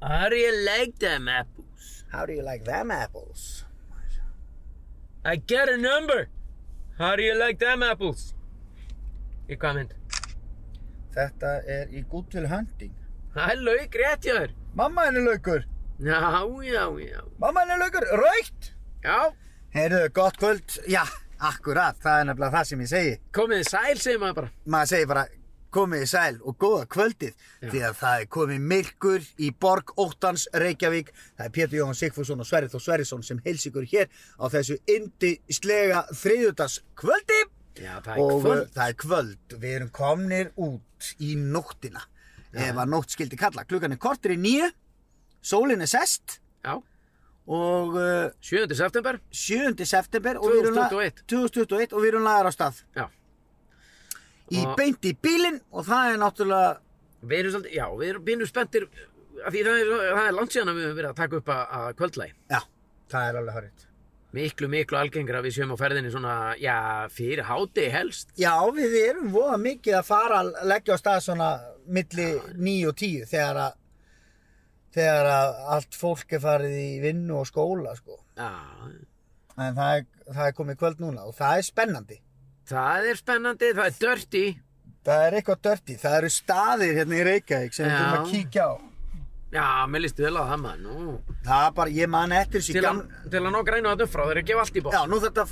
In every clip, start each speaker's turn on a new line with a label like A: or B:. A: How do you like them apples?
B: How do you like them apples?
A: I got a number. How do you like them apples? Í hvað mynd?
B: Þetta er í Good Will Hunting.
A: Það er lauk rétt hjá þér.
B: Mamma henni laukur.
A: Já, já, já.
B: Mamma henni laukur. Raukt.
A: Já,
B: Heyrðu, gott kvöld. Já, akkurat. Það er nefnilega það sem ég segi.
A: komið þið sæl, segir maður bara.
B: Maður segir bara komið í sæl og góða kvöldið.
A: Já.
B: Því að það er komið myrkur í Borg Óttans Reykjavík. Það er Pétur Jóhann Sigfússon og Sverrið Þór Sverrisson sem heils ykkur hér á þessu indislega þriðjudags kvöldi.
A: Já, það er
B: og eh,
A: kvöld.
B: kvöld. það er kvöld við erum komnir út í nóttina ef að nótt skildi kalla klukkan er kortur í nýju sólin er sest
A: Já,
B: og uh,
A: 7. september.
B: 7. september og við erum la-
A: 2021.
B: 2021 og við erum lagar á stað
A: Já.
B: í
A: Og-
B: beint í bílinn og það er náttúrulega
A: Við erum svolítið, já, við erum bínu spenntir af því það er, það er langt síðan að við höfum verið að taka upp að, að kvöldlægi.
B: já, það er alveg horrið
A: Miklu, miklu algengra að við séum á ferðinni svona, já, fyrir háti helst.
B: já, við erum voða mikið að fara að leggja á stað svona milli 9 og 10 þegar að þegar að allt fólk er farið í vinnu og skóla sko
A: Já,
B: En það er, það er komið kvöld núna og það er spennandi.
A: það er spennandi, það er dörti.
B: Það er eitthvað dörti, það eru staðir hérna í Reykjavík sem við
A: Já.
B: þurfum að kíkja á.
A: Já, mér listu vel á það maður, nú.
B: Það er bara, ég man eftir þessu
A: Til,
B: í
A: að,
B: gamla...
A: til að ná grænu þetta upp frá, þeir eru að gefa allt í bótt.
B: Já, nú þetta,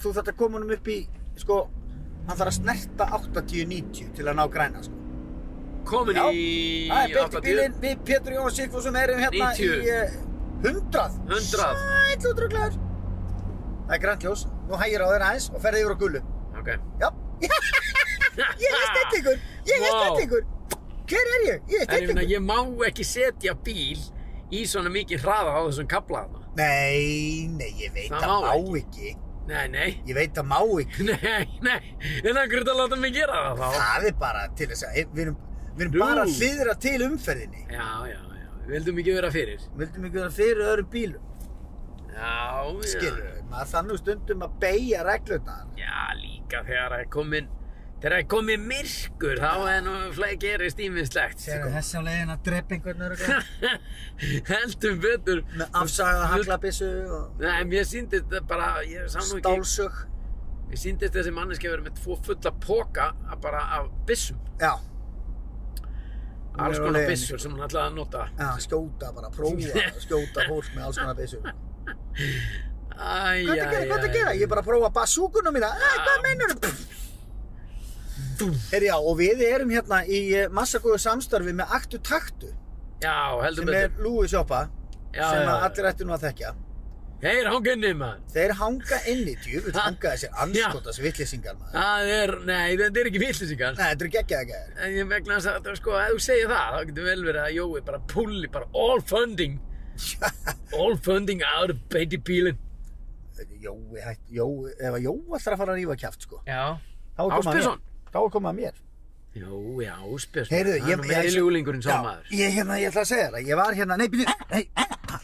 B: þú þetta koma honum upp í, sko, hann þarf að snerta 80-90 til að ná græna, sko.
A: Komin
B: Já.
A: í
B: Það er beint í
A: 80,
B: bílinn, við Pétur Jóhann Sigfússon erum hérna
A: 90.
B: í eh, 100.
A: 100.
B: Sæll og drögglegar. Það er grænt ljós, nú hægir á þér aðeins og ferði yfir á gullu.
A: Ok.
B: Já, ég er stellingur, ég er
A: Vá.
B: stellingur. Hver er ég? Ég er
A: En ég finna,
B: stellingur.
A: ég má ekki setja bíl í svona mikið hraða á þessum kaplaðna.
B: Nei, nei, ég veit
A: Það
B: að
A: má
B: má ekki.
A: Nei, nei.
B: Ég veit að má ekki.
A: Nei, nei, en það grútt að láta mig gera það þá.
B: Það er bara til þess að, við erum, við erum
A: Nú.
B: bara að hliðra til umferðinni.
A: Já, já, já, við vildum ekki vera fyrir.
B: Vildum ekki vera fyrir öðrum bílum.
A: Já, já.
B: Skilur við, maður þannig stundum að beigja reglurnar.
A: Já, líka þegar það er komin, þegar það er komin myrkur, þá er nú fleið gerist sko. ímislegt.
B: þessi á leiðin að drepa einhvern öruglega?
A: Heldum betur.
B: Með afsagaða haglabissu og
A: Nei, mér síndist þetta bara, ég sá nú ekki,
B: stálsög.
A: mér síndist þessi manneski að vera með tvo fulla póka að bara af byssum.
B: Já, er
A: Alls
B: á
A: konar
B: leiðinni.
A: byssur sem hún ætlaði að nota.
B: já, skjóta bara, prófa, að skjóta fólk með alls konar bissu.
A: Æj,
B: Hvað er að gera, hvað er að gera? Ég er bara að prófa basúkunum mína. Æ, hvað meinar þú? Herjá, og við erum hérna í eh, massagóðu samstarfi með Aktu Taktu
A: Já,
B: sem
A: heldum
B: er
A: betur.
B: Lúi Sjoppa
A: Já,
B: sem
A: já,
B: að
A: já.
B: allir ættu nú að þekkja
A: Heyr, hónginni maður.
B: Þeir hanga inn í djöfull
A: Ha?
B: hanga þessir anskotas vitlisingar maður
A: Það er, nei, þetta er ekki vitlisingar.
B: Nei, þetta eru geggjað að gera
A: En ég vegna þess að, sko, ef þú segir það, þá getur vel verið að Jói bara pulli, bara all funding, all funding out of baby bílinn.
B: Jói, hætt, Jói, ef að Jói ætlar að fara að rífa kjaft sko
A: Já.
B: Þá er komað mér
A: Ásbjörnsson?
B: Þá er komað mér
A: Jói, áspjörs.
B: Heyrðu,
A: ég... Það er nú meiri ljúlingurinn sá
B: Já,
A: maður.
B: Ég hérna, ég ætla að segja það Ég var hérna, nei, byrju, nei,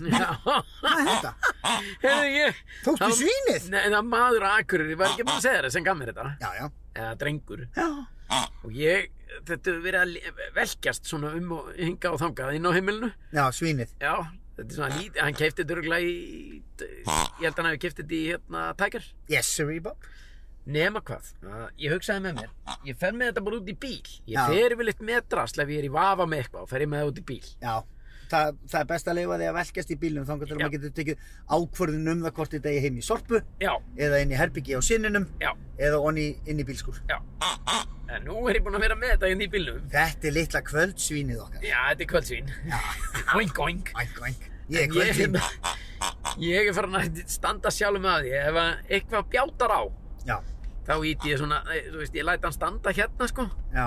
A: Já.
B: hvað er þetta?
A: Heyrðu, ég...
B: Tókstu
A: það-
B: svínið?
A: Nei, það var maður á akkurir, ég var ekki búin að segja það sem gaf mér þetta.
B: Já, já,
A: Eða drengur.
B: já
A: Og ég, þetta hefur verið að li- velkjast svona um og hinga og þangað inn á heimilinu.
B: Já, svínið
A: Já, þetta er svona lítið, hann keipti þetta örgulega í, ég held að hann hefur keipti þetta í hérna Tiger.
B: Yes, sir, Bob
A: Nema hvað, að ég hugsaði með mér Ég fer með þetta bara út í bíl Ég
B: Já.
A: fer yfirleitt með drasl ef ég er í vafa með eitthvað og fer ég með það út í bíl
B: Já, Þa, það er best að leifa því að velkjast í bílnum þangar til
A: Já.
B: að maður getur tekið ákvörðun um það hvort þetta er heim í sorpu
A: Já,
B: eða inn í herbyggi á sinninum
A: já,
B: eða onni inn í bílskúr.
A: já En nú er ég búinn að vera með þetta inn í bílnum
B: Þetta er litla kvöldsvínið okkar.
A: Já, þetta er kvöldsvín Oink, oink
B: Oink, oink. Ég er hérna.
A: Ég, hérna-
B: kvöldsvín.
A: ég er farin að standa sjálfum að því Ef að eitthvað bjátar á
B: Já,
A: Þá íti ég svona, eh, þú veist, ég læt hann standa hérna sko
B: já,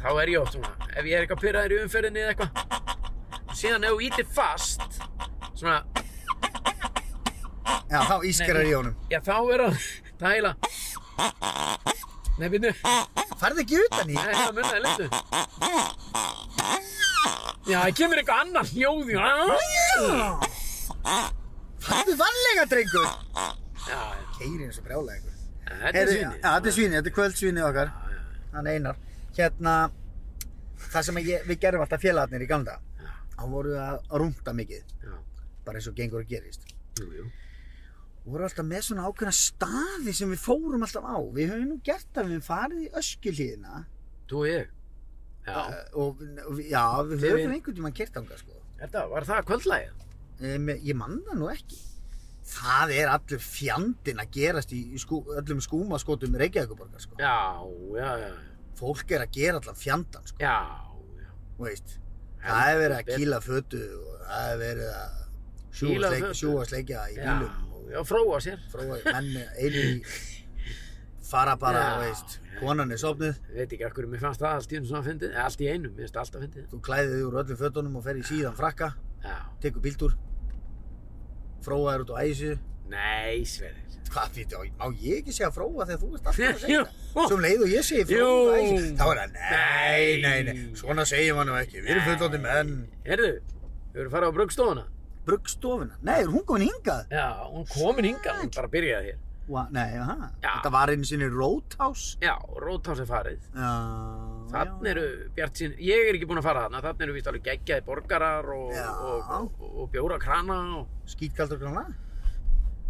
A: Þá er ég oft svona Ef ég er eitthvað pyrraður í umferðinni eða eitthvað Síðan ef þú ítir fast Svona,
B: já, þá ískarar í honum.
A: Já, þá er hann, það er heila Nei, býttu,
B: Farðu ekki utan í.
A: nei, hérna, það munnaði lindu Já, það kemur eitthvað annar hljóð í
B: Farðu varlega, drengur.
A: Já,
B: Keiri eins og brjálega ykkur.
A: þetta er
B: Heyrðu,
A: svinni
B: Já, þetta er svínið, þetta er kvöldsvínið okkar. Hann einar. Hérna, það sem ég, við gerum alltaf félagarnir í gamla. daga. hann voru að að rúnta mikið
A: já,
B: bara eins og gengur að gerist
A: jú, jú.
B: og voru alltaf með svona ákveðna staði sem við fórum alltaf á við höfum nú gert það, við höfum farið í öskilíðina
A: Þú og ég. Já.
B: og, og já, við
A: Þegar
B: höfum
A: við-
B: einhvern tímann kert ánga sko
A: Þetta, var það kvöldlægið?
B: um, ég man það nú ekki það er allur fjandinn að gerast í, í skú, öllum skúmaskotum Reykjavíkuborgar sko
A: Já, já, já.
B: fólk er að gera allan fjandann sko
A: Já, já.
B: þú veist, það
A: Heldur
B: er verið að
A: betur.
B: kýla fötu og það er verið að
A: Kýla
B: sjúga sleik-
A: fötu?
B: sjúga sleikja í
A: Já,
B: bílum og
A: já, fróa sér.
B: fróa menn einu í fara bara,
A: Já.
B: þú veist, konan er sofnuð
A: Ég veit ekki af hverju mér fannst það allt í einu svona fyndið, eða allt í einu, mér finnst alltaf fyndið.
B: þú klæðið þig úr öllum fötunum og fer í síðan frakka
A: Já,
B: tekur bíltúr fróa er út á æsu
A: nei, Sverrir.
B: hvað fyrir, má ég ekki segja fróa þegar þú ert alltaf að segja
A: Jú,
B: það sem leið og ég segi fróa
A: Jú.
B: á æsu þá er það, nei, nei, nei svona segjum hann ekki, við erum fullóttir menn
A: Herðu, við erum farið á brugstofuna.
B: bruggstofuna, nei, er hún komin hingað?
A: Já, hún komin hingað, hún bara byrjaði hér.
B: Wow, nei, aha.
A: Já.
B: Þetta var einu sinni Roadhouse.
A: Já, Rótás er farið.
B: Já,
A: Þann
B: já.
A: eru bjart sín, ég er ekki búinn að fara þarna, þann eru víst alveg geggjaði borgarar og,
B: Já.
A: og, og, og bjórakrana og
B: Skítkaldur grána?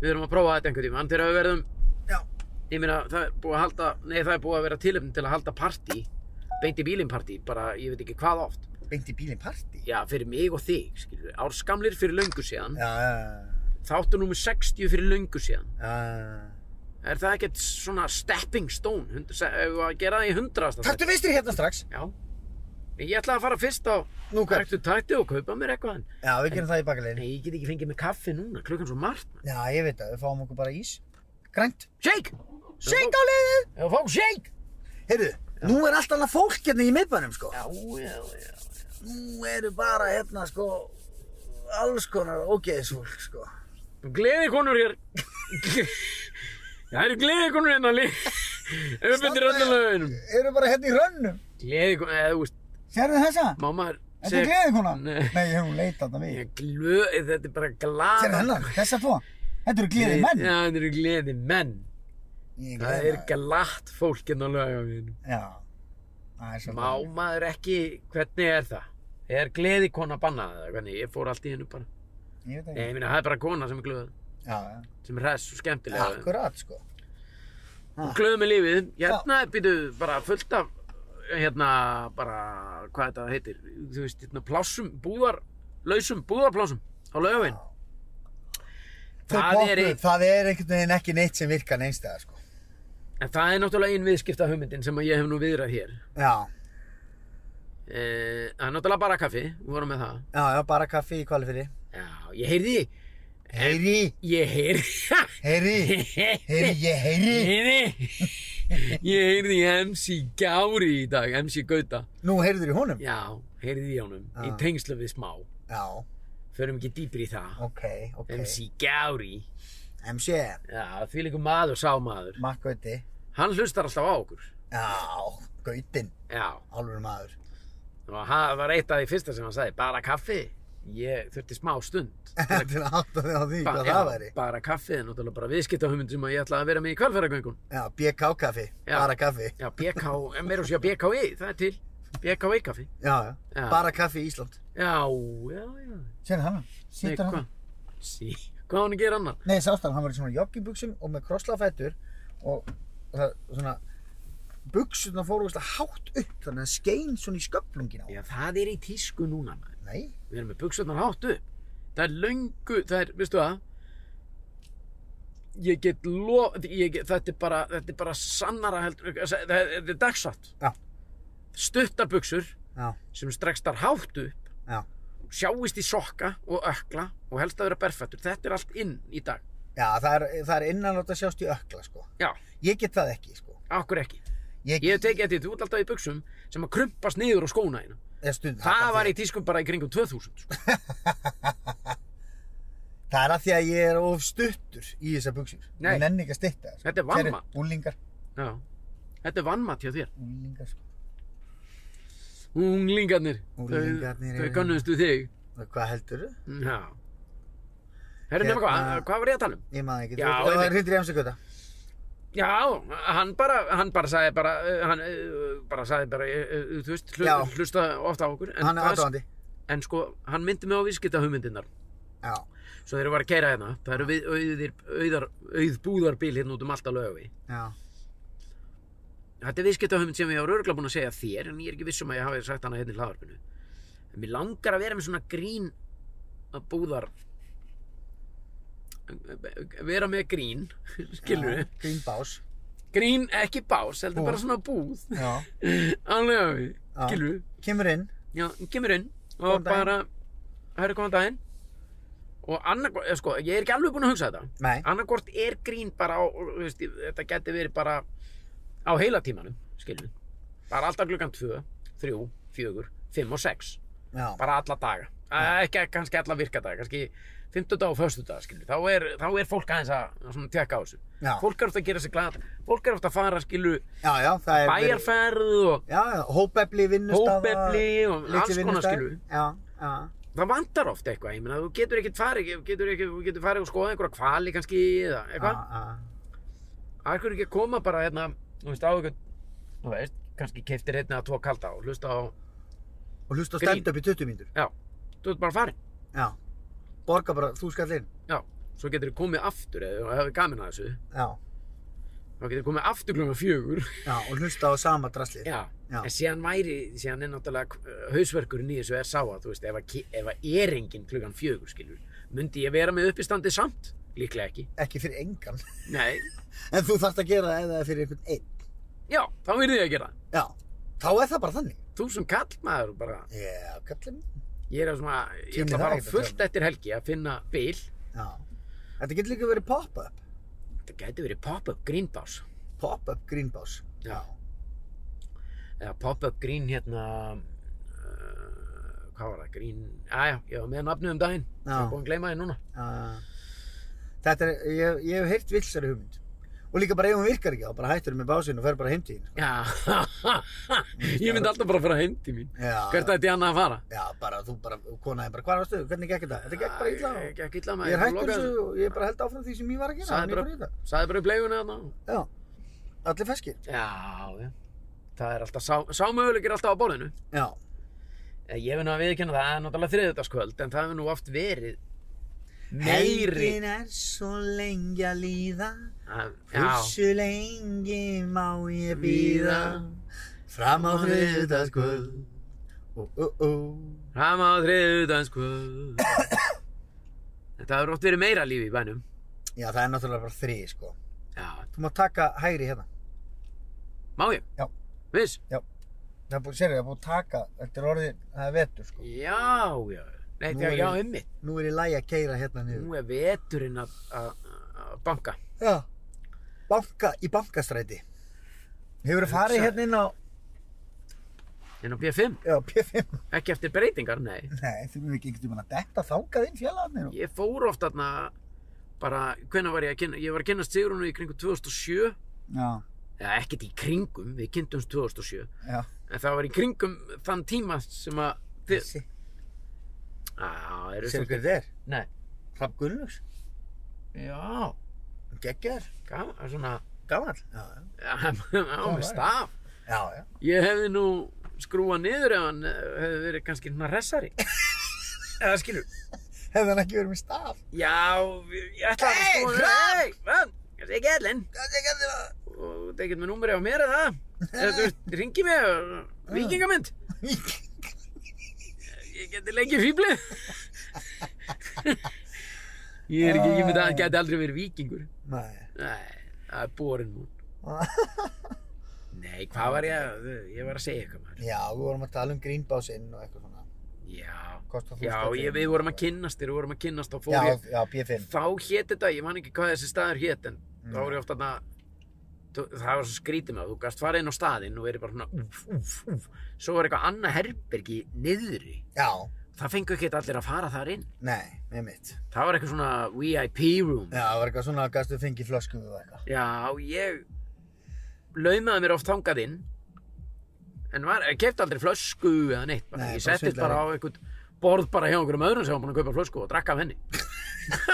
A: við erum að prófa þetta einhvern tímann þegar við verðum,
B: Já.
A: ég meina það er búið að halda, nei það er búið að vera tilöfni til að halda partí, beint í bílinn partí, bara ég veit ekki hvað oft,
B: Beint í bílinn partí?
A: já fyrir mig og þig, skilur við, árskamlir fyrir löngu síðan,
B: Já, já,
A: þáttu númur 60 fyrir löngu síðan,
B: já.
A: er það ekkert svona stepping stone, hund, se- ef við að gera það í hundraðasta
B: Taktu vinstri hérna strax.
A: Já, ég ætla að fara fyrst á
B: Nú, hvað?
A: Taktu tætti og kaupa mér eitthvað en
B: Já, við gerum það í bakaleginu.
A: Nei, ég get ekki fengið mig kaffi núna, klukkan svo margt. maður.
B: Já, ég veit það, við fáum okkur bara ís. Grænt.
A: Shake!
B: Seint á leiðið!
A: Já, fá shake!
B: Heyrðu, nú er allt annað fólk hérna í miðbænum, sko.
A: Já, já, já.
B: Nú eru bara hérna, sko, alls konar ógeðisfólk, sko.
A: Gleði konur hér. Það eru gleði konur hérna líka. Upp undir
B: Standa-
A: öllum lögunum.
B: Eru bara hérna í hrönnum.
A: Gleði konur, eða þú veist,
B: Sérðu þessa?
A: má maður...
B: Þetta er gleðið kona?
A: Nei.
B: Nei, ég hef hún leitað þarna við.
A: Glöði, þetta er bara glada.
B: Sér hennar, þessa tvo. Þetta eru gleðið menn.
A: Já, þetta eru gleði menn. Það
B: Ég gleði
A: er glatt fólk hérna á lögunum.
B: maður. Já. Það er
A: Má
B: svolítið.
A: maður ekki, hvernig er það? Er gleði kona bannað eða hvernig? Ég fór allt í hennu bara.
B: Ég veit
A: Nei,
B: ekki.
A: ég meina, það er bara kona sem er glöð.
B: Já, já.
A: sem er hress og skemmtilega
B: Akkurat, sko.
A: og glöð með lífið hérna er býtu bara fullt af hérna bara hvað þetta heitir þú veist hérna plássum búðar lausum búðarplássum á laugin
B: Þau
A: Það
B: poppuð,
A: er í-
B: það er einhvern veginn ekki neitt sem virkar neinstæða, sko.
A: en það er náttúrulega ein viðskipta hugmyndin sem að ég hef nú viðrað hér
B: Já.
A: Eh, það er náttúrulega bara kaffi við vorum með það
B: Já, já, bara kaffi í kvalifyrir.
A: já ég heyrði
B: Heyri,
A: ég heyrði
B: heyri, heyri, ég heyri.
A: heyrði ég heyrði í MC Gári í dag MC Gauta
B: Nú heyrður í honum?
A: já heyrði í honum í
B: Ah.
A: tengslu við smá
B: Já,
A: förum ekki dýpri í það
B: ok, ok.
A: MC Gári
B: MC,
A: Já, því líka maður sá maður
B: makkvöti.
A: Hann hlustar alltaf á okkur
B: Já, gautinn,
A: Já,
B: alveg maður.
A: og það var eitt af því fyrsta sem hann sagði Bara kaffi Ég þurfti smá stund
B: Til að átta þig á því
A: Ba-
B: hvað
A: já,
B: það væri.
A: Bara kaffi, en náttúrulega bara viðskipta sem að ég ætlaði að vera með í kvalfæragöngun
B: Já, BK kaffi,
A: Já.
B: bara kaffi.
A: Já, BK, en meira sér BKI, E, það er til BKI kaffi
B: Já, já,
A: Já.
B: bara kaffi í Ísland.
A: Já, já, já
B: Sér hann,
A: Nei,
B: sýttur hann.
A: hvað? Sí, hvað á hann að gera annar?
B: Nei, sást hann, hann var í svona joggibuxum og með krosslafætur og það, svona, buxurna fóru veist hátt upp þannig að það skein svona í sköflungin á.
A: Já, það er í tísku núna maður.
B: Nei,
A: Við erum með buksarnar hátt upp. Það er löngu, það er, veistu það? Ég get lof, ég get, þetta er bara, þetta er bara sannara heldur, þetta er- þetta er dagsatt.
B: Já.
A: Stuttar buksur
B: já,
A: sem strekstar hátt upp,
B: já,
A: sjáist í sokka og ökla og helst að vera berfættur. Þetta er allt inn í dag.
B: já, það er, það er innanátt að sjást í ökla, sko.
A: Já,
B: Ég get það ekki, sko.
A: okkur ekki.
B: Ég,
A: Ég hef tekið þetta, þú ert alltaf í buksum sem að krumpast niður á skóna hérna.
B: ég stund,
A: Það var í tískum bara í kringum 2000, sko.
B: Það er að því að ég er of stuttur í þessar buxur.
A: Nei.
B: Ég nenni ekki að stytta það, sko.
A: Þetta er vannmat.
B: Þeir eru Úlingar,
A: Já. Þetta er vannmatt hjá þér.
B: úlingar, sko.
A: Unglingarnir.
B: Unglingarnir
A: Þau,
B: eru-
A: þau kannustu þig.
B: Og Hvað heldur þú?
A: Já. Herra nema hvað,
B: Hérna-
A: hvað var ég að tala um?
B: Ég maður ekki.
A: Já,
B: þú,
A: einmitt.
B: það hrindir í emsakvöta.
A: Já, hann bara, hann bara sagði bara, uh, hann uh, bara sagði bara, uh, uh, þú veist, hlu,
B: Já.
A: hlusta ofta á okkur. en
B: Hann er
A: það-
B: aðdáandi.
A: en sko, hann myndi mig á viðskipta hugmyndinar
B: já,
A: svo þeir eru bara að keira hérna það eru við, auðir, auðar, auðbúðarbíl hérna út um alltaf lögavi
B: já,
A: þetta er viðskipta hugmynd sem ég var örgulega búin að segja þér en ég er ekki vissum að ég hafi sagt hana hérna í hlaðarpinu en mér langar að vera með svona grín að búðar vera með grín skilur
B: já, grínbás
A: grín ekki bás, heldur
B: Búð.
A: bara svona búð
B: já,
A: alveg að við,
B: Já.
A: skilur
B: kemur inn
A: já, hún kemur inn og
B: Góðan daginn.
A: bara hörðu góðan daginn og annarkvort, eh, sko, ég er ekki alveg búin að hugsa þetta
B: nei,
A: annarkvort er grín bara á, þú veist, þetta geti verið bara á heila tímanum, skilur bara alltaf klukkan 2, 3, 4 5 og 6,
B: já,
A: bara alla daga Eh, ekki kannski alla virkadaga, kannski 50 og 1. dag, skilur, þá er, þá er fólk aðeins að svona tjekka á þessu
B: Já.
A: fólk er ofta að gera sig glad, fólk er ofta að fara skilur,
B: já, já, það er verið-
A: bæjarferð og
B: já, já, hópefli vinnustafa
A: Hópefli og
B: litli
A: alls konar
B: vinnustaðir.
A: skilur.
B: já, já,
A: það vantar oft eitthvað, ég meina þú getur ekkert farið, þú getur ekki, þú getur farið og skoða einhverja kvali kannski eða
B: já,
A: eitthvað,
B: já,
A: það er ekki að koma bara hérna, þú veist á eitthvað, þú veist, kannski keiftir hérna að tvo kalda og hlusta á,
B: og hlusta á
A: Grín.
B: stand-up í 20 mínútur
A: já, þú ert bara farin,
B: já, borga bara, þú skall inn
A: já, svo getur þú komið aftur eða þú hefur gaman að þessu,
B: já,
A: þá getur þú komið aftur klunum fjögur,
B: já, og hlusta á sama drasli
A: já.
B: Já.
A: En síðan væri, síðan er náttúrulega uh, hausverkurinn í þessu er sá að, þú veist, ef að, ki- ef að er enginn klukkan fjögur, skilur, myndi ég vera með uppistandið samt? Líklega ekki.
B: ekki fyrir engan
A: Nei,
B: en þú þarft að gera það ef það er fyrir einhvern einn
A: já, þá verði ég að gera. það.
B: já, þá er það bara þannig
A: Þú sem kallmaður bara,
B: já, kallið minn
A: Ég er að svona, ég
B: Tímir
A: ætla að
B: það
A: fara á
B: ekkert að
A: fullt
B: tala.
A: eftir helgi að finna bíl.
B: já, þetta getur líka verið pop-up
A: Þetta gæti verið pop-up grínbás.
B: pop-up grínbás
A: Já. Eða pop-up grín hérna, uh, hvað var það, grín, aðja, ég var með nafnið um daginn.
B: Já.
A: Ég er búin að gleyma þið núna.
B: Já. Ah. þetta er, ég, ég hef heyrt vilsari hugmynd og líka bara ef hún virkar ekki þá bara hættur með básinn og fer bara heim til þín
A: Já, ég myndi alltaf bara að fara heim til mín.
B: já,
A: Hvert ætti ég annað að fara?
B: já, bara þú bara, konaði bara hvað varstu, hvernig gekk þetta þetta gekk bara illa
A: Æ,
B: og
A: Gekk illa
B: ég
A: maður.
B: er hættur þessu og ég er bara held áfram því sem ég var að gera
A: Sagði
B: þannig ég
A: bara-
B: fór í þetta.
A: Sæði bara í pleifunni þarna.
B: Já, allir feskir.
A: Já, já. Það er alltaf, sá, sá möguleik er alltaf á borðinu.
B: Já,
A: Eh, Ég vil nú að viðkynna það, það er náttúrulega þriðutaskvöld, en það hefur nú oft verið meiri.
B: Helgin er svo lengi að líða,
A: Það- Já,
B: hversu lengi má ég býða, fram á þriðdagsgöld. Ó, ó, ó.
A: fram á þriðutaskvöld. Þetta hefur oft verið meira lífi í bænum.
B: Já, það er náttúrulega bara þrið, sko.
A: Já,
B: Þú má taka hægri hérna.
A: má ég?
B: Já.
A: Viss?
B: Það er búið, sérðu, það er búið að taka, þetta er orðið, það er vetur, sko.
A: Já, já. Nei,
B: Nú
A: þegar,
B: er-
A: já, ummi.
B: Nú er ég lægi að keira hérna niður.
A: Nú er veturinn að að- að banka.
B: Já, banka, í bankastræti. Hefur þú farið
A: Hugsa-
B: hérna inn á,
A: En á B5,
B: já, P5?
A: ekki eftir breytingar, nei.
B: Nei, þú erum ekki einhvern veginn að detta þangað inn félagarnir og...
A: Ég fór oft þarna bara, hvenær var ég að kynna? Ég var að kynast Sigrunu í kringum 2007.
B: Já,
A: Eða ekkert í kringum, við kynntumst 2007.
B: já.
A: En það var í kringum þann tíma sem að... þið-
B: Þessi,
A: Á, það eru
B: sér
A: svolítið...
B: hver þér?
A: Nei.
B: Hrafn Gunnlaugs,
A: Já,
B: geggjar,
A: gaman, það er svona...
B: gammal. Já, já.
A: Já, með staf.
B: Já, já.
A: Ég hefði nú skrúað niður ef hann eh, hefði verið kannski svona ressari. Eða skilur.
B: Hefði hann ekki verið með staf?
A: Já, ég ætla að
B: Hey,
A: skrúa niður.
B: Hrafn!
A: Hey, Hrafn! Ég segi ellin.
B: Hvað er gætið það?
A: Og það er ekkert með númerið á mér eða það. Eða þú veist, ringi mig. Víkingamynd. Ég geti lengið fýblið. Ég er ekki, ég myndi að það geti aldrei verið víkingur.
B: Nei.
A: Nei, það er borin hún. Nei, hvað var ég að, ég var að segja eitthvað maður.
B: Já, við vorum að tala um grínbásinn og eitthvað svona.
A: Já,
B: Kosta þú
A: já,
B: skottið.
A: ég, við vorum að kynnast þér, við vorum að kynnast og fór
B: Já,
A: ég.
B: já, P5.
A: Þá hét þetta, ég man ekki hvað þessi staður hét, en þá voru ég oft að það var svo skrítið með, þú gast farið inn á staðinn og verið bara svona, úf, úf, úf. Svo var eitthvað annað herbergi niðri.
B: Já,
A: Það fengu ekki allir að fara þar inn.
B: nei, með mitt.
A: Það var eitthvað svona VIP room.
B: Já, það var eitthvað svona að gæstu fengið flösku og eitthvað.
A: Já, ég laumaði mér oft þangað inn en var, kefti aldrei flösku eða neitt, bara,
B: Nei,
A: ég
B: bara
A: settist
B: svindlaði.
A: bara á einhvern borð bara hjá einhverjum öðrum sem var búin að kaupa flösku og drakk af henni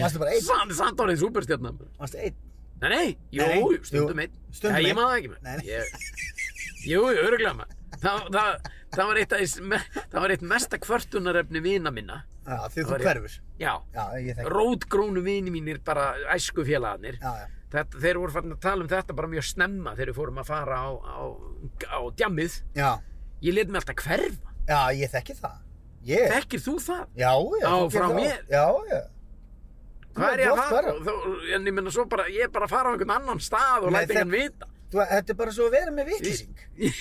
B: Varstu bara einn?
A: Samt, samt orðin superstjarnan
B: Varstu einn?
A: Nei, nei, jú,
B: Nei, nei,
A: stundum
B: jú,
A: einn
B: stundum
A: Nei,
B: einn.
A: ég maður það ekki með
B: Nei, nei.
A: Ég- Jú, jú, öruglega maður það, það, það, var eitt, af því sem- það var eitt mesta kvörtunarefni vina minna
B: Já, því þú
A: var ég.
B: hverfur.
A: já,
B: Já, ég þekki.
A: rótgrónu vini mínir bara æsku félagarnir
B: Já, já.
A: Þetta, þeir voru farin að tala um þetta bara mjög snemma þegar við fórum að fara á, á, á djammið.
B: Já,
A: Ég let mig alltaf hverfa.
B: já, ég þekki það. Ég,
A: Þekkir þú það?
B: já, já.
A: Já,
B: þú getur
A: frá
B: það.
A: mér.
B: Já, já.
A: Hvað er ég að
B: mátt
A: fara?
B: hverfa.
A: Þó, en ég menna svo bara, ég er bara að fara á einhvern annan stað og
B: Nei,
A: læti
B: þek-
A: hann vita.
B: Þú, þetta er bara svo að vera með vitlýsing.
A: ég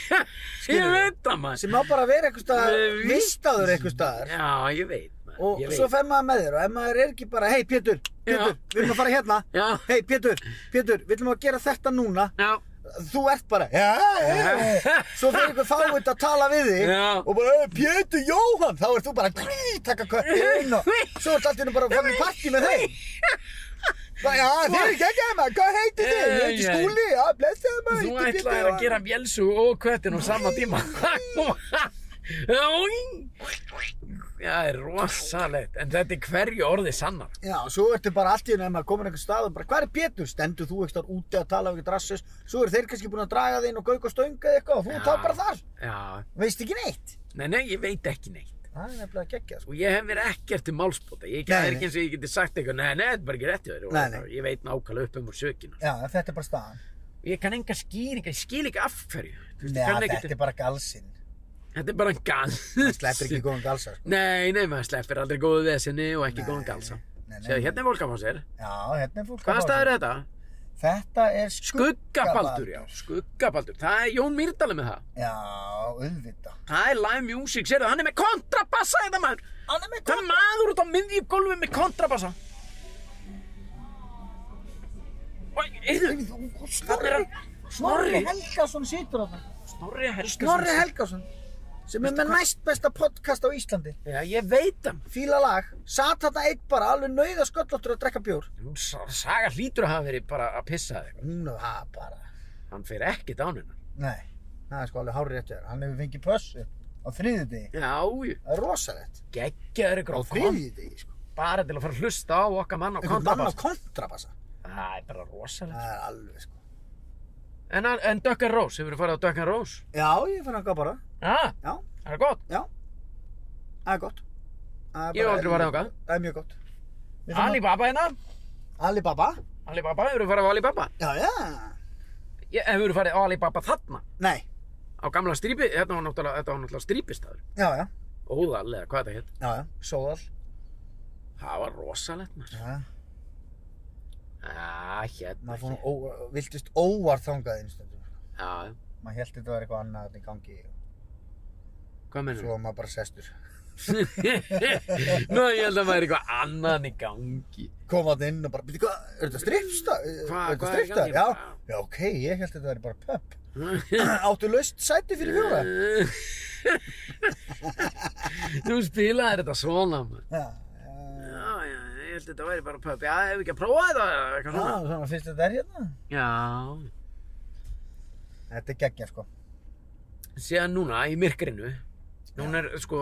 B: Skilurðu?
A: veit það maður.
B: Sem á bara að vera einhver staðar,
A: Með
B: vistaður einhver staðar.
A: Já, ég veit maður.
B: Og
A: ég
B: svo
A: veit.
B: fer maður með þér og ef maður er ekki bara, hei Pétur, Pétur, við erum að fara hérna.
A: Já,
B: Hei Pétur, Pétur, við erum að gera þetta núna.
A: já,
B: þú ert bara já, já. svo fyrir ykkur fáið að tala við þig
A: Já.
B: og bara, "Eh, Pétur Jóhann þá ert þú bara, grý, taka köttin og svo ert alltaf bara fram í partí með þeim bara, já, þið er ekki ekki maður hvað heitir þið, ég heiti
A: Jæja.
B: skúli já, blessaði maður,
A: þú
B: ég heiti
A: ætlaði að gera mjölsu og köttin á sama tíma. Já, í. Það er rosalegt, en þetta er hverju orði sannar.
B: já, svo ertu bara allt í henni ef maður komin einhver stað og bara, hvað er Pétur, stendur þú ekki þar úti að tala við eitthvað rassus, svo eru þeir kannski búin að draga þig inn og gauk og stönga þig eitthvað og þú
A: Já.
B: þá bara þar,
A: Já,
B: veist ekki neitt
A: nei, nei, ég veit ekki neitt
B: það er nefnilega geggjað, sko.
A: og ég hef verið ekkert til málspóta ég
B: Nei,
A: það er
B: nei.
A: ekki eins og ég geti sagt eitthvað nei, nei, þetta er bara ekki rétt hjá þér og
B: Nei, nei.
A: ég veit nákvæmlega upp um úr sökina
B: já, en þetta er bara staðan
A: ég kann enga skýringa, ég skil ekki af hverju Þú veist, ég kann
B: Nei,
A: ekkert-
B: þetta er bara galsinn
A: þetta er bara en gans
B: Það sleppir ekki góðan galsa sko.
A: nei, nei, maður sleppir aldrei góðu vesinni og ekki
B: Nei,
A: góðan galsa
B: nei, nei,
A: Sér,
B: nei.
A: hérna er volkafásir,
B: Já, hérna er fólk að
A: hvaða
B: fá
A: stað er
B: sig.
A: þetta?
B: Þetta er
A: Skuggabaldur, já, Skuggabaldur það er Jón Myrdal er með það
B: Já, auðvita
A: það er live music, sérðu, hann er með kontrabassa þetta maður,
B: Hann er með
A: það er maður út á miðjum gólfi með kontrabassa og, heyrðu,
B: kom
A: Þarna er hann.
B: Snorri
A: Snorri.
B: Helgason situr á það
A: Snorri Helgason
B: Snorri Helgason sem er með næst besta podcast á Íslandi
A: Já, ég veit það
B: Fíla lag, sat þarna einn bara alveg nauða sköllóttur að drekka bjór
A: Hún sa- Saga hlýtur að hafa verið bara að pissa þig
B: Hún og það bara
A: Hann fer ekki dán hennar
B: Nei, það er sko alveg hárið réttur Hann hefur fengið pössu á þriðju degi
A: Já,
B: Það er rosalegt
A: geggjaður
B: Á
A: ykkur á kom
B: þriðju degi sko
A: Bara til að fara að hlusta á okkar mann á
B: Einhvern mann á
A: kontrabass
B: kontrabassa
A: Það er bara rosalega
B: Það er alveg sko
A: En, en Dökkan Rós, hefur farið á Dökkan Rós?
B: Já, ég fann hann bara
A: Já,
B: Já,
A: það er gott
B: Já, það er gott Það
A: Ég
B: er
A: hef
B: bara-
A: aldrei farið þangað.
B: Það er mjög gott Við þurfum
A: Alibaba hérna
B: að- Alibaba
A: Alibaba, hefur farið á Alibaba
B: Já, já
A: Ég hefur farið á Alibaba þarna
B: Nei,
A: Á gamla strípi, þetta var náttúrulega, þetta var náttúrulega strípistaður
B: já, já,
A: Óðalega, hvað þetta hétt
B: já, já Sóðal
A: Það var rosalegt maður
B: Já,
A: Já, hérna
B: maður fór nú ó- viltist óvart þangað einu stundum
A: Já,
B: Maður held þetta var eitthvað annað þarna í gangi
A: hvað mennum?
B: Svo var maður bara sestur
A: Nú, ég held að maður er eitthvað annan í gangi.
B: Kom að inn og bara, býttu hvað, er þetta strippsta?
A: Hvað-
B: er
A: hvað
B: þetta
A: er í
B: strippsta?
A: gangi?
B: Já, já, ok, ég held þetta var bara pub Áttu laust sæti fyrir fjóra?
A: Þú spilaðir þetta svona, maður.
B: Já, já
A: Já, já, ég held að þetta væri bara pöpp. Já, ef ekki að prófa þetta, eða eitthvað
B: Já,
A: Ah, svona.
B: svona fyrst þetta er hérna
A: Já,
B: Þetta er geggja, sko
A: síðan núna í myrkrinu, núna er, sko,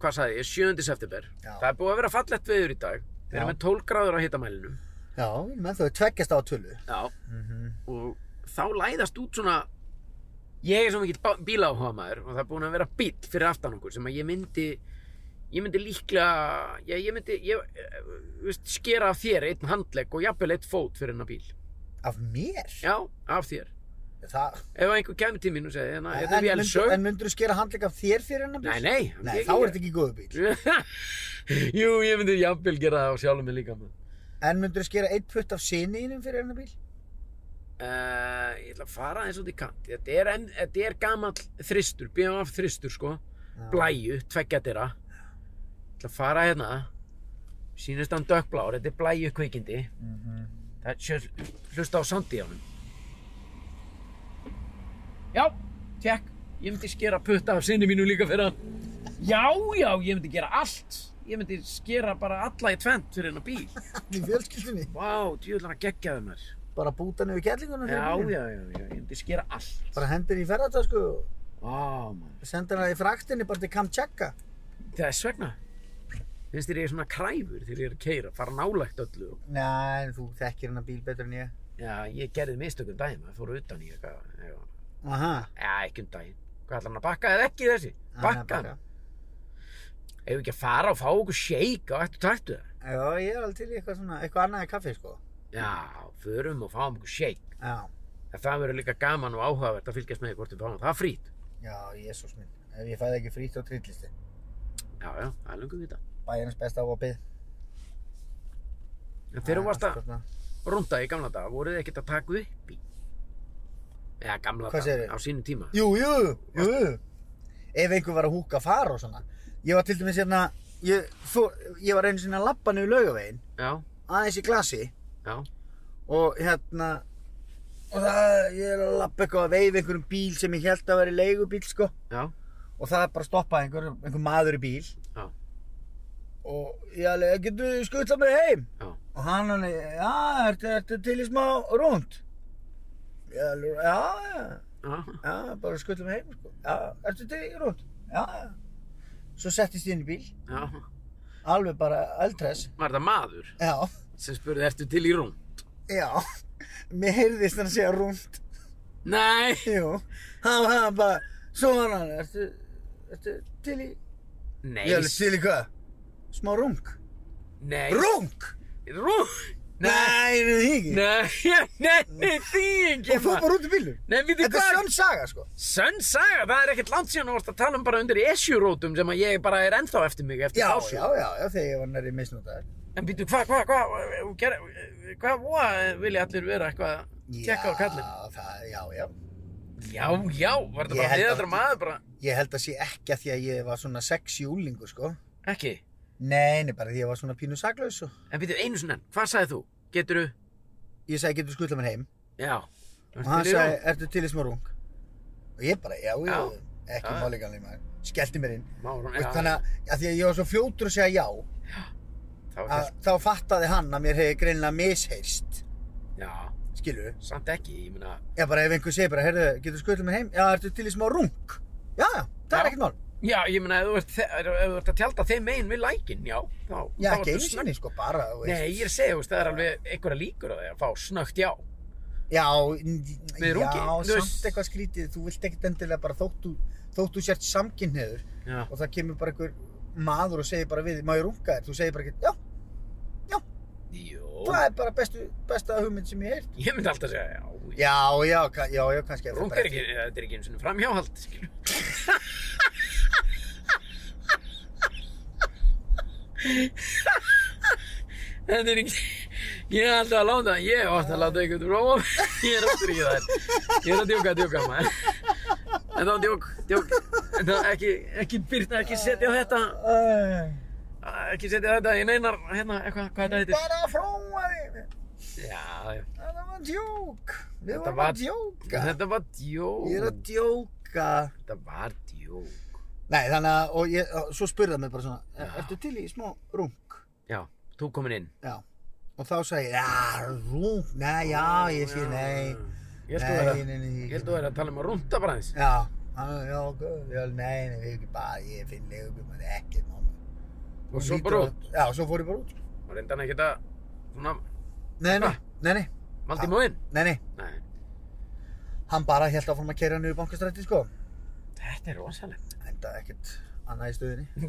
A: hvað sagði ég, 7. september.
B: Já.
A: Það er búið að vera fallett veður í dag. Við
B: Já.
A: erum með 12 gráður á hitamælinum.
B: Já, menn þau tveggjast á tölu
A: Já.
B: mm -hmm.
A: Og þá læðast út svona, ég er svo mikill bíláhuga maður og það er búin að vera bíl fyrir aftan okkur sem að ég myndi ég myndi líklega já, ég myndi ég, eh, veist, skera af þér einn handlegg og jafnvel eitt fót fyrir hennar bíl
B: Af mér?
A: já, af þér
B: Það,
A: ef einhver kemur til mín og segi hérna, þetta
B: en,
A: er
B: myndur,
A: vélsög
B: en myndur þú skera handleik af þér fyrir hennar
A: nei, nei,
B: Nei, þá er þetta ekki góðu bíl.
A: ekki jú, ég myndi jafnvel gera það á sjálfum mig líka maður.
B: En myndur þú skera eitt putt af sinniðinum fyrir hennar bíl?
A: Uh, ég ætla að fara eins og því kant þetta er, en, þetta er gamall þristur BMF þristur sko blæju, tveggja dyra ætla að fara hérna sýnist hann dökkblár, þetta er blæju kveikindi
B: Mm -hmm.
A: það er sér hlusta á sandi á hann já, tjekk ég myndi skera putta af sinni mínu líka fyrir hann já, já, ég myndi gera allt ég myndi skera bara alla í tvent fyrir hennar bíl
B: Allir fjölskyldinni.
A: vá, djúðlar að geggja þeim þar
B: Bara búta niður kærlingunum
A: já, já, já, já, ég myndi skera allt
B: Bara hendur í ferðartösku og
A: vá, mann,
B: senda hennar í fraktinni bara til Kamchakka.
A: þess vegna finnst þér ég svona kræfur þegar ég er að keira fara nálægt öllu og
B: Nei, þú þekkir hennar bíl betur en ég.
A: um Já, ég gerði mistökum daginn, maður fór utan í eitthvað, eitthvað.
B: Aha.
A: Já, ekki um daginn. Hvað ætlar hann að bakka eða ekki þessi?
B: Hann er að
A: Bakka hann. Ef við ekki að fara og fá okkur shake á eftir taktu það.
B: Já, ég er alveg til í eitthvað svona, eitthvað annað en kaffi sko.
A: Já, förum og fáum okkur shake.
B: Já,
A: En það verður líka gaman og áhugavert að fylgjast með því hvort við fáum það frít.
B: já, jésús minn. Ef ég fæði ekki frýtt á trillisti.
A: Já, já, það er lungum þetta.
B: Bæjarins besta áopið.
A: En þegar þú
B: sko-
A: varst að runda í gamla dag, voruð þið ekkert að taka upp í? Eða gamla
B: Hvað
A: dag,
B: segirðu?
A: á sínum tíma.
B: Jú, jú, jú. Ef einhver var að húka far og svona. Ég var til dæmis hérna, ég, fó, ég var einu sinni að labba niður laugavegin,
A: Já,
B: aðeins í glasi
A: já,
B: og hérna, og það, ég er að labba eitthvað að veifa einhverjum bíl sem ég held að vera leigubíl sko
A: já,
B: og það bara stoppaði einhver, einhver maður í bíl
A: Já.
B: og ég alveg, getur þú skutlað mér heim?
A: já,
B: Og hann hann, já, ertu, ertu til í smá rúnd? Ég alveg, já, já,
A: já,
B: já, bara skutlað mér heim, sko. Já, ertu til í rúnd? Já, já. Svo settist ég inn í bíl,
A: já.
B: alveg bara eldress.
A: Var það maður
B: Já,
A: sem spurði, ertu til í rúm?
B: já, mér heyrðist hann segja rúnd,
A: Nei,
B: jú. Hann, hann bara, svo var hann, ertu, ertu til í,
A: nei,
B: ég alveg, til í hvað? Smá rung.
A: nei,
B: Rung?
A: rúm, nei,
B: Nei, er það ekki?
A: nei, nei, nei, því ekki
B: Og fór bara út í bílum.
A: Nei, við þið
B: Þetta er
A: hvað?
B: sönn saga, sko.
A: Sönn saga, það er ekkert langt síðan og vorst að tala um bara undir esjurótum sem að ég bara er ennþá eftir mig eftir
B: Já,
A: pásu.
B: já, já, já, þegar ég var nærri misnótaður.
A: En býtu, hvað, hvað, hvað, hvað, hvað, hvað vilja allir vera eitthvað að tekka á kallin?
B: Já, það, já, já.
A: Já, já, var þetta
B: Ég
A: bara
B: held
A: heiðaldra
B: að-
A: maður bara,
B: Ég held að sé ekki að því að ég var svona sexy úlingur, sko.
A: ekki.
B: Nei, nei, bara því að ég var svona pínu saklaus og
A: En býtu, einu sinna, hvað sagði þú? Geturðu?
B: ég sagði, getur skutlað mér heim?
A: Já.
B: Og hann sagði, ertu til í smá rung? Og ég bara, já, já,
A: Já.
B: ekki
A: Já.
B: máleikanlega maður. Skellti mér inn.
A: Márun,
B: Veist, Þannig að, að því að ég var svo fljótur að segja já,
A: þá er
B: að,
A: það,
B: þá fattaði hann að mér hefði greinilega misheyrst,
A: já,
B: skilu.
A: samt ekki, ég meina,
B: Já, bara ef einhver segir bara, heyrðu, getur skutlað mér heim? Já, ertu til í smá rung? Já, já, það
A: Já.
B: er ekkert mál.
A: já, ég meina, ef þú ert, þe- ef þú ert að tjálta þeim megin við lækin, já, þá,
B: Já,
A: þá
B: ekki
A: ertu
B: einu
A: snögg.
B: sinni, sko, bara, þú veist.
A: Nei, ég er að segja, þú veist, það er alveg einhverja líkur á því að fá snögt já.
B: Já, n-
A: Við erum
B: já,
A: ungi, þú
B: samt
A: veist.
B: eitthvað skrítið, þú vilt ekkert endilega bara þótt þú, þótt þú sért samkynniður
A: Já.
B: og það kemur bara einhver maður og segir bara við, má ég runga þér? Þú segir bara ekki, já,
A: Jó.
B: það er bara bestu, besta hugmynd sem ég heilt.
A: Ég myndi alltaf að segja, já,
B: Já, já, ka- já, já, kannski er það
A: rungar ekki, þetta er ekki einu svona framhjáhald, skilju. Þetta er ekki, ég er alltaf að láta, ég er alltaf að láta einhvern róa, mig. ég er alltaf ekki þær, ég er að djóka, djóka maður. En þá djók, djók, en þá ekki, ekki byrna, ekki setja þetta,
B: Æ,
A: ekki setja þetta í neinar, hérna, eitthvað, hvað þetta heitir.
B: Bara að fróa þig,
A: Já, já.
B: þetta var djók, við
A: Þetta
B: vorum
A: var-
B: að djóka.
A: Þetta var djók.
B: Ég er að djóka.
A: Þetta var djók.
B: Nei, þannig að, og ég, og svo spurði hann mig bara svona,
A: Já.
B: ertu til í smá rung?
A: Já, þú komin inn.
B: Já. Og þá sagði ég, já, rung, nei, já, ég sé, nei,
A: Ég held þú
B: nei,
A: verið
B: nei, nei,
A: Ég held þú verið að tala um að rúnda bara aðeins.
B: Já, hann, já, guð, já, nei, nei, við ekki bara, ég finn legubíl, maður er ekkert, mamma.
A: Og svo bara út.
B: Já, svo fór ég bara út. sko.
A: Og reynda hann ekkert að, svona,
B: Nei, nei,
A: Ha?
B: nei, nei,
A: valdi móinn.
B: nei, nei,
A: Nei,
B: hann bara held áfram að kæra niður bankastrætti, sko.
A: þetta er rosalegt.
B: Enda ekkert annað í stöðinni.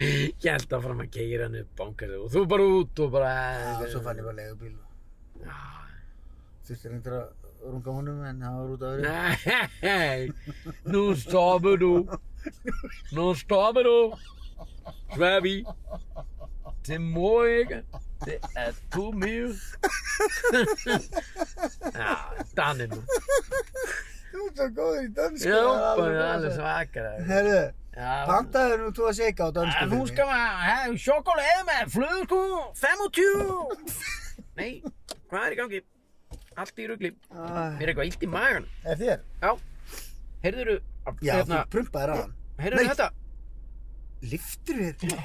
A: Ég held að fara maður að geira hann upp bankarðu og þú bara út og bara...
B: Já, svo fann ég bara legubíl og
A: Já.
B: þurfti reyndar að runga honum, en það var út af öðru.
A: Nei, nú stopur þú. Nú stopur þú. Svefi. Det må ikke. Det er too mye. Já, danni nú.
B: Þú ert svo góður í dansku.
A: Já,
B: það er alveg
A: bara
B: rosa.
A: alveg svakar.
B: Herðu,
A: Já,
B: pantaðu nú tvo að seika á dansku.
A: En hún skal maður, hei, sjokolade með flöðku, 25! Nei, hvað er í gangi? Allt í rugli. Mér
B: Æ,
A: er eitthvað illt í magan.
B: Er þér?
A: Já, heyrðuru,
B: Já, þú
A: hérna,
B: prumpaðir á hann.
A: heyrðuru
B: Nei.
A: þetta?
B: Liftur þér?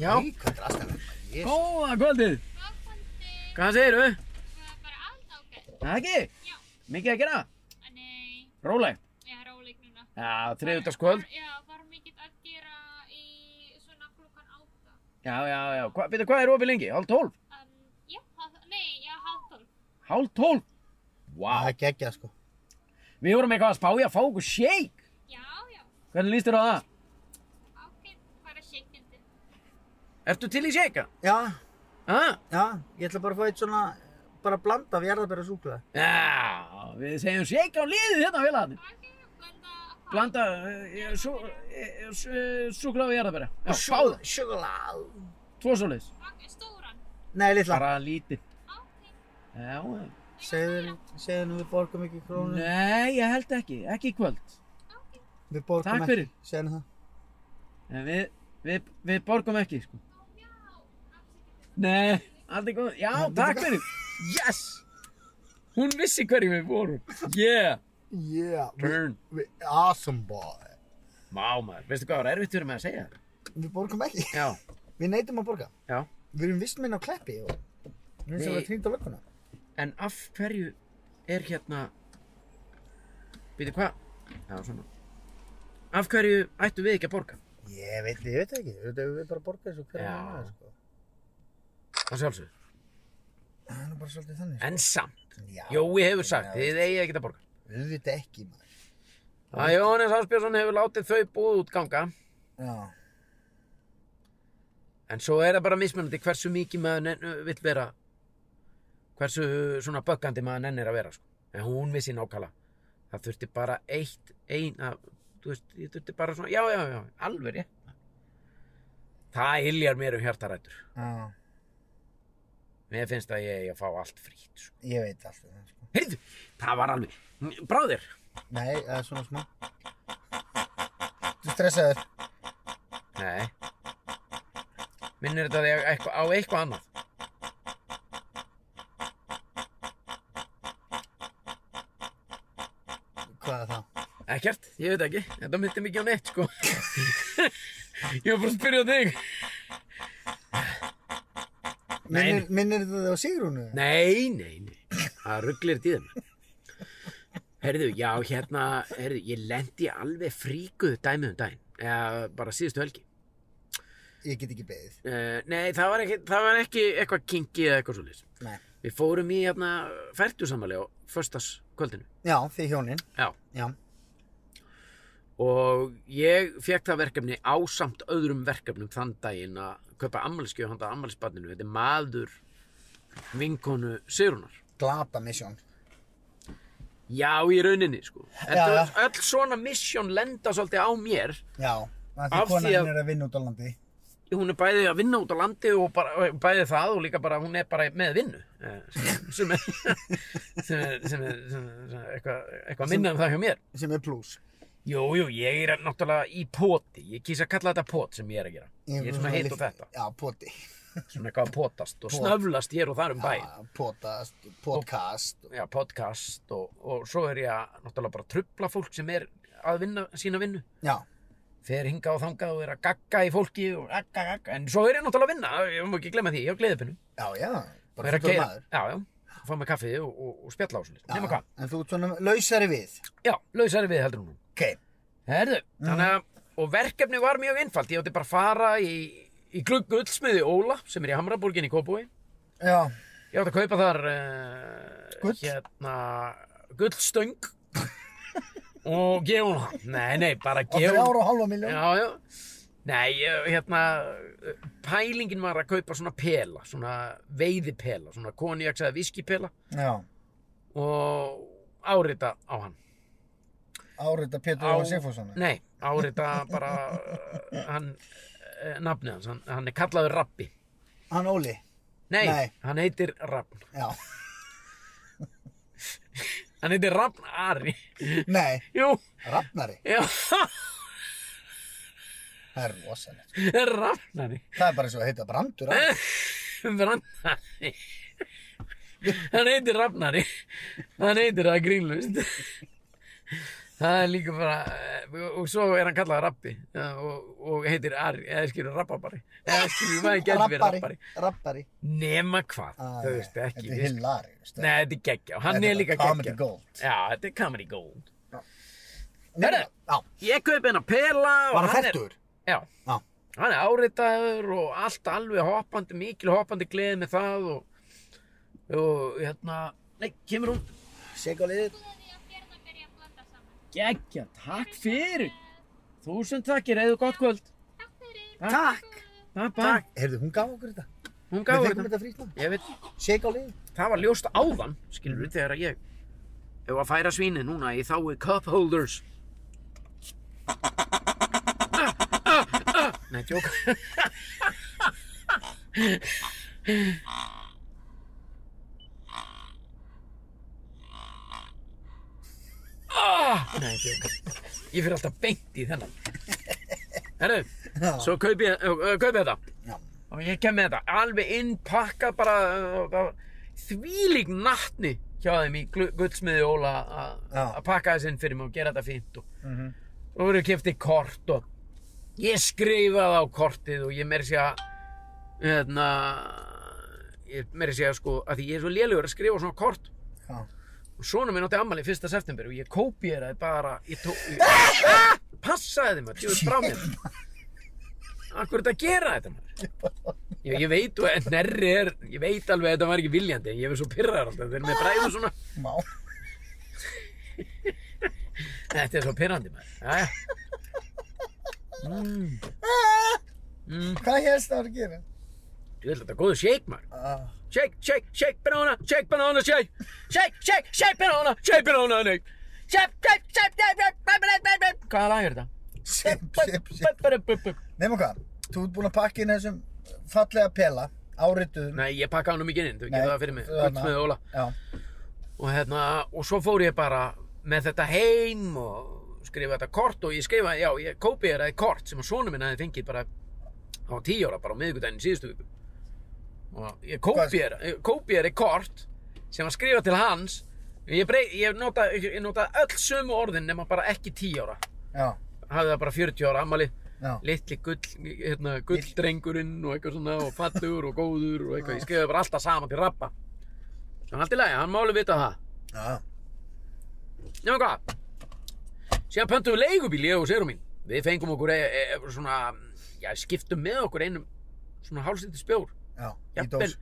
A: Já.
B: Í, hvað er aðstæðan?
A: Góða kvöldið.
C: Ákvöndi,
A: Hvað segirðu?
C: það er bara allt ágætt.
A: Það ekki?
C: Já.
A: Mikið að gera?
C: Ah, Nei,
A: Rólegt.
C: ég er róleg núna.
A: Já, þriðutaskvöld.
C: Var- Já, var mikið að gera í svona klukkan átta.
A: Já, já, já. Hva, Býttu, hvað er ofið lengi? Hálf tólf?
C: Um, já, hálf, nei, já, hálf tólf.
A: Hálf tólf? Vá.
B: Það er geggja, sko.
A: Við vorum eitthvað að spája að fá okkur shake.
C: Já, já,
A: Hvernig líst þér á það?
C: Ákveð, bara shakindi.
A: Ertu til í shake?
B: Já,
A: Ha?
B: já, ég ætla bara að fá eitt svona, bara blanda af jarðabæra súkla.
A: Já, við segjum shake á liðið hérna félagarnir.
C: Ákveð, blanda að
A: Blanda eh, sú- eh, sú- súkkulaði og jarðabæra. Já, báða.
B: Súkla.
A: Tvo svoleiðis.
C: Ákveð, stóran.
B: Nei, litla.
A: Bara lítið.
C: Ákveð,
A: Já, já.
B: Segðu segðu nú við borgum ekki krónu.
A: Nei, ég held ekki. Ekki í kvöld.
C: ákveð,
B: Við borgum
A: Takk
B: ekki.
A: fyrir.
B: Segðu nú það.
A: En við, við, við borgum ekki, sko.
C: ó já. afsakið.
A: Nei, allt er góð. Já, takk fyrir.
B: Yes!
A: Hún vissi hverju við vorum. Yeah.
B: Yeah. við-
A: Turn.
B: við- Awesome boy.
A: Má maður, veistu hvað var erfitt fyrir mig að segja það?
B: Við borgum ekki.
A: Já,
B: Við neytum að borga.
A: já.
B: Við erum vist minn á kleppi og við erum sem
A: Nei.
B: að trýnda lögguna.
A: En af hverju er hérna... Býtu hvað? Já, svona. Af hverju ættum við ekki að borga?
B: Ég veit, ég veit ekki. Þetta hefur við bara borgað þessu hverja
A: Já.
B: mánuði, sko.
A: Það sjálfsög.
B: Það er nú bara svolítið þannig, sko.
A: En samt.
B: Já,
A: Jói hefur sagt,
B: Já.
A: þið eigið ekki að borga.
B: auðvitað ekki, maður.
A: Að Jóhannes Áspjörsson hefur látið þau búið út ganga.
B: Já.
A: En svo er það bara mismunandi hversu mikið maður nenn- vill vera hversu uh, svona böggandi maður nennir að vera sko. en hún vissi nákvæmlega það þurfti bara eitt eina, þú veist, ég þurfti bara svona já, já, já, alveg rétt það iljar mér um hjartarætur
B: Já,
A: mér finnst að ég eigi að fá allt frýtt sko.
B: ég veit alltaf það, sko.
A: heyrðu, það var alveg bráðir,
B: Nei, það er svona smá. Þú stressaður.
A: nei minnir þetta þig á eitthvað- á eitthvað annað
B: Hvað er það?
A: Ekkert, ég veit ekki, þetta myndi mikið á neitt sko Ég var bara að spyrja þig
B: Minnir, minnir þetta þig á Sigrúnu?
A: Nei, nei, nei, það rugglir tíðum Herðu, já, hérna, herðu, ég lendi alveg fríkuð dæmi um daginn Eða bara síðustu helgi
B: Ég get ekki beðið.
A: uh, Nei, það var ekki, það var ekki eitthvað kinky eða eitthvað svoleiðis
B: Nei.
A: Við fórum í hérna færtusamali á föstaskvöldinu
B: Já, þið hjónin.
A: Já
B: Já.
A: Og ég fekk það verkefni ásamt öðrum verkefnum þann daginn að kaupa ammælskjöf handa ammælsbarninu. Þetta er maður vinkonu Sigrunar.
B: Glata misjón.
A: Já, í rauninni, sko. Þetta
B: Já, já.
A: var öll svona misjón lenda svolítið á mér.
B: Já.
A: Af
B: Það er
A: því
B: konan
A: að-
B: að... er að vinna út á landi.
A: Hún er bæði að vinna út á landi og bara, bæði það og líka bara hún er bara með vinnu. eh, Sem er, sem er, sem er, sem er, sem er eitthvað, eitthvað minna um það hjá mér.
B: Sem er plús.
A: Jú, jú, ég er náttúrulega í poti. Ég kýs að kalla þetta pot sem ég er að gera. Ég er svona hitt og þetta.
B: Já, poti.
A: svona eitthvað að potast og
B: Pot.
A: snöflast hér og þar um bæ
B: Já, Potast, podcast.
A: já, podcast og, og svo er ég að náttúrulega bara trubla fólk sem er að vinna sína vinnu
B: Já.
A: fer hinga og þangað og er að gagga í fólki og gagga, gagga, en svo er ég náttúrulega að vinna ég má ekki glemma því, ég á gleðipinu
B: Já, já.
A: og er að
B: fullur
A: keyra- já, já, fá með kaffið og, og, og spjalla á svo
B: Já,
A: nema hvað,
B: En þú ert svona lausari við.
A: já, lausari við heldur hún
B: Ok.
A: herðu,
B: Mm.
A: þannig að og verkefni var mjög einfalt, ég átti bara að fara í, í gluggullsmiði Óla sem er í Hamraborgin í Kópói
B: Já.
A: Ég átti að kaupa þar uh,
B: Gull?
A: Hérna, gullstöng Og gefa hún hann Nei, nei, bara
B: Og
A: gefa
B: þrjára og halva miljón.
A: Já, já Nei, ég- hérna eh, Pælingin var að kaupa svona pela Svona veiðipela Svona konjaks eða viskipela
B: Já.
A: Og árita á hann
B: Árita Pétur
A: Á-
B: og Sigfússon.
A: Nei, árita bara eh, Hann, eh, nafnið hans Hann, hann er kallaður Rabbi
B: Hann Óli.
A: Nei,
B: Nei.
A: hann heitir Rafn
B: Já.
A: Hann heitir Rafn Ari
B: Nei,
A: Jú,
B: Rafnari.
A: já
B: Það er rosalegt.
A: Rafnari
B: Það er bara eins og að heita Brandur. Rafn.
A: Rafnari Hann heitir Rafnari Hann heitir það grínlust Það er líka bara eh, og svo er hann kallað Rappi ja, og, og heitir Ari eða skilur Rappabari eða skilur maður gæti verið Rappari
B: Rappari. Rappari.
A: Nema hvað,
B: Ah,
A: þú veist ekki
B: Þetta er
A: við-
B: hilari.
A: Nei, þetta er geggja og hann
B: Þetta
A: er
B: er
A: líka
B: bara comedy
A: geggja
B: gold.
A: Já, þetta er comedy gold
B: Herre. Já.
A: Ég kaupi hennar Pela og
B: Var hann
A: hann er-
B: fættur?
A: Já,
B: Já.
A: hann er áritaður og allt alveg hoppandi, mikil hoppandi gleði með það og, og hérna, nei, kemur hún
B: Sigga liðið.
C: Búðaði að fjörða byrja að blanda saman.
A: geggja, takk fyrir
C: Eh,
A: Þúsund takkir, eigðu gott kvöld.
C: Takk fyrir.
A: Takk.
B: Takk.
A: Bye bye.
B: Takk. Heyrðu, hún gaf okkur þetta.
A: Hún
B: Við
A: gaf
B: fengum
A: þetta.
B: þetta frýtt mann.
A: Ég veit,
B: Shake á liði.
A: það var ljóst áðan, skilur við, þegar að ég ef að færa svíni núna í þáu cup holders. Ah, ah, ah. Nei, tjók. Ah, nei, tjók. Ég fyrir alltaf beint í þennan. Herru,
B: Já.
A: svo kaupi ég, uh, uh, kaupi þetta.
B: Já.
A: og ég kem með þetta alveg innpakkað bara uh, þvílík nattni hjá þeim í glu- guldsmiði Óla að-
B: Já.
A: að pakka þess inn fyrir mig og gera þetta fínt og
B: Mhm.
A: og voru kefti kort og ég skrifaði á kortið og ég meiri sér að hérna ég meiri sér að sko að því ég er svo lélugur að skrifa á svona kort
B: Já.
A: og svona minn átti ammali 1. september og ég kópiðraði bara ég tó, ég, passaði þeim að ég frá mér akkur þetta gera þetta maður Já, ég veit og en nærri er ég veit alveg að þetta var ekki viljandi en ég verð svo pyrraðar alltaf þegar mér bræður svona
B: Má.
A: Þetta er svo pyrrandi maður Jæja mm. Mm.
B: Hvað helst það að gera?
A: Ég vil þetta góðu shake maður
B: Ah.
A: Shake, shake, shake banana, shake banana, shake Shake, shake, shake banana, shake banana, shake Shake, shake, shake, shake, shake, banana, shake, shake Hvaða lag er þetta?
B: Sip, sip, sip.
A: Bup, bup, bup, bup.
B: Nefnum hvað, þú ert búin að pakka inn þessum fallega pela, árituðum.
A: Nei, ég pakkaði hann um ekki inn, þú getur það fyrir mig,
B: þarna.
A: gutt með Óla.
B: Já,
A: Og hérna, og svo fór ég bara með þetta heim og skrifa þetta kort og ég skrifa, já, ég kópið þetta kort sem að sonu minn hefði fengið bara á tíu ára, bara á miðvikudaginn í síðustu viku. Og ég kópið þetta kort sem að skrifa til hans, ég, brey, ég, nota, ég nota öll sömu orðin nema bara ekki tíu ára.
B: já,
A: Hafði það bara 40 ára ammali.
B: já.
A: litli gull, hérna, gulldrengurinn og eitthvað svona og fallegur og góður og eitthvað, ég skrifaði bara alltaf saman til rappa en allt í lagi, hann máli vita það
B: Já,
A: nefnum hvað síðan pöntum við leigubíl, ég og Sigur mín við fengum okkur e e e svona já, skiptum með okkur einum svona hálslítið spjór,
B: já, í
A: jafnvel
B: dós.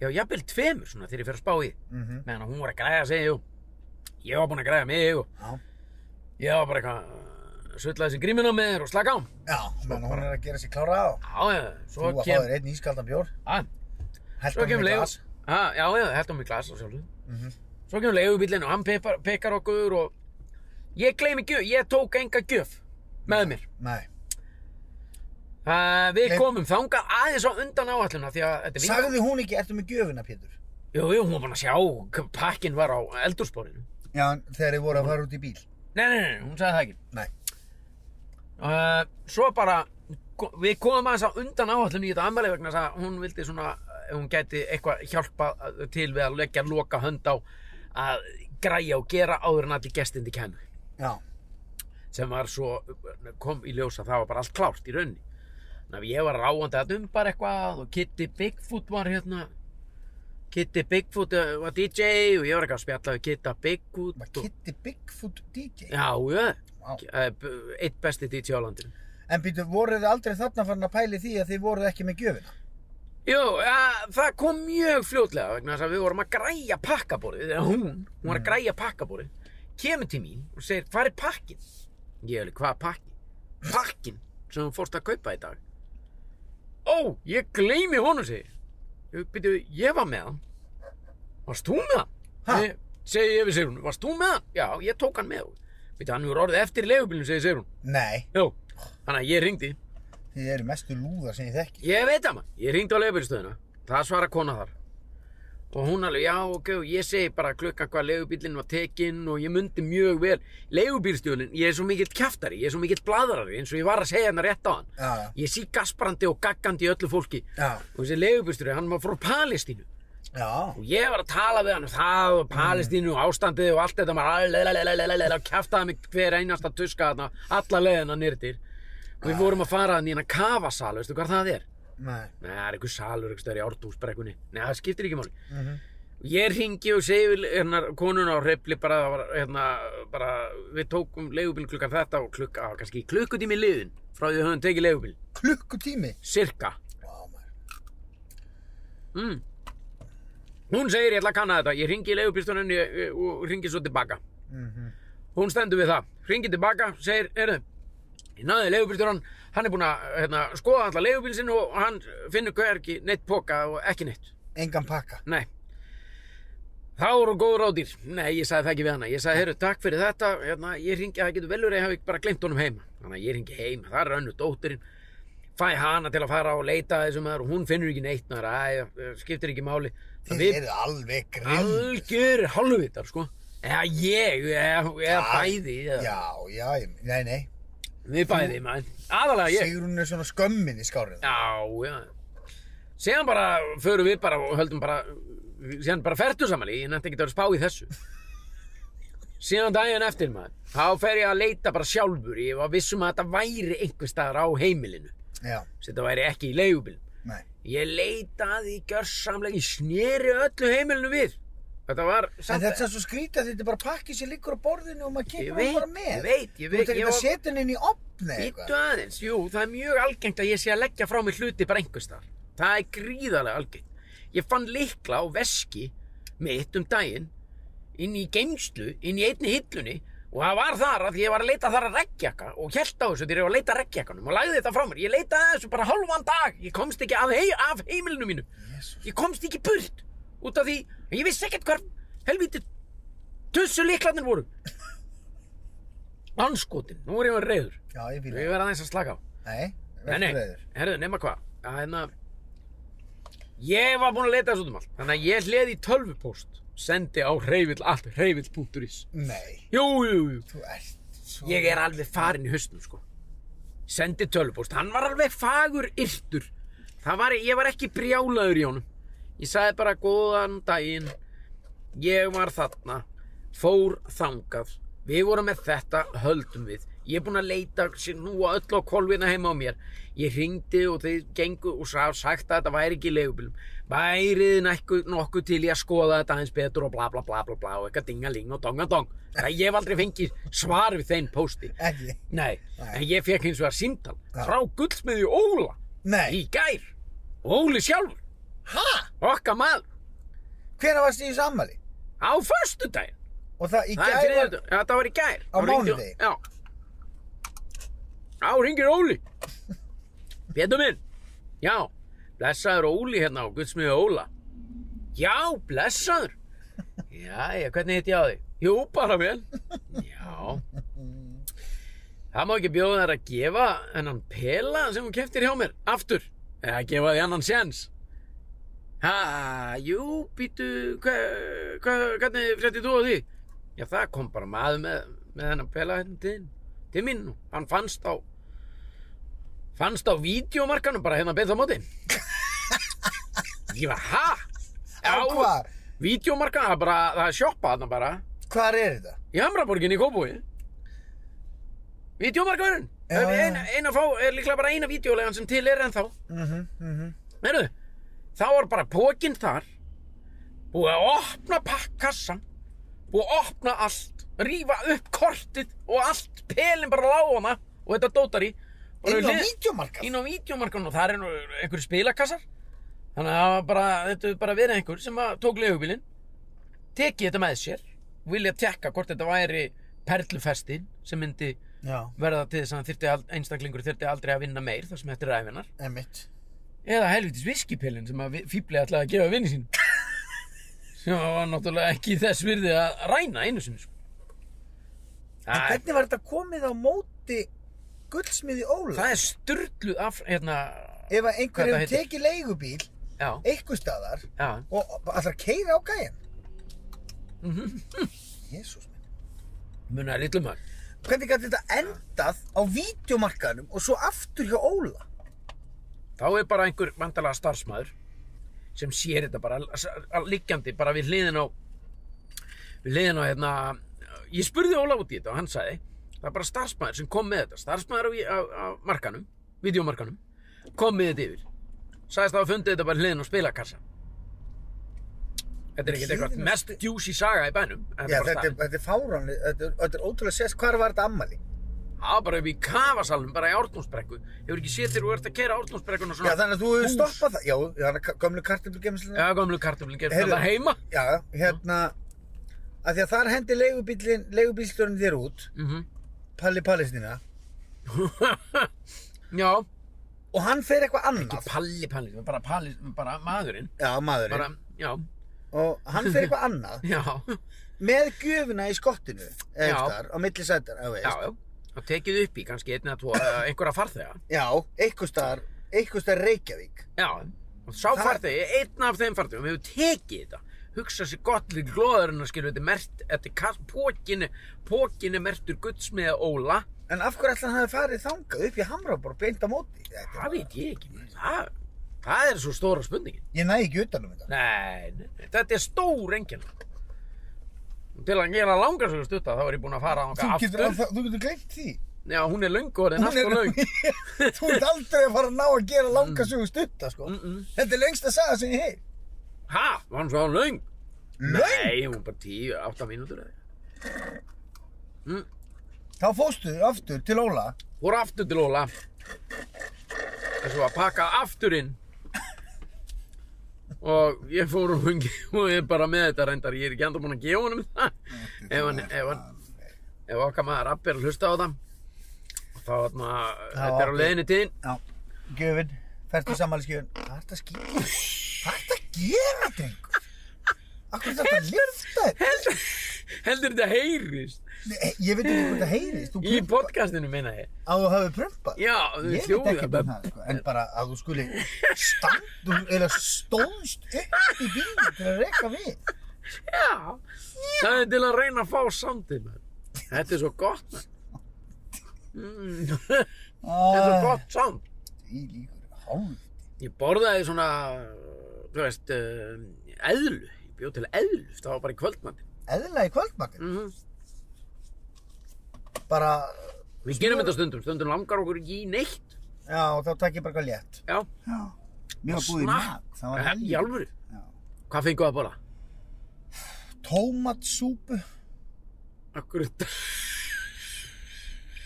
A: já, jafnvel tveimur svona þegar ég fer að spá í því.
B: Mhm,
A: meðan hún var að græja sig og ég var búinn að græja mig og
B: Já,
A: ég var bara eitthvað eh, sullaði sem grímin á mér og slaka á
B: já, menn hún er að gera sér klára á.
A: já, já,
B: Þú
A: svo
B: að fá
A: kem Ah.
B: þér einn ískaldan bjór,
A: að,
B: held
A: Svo
B: hann
A: kemur
B: með
A: leigu...
B: glas.
A: Ha, já, já, hættum við glas og sjálfsög.
B: Mhm.
A: Svo kemur leigubílinn og hann pepar, pekar okkur og... Ég gleymi gjöf, ég tók enga gjöf með mér.
B: Nei,
A: Uh, við
B: Nei.
A: komum þangað aðeins á undan áalluna því að þetta er vinkan-
B: sagði hún ekki, ertu með gjöfina, Pétur?
A: Jú, jú, hún var búin að sjá hvað pakkin var á eldursporinu.
B: Já, en þegar þið voru að fara út í bíl.
A: Nei, nei, nei, hún sagði það ekki.
B: Nei.
A: Uh, svo bara, ko- við komum aðeins á undan áalluna í þetta ammæli vegna þess að hún vildi svona, ef hún gæti eitthvað hjálpa uh, til við að leggja loka hönd á að græja og gera áður en allir gestindi kæmu.
B: Já,
A: sem var svo, kom í ljós að það var bara allt klárt í rauninni. Þannig að ég var ráandi að um bara eitthvað og Kitty Bigfoot var hérna, Kitty Bigfoot eh, var DJ og ég var eitthvað að spjalla við Kitta Bigfoot.
B: maður
A: og-
B: kitti Bigfoot DJ.
A: Já, já,
B: Vá.
A: Eh, b- einn besti DJ á landinu.
B: En býtu, voruð þið aldrei þarna farin að pæli því að þið voruð ekki með gjöfina?
A: Jú, ja, það kom mjög fljótlega vegna þess að við vorum að græja pakkaborið eða hún, hún var að græja pakkaborið kemur til mín og segir, hvað er pakkin? Ég hefði, hvað er pakkin? Pakkin sem hún fórst að kaupa í dag Ó, ég gleymi honum segir Ég byrju, ég var með hann Varst þú með hann?
B: Ha?
A: Ég- Segi ég við Sigrun, varst þú með hann? Já, ég tók hann með Byrju, hann er orðið eftir í leigubílnum, segir Sigrun
B: Nei,
A: Jú, þannig að ég ringdi
B: þið eru mestu lúðar sem ég þekki.
A: Ég veit það maður, ég ringdi á leigubílstöðina Það svara kona þar Og hún alveg, já ok, og ég segi bara klukkan hvað leigubílinn var tekinn og ég mundi mjög vel Leigubílstöðunin, ég er svo mikill kjaftari, ég er svo mikill bladrari eins og ég var að segja hérna rétt á hann
B: Já, já,
A: Ég sé gasprandi og gaggandi í öllu fólki
B: já,
A: Og þessi leigubílstöður, hann var frá Palestínu
B: já,
A: Og ég var að tala við hann um það og Palestínu og ástandið og allt þetta maður alelelelelelele og kjaftaði mig hver einasta tuska þarna, alla leiðina nýrtir og við vorum að fara hann í hennar kafasal, veistu hvað það er?
B: nei,
A: Nei, það er einhver salur einhver stöðar í ártúsbrekkunni. Nei, það skiptir ekki máli.
B: mhm,
A: Ég ringi og segi við hérna, konuna á hreyfli bara, það var, hérna, bara, við tókum leigubíl klukkan þetta og klukka, á, kannski klukkutími liðin frá því að við höfum tekið leigubíl.
B: klukkutími.
A: Cirka.
B: Vá, maður.
A: Mm. Hún segir ég ætla að kanna þetta. Ég ringi í leigubílstunni og ringi svo tilbaka.
B: Mhm.
A: Hún stendur við það. Ringi tilbaka, segir, heyrðu, ég náði leigubílstjóran, hann er búinn að hérna, skoða alla leigubíl sinn og hann finnur hvergi neitt poka og ekki neitt.
B: engan pakka
A: Nei. Þá voru góð ráðir. Nei, ég sagði það ekki við hana. Ég sagði, heyrðu, takk fyrir þetta. Hérna, ég ringi, það getur velur að ég hafi bara glemt honum heima. Þannig að ég ringi heima. Það er önnu dóttirinn. Fæ hana til að fara og leita að þessum maður og hún finnur ekki neitt maður. Æ, skiptir ekki máli.
B: Þið
A: Þannig við
B: eru alveg grimm
A: algjör halvvitar, sko. Eða ég, eða, eða
B: Já.
A: bæði. Eða.
B: Já, já, ég- nei, nei
A: Við bæði, maður. Aðalega ég.
B: Sigrún er svona skömmin í skárið
A: Já, já. Síðan bara förum við bara og höldum bara, síðan bara ferdu saman í, ég nætti ekki að vera að spá í þessu. Síðan daginn eftir maður, þá fer ég að leita bara sjálfur, ég var vissum að þetta væri einhver staðar á heimilinu,
B: Já,
A: sem þetta væri ekki í leigubilum.
B: nei
A: Ég leitaði gjörsamlega, ég sneri öllu heimilinu við. Þetta var
B: En þetta er svo skrítið að þetta er bara pakki sem liggur á borðinu og maður
A: Ég
B: kemur hann
A: veit,
B: bara með
A: ég veit, ég
B: Þú
A: veit,
B: ert ekki
A: ég
B: að
A: var-
B: setja hann inn í opni
A: Býttu aðeins, jú, það er mjög algengt að ég sé að leggja frá mig hluti bara einhvers þar. Það er gríðarlega algengt. Ég fann lykla á veski mitt um daginn inn í geimslu, inn í einni hillunni og það var þar að ég var að leita þar að reggjakka og held á þessu þegar ég var að leita að reggjakkanum og lagði þetta frá mér. Ég leitaði að þessu bara hálfan dag. Ég komst ekki af, hei, af heimilinu mínu.
B: Jesús.
A: Ég komst ekki burt út af því að ég vissi ekkert hvar helvíti tussu lyklarnir voru. Anskotin, nú er ég að reyður.
B: Já, ég fíla
A: Við verðum aðeins að slaka á.
B: það Nei,
A: Nei, nei,
B: verður veður
A: herðu, nema hvað. Það er hérna, ég var búinn að leta þessu út um allt. Þannig að ég hleði í tölvupóst, sendi á reyvill, allt reyvill.is.
B: Nei,
A: Jú, jú, jú.
B: þú ert svo
A: Ég er alveg farinn í haustum, sko. Sendi tölvupóst, hann var alveg fagur yrtur. Það var, ég var ekki brjálaður í honum. Ég sagði bara góðan daginn, ég var þarna, fór þangað, við vorum með þetta, höldum við. Ég er búinn að leita sér nú að öllu á kolvina heima á mér. Ég ringdi og þeir gengu og sá sagt að þetta væri ekki í leigubilum. Værið nekku, nokkuð til ég að skoða þetta aðeins betur og bla bla bla bla bla og eitthvað dingaling og dongadong. Það ég hef aldrei fengið svar við þeim pósti.
B: Ekki
A: Nei,
B: Nei.
A: en ég fekk hins vegar síndal
B: Já.
A: frá gullsmiðju Óla
B: Nei,
A: í gær. Óli sjálfur,
B: ha?
A: okkar maður,
B: Hvenær varst þið í sammali?
A: á föstudaginn.
B: Og það í
A: Það er
B: gær
A: þriðið
B: var
A: þetta. Já, það var í gær.
B: Á
A: Þá hringdi-
B: mánudegi?
A: Já. Á, ringir Óli. Pétur minn. Já, blessaður Óli hérna á Guðsmiðu Óla. Já, blessaður. Jæja, hvernig hitt ég á þig? Jú, bara vel. Já. Það má ekki bjóða þær að gefa hennan pela sem hún keftir hjá mér, aftur. Eða gefa því annan séns. Ha, jú, býtu, hva, hva, hvernig fréttið þú á því? Já, það kom bara maður með, með hennan pela hérna til, til mín og hann fannst á fannst á vídeomarkanum bara hérna beint á móti Ég var, ha?
B: Á hvað?
A: Vídeomarkanum, það er bara, það er sjoppa þarna bara
B: Hvar er þetta?
A: í Hamraborginni í Kópúi Vídeomarkanum
B: Já, já, já.
A: eina, eina fá, er líklega bara eina vídeolegan sem til er ennþá
B: Mhm, mhm
A: Meirðu, þá var bara pókinn þar búið að opna pakkassan búið að opna allt rífa upp kortið og allt pelin bara lág á hana og þetta dótar í og
B: Inn á
A: hlið-
B: vídeomarkað?
A: inn á vídeomarkan og það er nú einhverju spilakassar þannig að það var bara, þetta er bara verið einhver sem að tók leigubílinn tekið þetta með sér vilja tekka hvort þetta væri perlufestin sem myndi
B: Já,
A: verða til þess að hann þyrfti ald- einstaklingur þyrfti aldrei að vinna meir þar sem þetta er ræfinar
B: emitt
A: eða helvitis viskipillin sem að fýbli ætlaði að gefa vinni sín sem að var náttúrulega ekki þess virði að ræna einu sinni sko.
B: En
A: það, er-
B: hvernig var þetta komið á móti gullsmiði Óla?
A: það er styrluð af hérna,
B: Ef að
A: Hvað
B: einhver
A: þetta
B: hefur
A: heitir?
B: tekið leigubíl
A: já,
B: einhver staðar
A: já
B: og allra keira á gæjan
A: Mhm.
B: Jésús minn
A: munar lillum að
B: Hvernig gæti þetta endað á vídeomarkaðnum og svo aftur hjá Óla?
A: þá er bara einhver vandalega starfsmæður sem sér þetta bara s- að- liggjandi bara við hliðin á við hliðin á hérna ég spurði Ólaf út í þetta og hann sagði það er bara starfsmæður sem kom með þetta starfsmæður á, í- á, á markanum, videomarkanum kom með þetta yfir sagðist það að fundið þetta bara við hliðin á spilakassa þetta er ekkert
B: Hliðin
A: eitthvað
B: á
A: mest juicy saga í bænum en
B: Já,
A: bara
B: þetta, er-
A: staðan.
B: þetta er fáránlega, þetta, er- þetta er ótrúlega sérst, hvar var þetta ammali?
A: það var bara upp í kafasalum bara í ártnúsbrekku hefur ekki séð þér og ert að kera ártnúsbrekkuna
B: Já,
A: svona
B: þannig að þú
A: Ah.
B: hefur
A: hús.
B: stoppað það, já, þannig að gömlu kartöflugemslinu.
A: Já, gömlu kartöflin gerir
B: Heyrðu.
A: þetta heima
B: Já, hérna, að því að þar hendi leigubílstjórn þér út,
A: mm
B: Palli Pallisnina,
A: Já,
B: og hann fer eitthvað
A: ekki
B: annað
A: palli palli, bara palli, bara maðurinn.
B: já, maðurinn
A: Bara, já,
B: og hann fer eitthvað annað
A: já,
B: með gjöfuna í skottinu
A: Já.
B: eftir, á milli sætar
A: já,
B: já,
A: já. Og tekið upp í kannski einn eða tvo, eða einhverja farþega.
B: já eitthvað staðar eitthvað staðar Reykjavík
A: Já, og sá
B: Það-
A: farþegi, einn af þeim farþegum hefur tekið þetta. Hugsa sér gott til glóðurinn að skilja þetta er mert, þetta er kast, pókinu, pókinu mertur guldsmiða Óla.
B: en af hverju ætla hann hafi farið þangað upp í Hamraborg beint á móti Þetta er
A: Það
B: bara-
A: veit ég ekki, maður. það, það er svo stóra spurningin.
B: ég næ ekki utanum þetta
A: Nei, nei, nei, þetta er stór enginn Til að gera langarsögu stutta þá er ég búinn að fara á
B: þú
A: aftur
B: getur, það, þú getur gleymt því
A: Já, hún er löng og orðin
B: Hún
A: allt
B: er-
A: og löng
B: þú ert aldrei að fara að ná að gera langa sögu stutta sko.
A: Mm, mm.
B: þetta er lengst að saga sem ég hei
A: Ha, var hún svo löng?
B: Löng?
A: Nei, hún er bara 10, 8 mínútur eða
B: Þá fóstu aftur til Óla
A: Fór aftur til Óla Þessu að pakka aftur inn Og ég fór og hungi og ég er bara með þetta reyndar Ég er ekki andur búinn að gefa honum það Ef hann, ef hann Ef okkar maður appi er að hlusta á það Þá þarna, þetta er á
B: Abbi.
A: leiðinni tíðin
B: Já, gjöfin, ferðu sammæliskjöfin Hvað ert að skýra? Hvað ert að gera, drengur? Akkur þetta að lifta þetta?
A: heldur, heldur þetta heyrist
B: Nei, Ég veit ekki hvað þetta heyrist Þú
A: í
B: prump,
A: podcastinu minna ég
B: að þú hafi prumpað
A: já, þú
B: Ég veit ekki
A: hljóða
B: um það, sko En bara að þú skuli stand Þú eða stóðst upp í bílum til að reka við
A: já, það er til að reyna að fá samtid þetta er svo gott man. Mm, þetta er svo
B: Æ,
A: gott samt
B: Ah, Í líkur, hálf
A: ég borðaði svona þú veist, eh, eðlu ég bjóð til eðlu, það var bara í kvöldmann
B: Eðla í kvöldmakar
A: mm
B: Bara,
A: við gerum þetta stundum, stundum langar okkur ekki í neitt
B: já, þá takk ég bara eitthvað létt
A: já,
B: Já Mér var búið í
A: Snakk.
B: mag, það var
A: í
B: helgjum
A: alvöru hvað fengu að borða?
B: Tómatsúpu
A: Akkur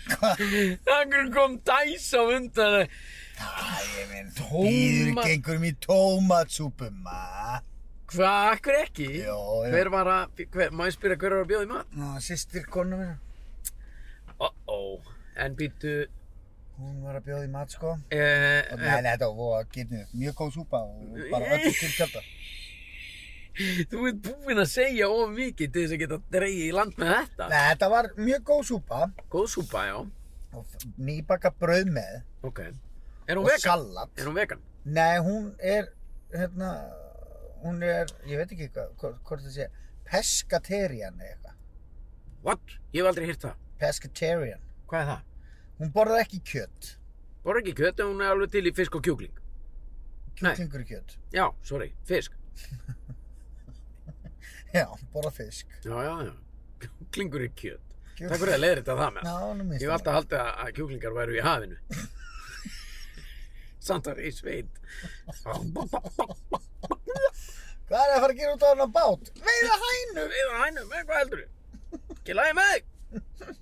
A: Akkur kom dæs á undan
B: Æ, ég minn, býður ekki einhverjum í tómatsúpu, ma?
A: Hvað, akkur ekki?
B: Jó, já.
A: Hver var að, hver, má ég spyrja hver var að bjóða í mat?
B: Ná, sýstir konu minna,
A: Uh-oh En býtu
B: hún var að bjóða í mat, sko.
A: eh,
B: Og nei, nei, þetta var voða getnið, mjög góð súpa og bara öllu til kjölda.
A: eh, Þú ert búinn að segja of mikið til þess að geta dreigið í land með þetta
B: Nei, þetta var mjög góð súpa
A: Góð súpa, já
B: og nýbaka brauð með
A: Ok Er hún
B: og
A: vegan?
B: salat.
A: Er hún vegan?
B: Nei, hún er, hérna, hún er, ég veit ekki hvað, hvort- hvort það sé, pescatarian eða eitthvað.
A: What? Ég hef aldrei hýrt það
B: Pescatarian.
A: Hvað er það?
B: Hún borðar ekki kjött,
A: Borra ekki kjöt en hún er alveg til í fisk og kjúkling Nei.
B: kjúklingur í kjött.
A: Já, sorry, fisk
B: Já, hún borðar fisk.
A: Já, já, já Kjúklingur er kjöt
B: Kjúk-
A: Takk fyrir að leiðir þetta það með
B: Já, nú minnst
A: Ég hef alltaf haldið að- að kjúklingar væru í hafinu Samt að í sveit
B: Hvað er að fara að gera út á hennar bát? Veiða hænu!
A: Við hænum, eh, hvað heldur þið? Ekki lagi með þig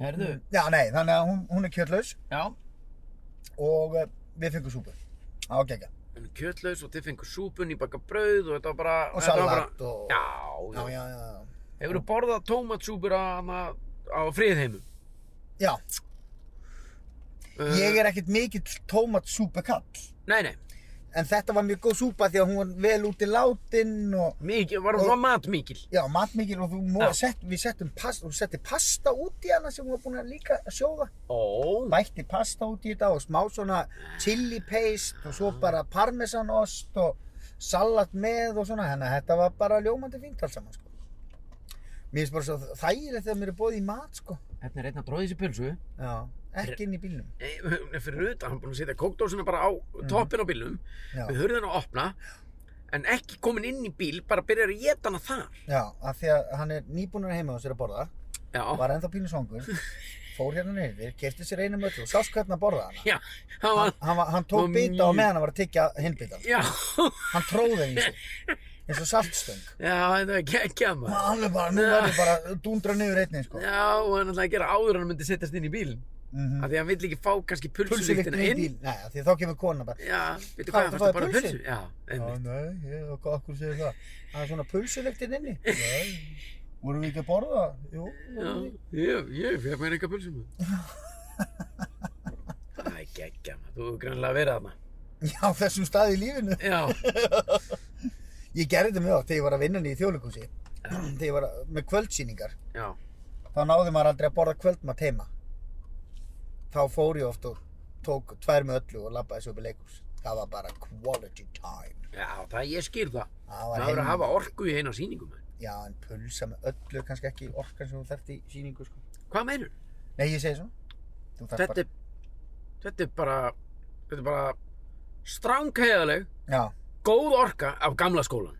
A: Herðu
B: Já, nei, þannig að hún, hún er kjötlaus
A: Já
B: og uh, við fengum súpu. Á, gegja.
A: En kjötlaus og þið fengur súpun í baka brauð og þetta var bara
B: Og
A: þetta var
B: salat
A: bara,
B: og-
A: Já,
B: Já,
A: já,
B: já, já.
A: Hefurðu borðað tómatsúpur á, hana- á friðheimum?
B: Já,
A: Uh,
B: ég er ekkert mikill tómatsúpekall.
A: Nei, nei,
B: En þetta var mjög góð súpa því að hún var vel út í látin og...
A: mikið, varum svo matmikil
B: Já, matmikil og þú mó,
A: Já.
B: sett, við settum pasta, hún setti pasta út í hana sem hún var búin að líka að sjóða.
A: Ó,
B: Bætti pasta út í þetta og smá svona chili paste og svo bara parmesanost og salat með og svona. Þannig að þetta var bara ljómandi fínt alls saman, sko. Mér finnst bara svo þægilegt þegar mér er bóðið í mat, sko.
A: þetta Hérna er einn að dróði þessi pulsu
B: Já, ekki inn í bílnum.
A: Nei, hún er fyrir utan, hann búin að setja kókdósina bara á toppin á bílnum
B: Já.
A: við hurðin að opna en ekki komin inn í bíl, bara byrjar að geta hana þar
B: Já, af því að hann er nýbúnur heima á sér að borða,
A: Já,
B: var ennþá pínu svangur, fór hérna niður, kefti sér einu möllu og sást hvernig að borða hana.
A: já, hann var
B: Hann, hann, var- hann tók
A: Var
B: bita
A: mjög-
B: og meðan hann var að tyggja hinn bitan.
A: Já,
B: Hann tróði þeim í sig, eins og saltstöng.
A: já, þetta er geggjað maður
B: Hann er bara, nú verður bara dundra niður einnig, sko.
A: Já, og hann ætlaði að gera áður en hann myndi setjast inn í bílinn
B: Mm
A: af því að hann vill ekki fá kannski pulsulíktina
B: Pulsulíktin í
A: inn
B: bíl, nei, af því að þá kemur konan bara,
A: Já, veitu
B: Hvað,
A: hvað,
B: ertu
A: fannst það
B: að
A: bara
B: fá pulsu?
A: pulsu? Já,
B: Já,
A: einmitt
B: nei, ég, og hvað okkur segir það? Það er svona pulsulíktin inni. Nei, vorum við ekki að borða? Jú,
A: Já, ég, ég fekk mér enga pulsu maður Það er geggja maður, þú hefur grannlega verið þarna.
B: Já, á þessum stað í lífinu.
A: Já,
B: Ég gerði þetta mjög oft þegar ég var að vinna niður í þjóðleikhúsi. þegar ég var að, með kvöldsýningar.
A: já,
B: Þá náði maður aldrei að borða kvöldmat heima. Þá fór ég oft og tók tvær með öllu og labbaði svo upp í leikhús. Það var bara quality time.
A: já, það ég skil það.
B: Það
A: Það verður að
B: heim-
A: hafa orku í eina sýningum. maður.
B: Já, en pulsa með öllu, kannski ekki orkan sem þú þarft í síningu, sko.
A: Hvað meinur?
B: Nei, ég segi svona. Þú þarft
A: Þetta, er- þetta er bara, þetta er bara stránkæðaleg,
B: Já,
A: góð orka af gamla skólan.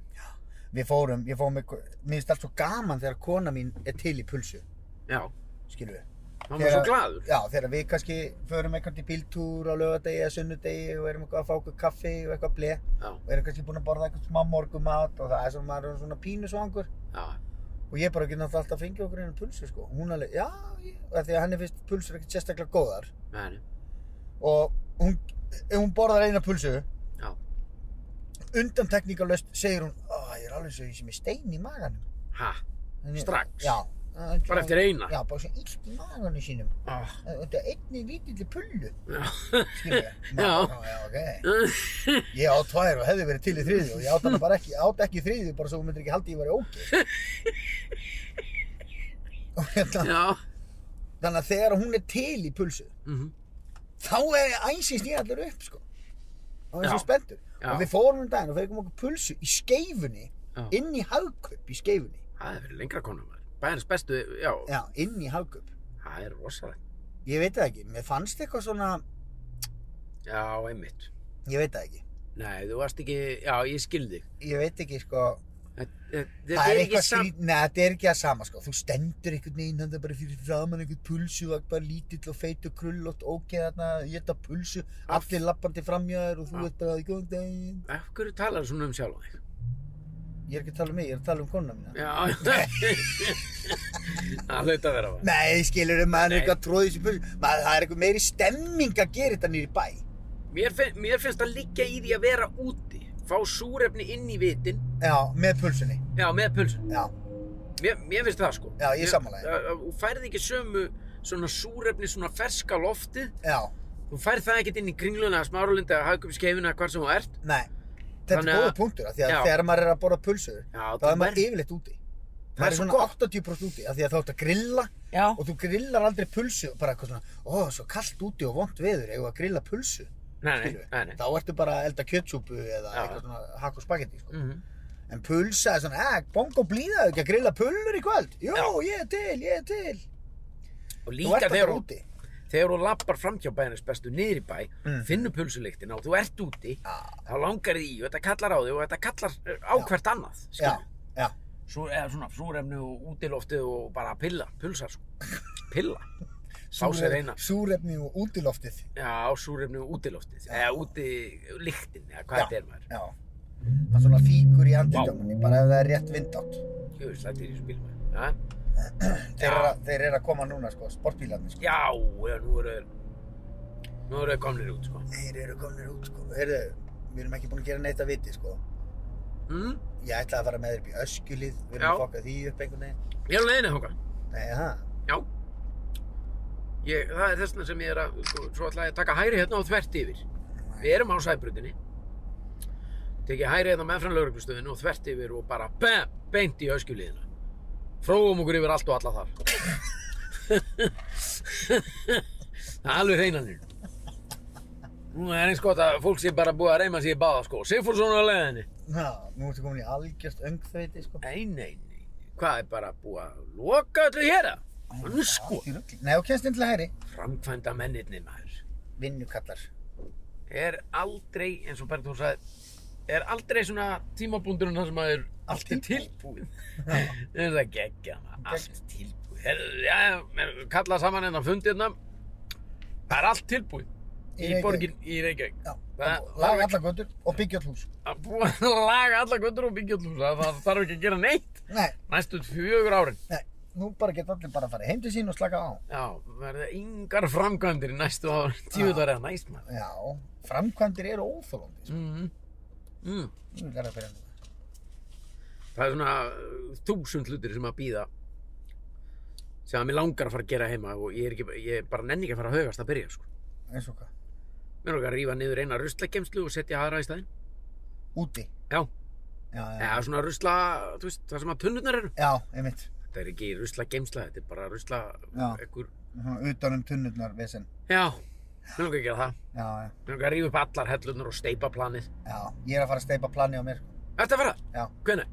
B: við fórum, ég fórum, mér finnst allt svo gaman þegar kona mín er til í pulsu,
A: Já,
B: skilur við.
A: það var svo
B: Þegar-
A: glaður.
B: Já, þegar við kannski förum eitthvað til bíltúr á lögadegi eða sunnudegi og erum eitthvað að fá okkur kaffi og eitthvað ble
A: Já,
B: og erum kannski búin að borða eitthvað smá morgumat og það er svona, maður er svona pínu svangur
A: já,
B: og ég bara getur náttúrulega alltaf að fengja okkur einu pulsu, sko. Og Hún alveg, já, ég, af því að henni finnst pulsur ekkert sérstaklega góðar
A: meni,
B: og hún, ef hún borðar eina pulsu
A: já.
B: undantekningalöst segir hún oh, ég er alveg svo ég sem er stein í maganum
A: Ha,
B: En ég-
A: Strax?
B: já,
A: bara eftir eina.
B: já, bara svo illt í maganum sínum
A: Ah,
B: þetta er einni lítilli pullu
A: Já.
B: skilur ég
A: Já.
B: já, já, ok ég á tvær og hefði verið til í þriðju og ég átt hana bara ekki, átt ekki í þriðju bara svo hún myndir ekki haldi ég var í ógeð og hérna
A: Já,
B: þannig að þegar hún er til í pulsu
A: mhm,
B: þá er æsins nýja allur upp sko og er svo
A: Já.
B: spenntur
A: Já.
B: og við fórum um daginn og fegum okkur pulsu í skeifunni
A: Já.
B: inn í hagkaup í skeifunni
A: það er verið lengra konum. Bæðins bestu, já,
B: já, inn í hagkaup
A: það er rosalegt.
B: ég veit það ekki, mér fannst eitthvað svona
A: Já, einmitt.
B: ég veit það ekki,
A: Nei, þú varst ekki, já, ég skildi.
B: ég veit ekki sko
A: Þetta þetta er
B: það er
A: ekki
B: eitthvað
A: samt.
B: skrýt, neða þetta er ekki að sama sko þú stendur einhvern veginn hann bara fyrir framan einhvern pulsu og bara lítill og feit og krullótt ógeð þarna, ég þetta pulsu
A: Af-
B: allir lappandi framjæður og þú
A: Já.
B: ert bara góðan daginn
A: Af hverju talar svona um sjálf á þig?
B: ég er ekki að tala um mig, ég er að tala um konuna mína
A: Já, það hlaut að vera það.
B: Nei, skilur maður er
A: Nei.
B: eitthvað tróðið sem pulsu maður, það er eitthvað meiri stemming að gera þetta nýri bæ
A: Mér, finn, mér finnst að liggja í því að vera úti, fá súrefni inn í vitin,
B: Já, með pulsunni
A: já, með pulsun.
B: Já,
A: Mér, mér finnst það sko.
B: Já, ég sammála þér.
A: Að- að Þú færð ekki sömu svona súrefni, svona ferska lofti,
B: já,
A: þú færð það ekkert inn í kringluna, smárulunda, hagkjöpskeifina, hvar sem þú ert.
B: nei Þetta
A: Þannig
B: er
A: að-
B: góða punktur, af því að
A: Já.
B: þegar maður er að borða pulsur
A: Já,
B: þá
A: þú
B: er maður
A: verð-
B: yfirleitt úti
A: Það er
B: maður er
A: svo
B: svona
A: gott.
B: 80% úti, af því að þá ert að grilla
A: Já.
B: og þú grillar aldrei pulsu bara eitthvað svona, ó, svo kallt úti og vont veður eigum við að grilla pulsu
A: Nei, nei,
B: skilurðu?"
A: nei, nei.
B: þá ertu bara að elda kjötsúpu eða
A: Já.
B: eitthvað svona hakk og spagetti sko.
A: Mhm.
B: en pulsa er svona, eh, bongo blíða ekki að grilla pullur í kvöld jú, ég er til, ég er til
A: Og
B: þú ert
A: líka
B: að
A: þegar
B: vera
A: þú,
B: úti
A: þegar þú lappar framhjá bæðinnes bestu niður í bæ,
B: Mm.
A: finnur pulsulíktina og þú ert úti,
B: já,
A: þá langar þig í og þetta kallar á þig og þetta kallar eh, á
B: Já.
A: hvert annað,
B: já,
A: skilur.
B: já,
A: Svo, eða svona súrefni og útiloftið og bara pilla, pulsa sko. Pilla. Sá sér eina.
B: súrefni og útiloftið
A: Já, súrefni og útiloftið. Eða úti líktin, eða hvað
B: Já.
A: þetta er maður.
B: já, það svona fíkur í andildjámanni bara ef það er rétt vind átt
A: Jú, slættir í þessu bíl maður. Ha?
B: þeir, eru að- þeir eru að koma núna, sko, sportbílarnir sko.
A: Já, já, nú eru þeir, nú eru þeir komnir út sko.
B: þeir eru komin út, sko, heyrðu við erum ekki búin að gera neitt að viti, sko
A: Mm?
B: Ég ætlaði að fara með þér upp í öskjulið, við erum
A: Já.
B: að fokka því upp einhvern veginn.
A: Ég er á leiðinni þóka.
B: Nei, ha?
A: Já. Ég, það er þessna sem ég er að, sko, svo ætla ég að taka hæri hérna og þvert yfir. Við erum á sæbrutinni. Tekið hæri hérna meðfram lauruglustöðinu og þvert yfir og bara BAM! Beint í öskjulíðina. Fróum okkur yfir allt og alla þar. það er alveg reynanir. Nú er eins gott að fólk sé bara búið að reyma sér í báða sko. Sigfúrsson á leiðinni.
B: Ná, nú ertu komin í algjört öngþveiti, sko.
A: Nei, nei, nei. Hvað er bara búið að loka öllu hér að? Nú sko.
B: Allt í rugli. Nei, og kennst inn til hægri.
A: Framkvæmda mennirni maður.
B: Vinnukallar.
A: er aldrei, eins og Bergþór sagði, er aldrei svona tímabúndurinn þar sem að er allt er tilbúið. Það er það geggja, allt tilbúið. Herðu, já, kallað saman hennar fundirna, það er allt tilbúið
B: Í
A: í
B: Reykjavík.
A: borgin í Reykjavík.
B: Já,
A: Það-
B: laga allar götur og byggja all hús.
A: Að búa að laga alla göttur og byggja allum, það það þarf ekki að gera neitt
B: Nei,
A: næstu fjögur árin.
B: nei, nú bara geta allir bara að fara heim til sín og slaka á.
A: Já, verða yngar framkvæmdir í næstu árin, tíu þar eða næst maður.
B: Já, framkvæmdir eru óþólandi, sko.
A: Mm Mm.
B: Nú er það að byrja nú.
A: Það er svona uh, þúsund hlutir sem að býða sem að mér langar að fara að gera heima og ég er, ekki, ég er bara nenni ekki að fara að haugast að byrja sko.
B: eins og hvað,
A: Mér langar að rífa niður eina ruslakemslu og setja aðra í staðinn.
B: úti
A: Já,
B: já, já,
A: eða svona rusla, þú veist, það sem að tunnurnar eru.
B: já einmitt
A: Þetta er ekki ruslagemsla, þetta er bara rusla,
B: Já.
A: ekkur,
B: Svona utan um tunnurnar vesen
A: já, mér langar að gera það.
B: já, já,
A: Mér langar að rífa upp allar hellurnar og steipa planið.
B: já, ég er að fara að steipa plani á mér sko.
A: Ertu að fara?
B: Já.
A: Hvenær?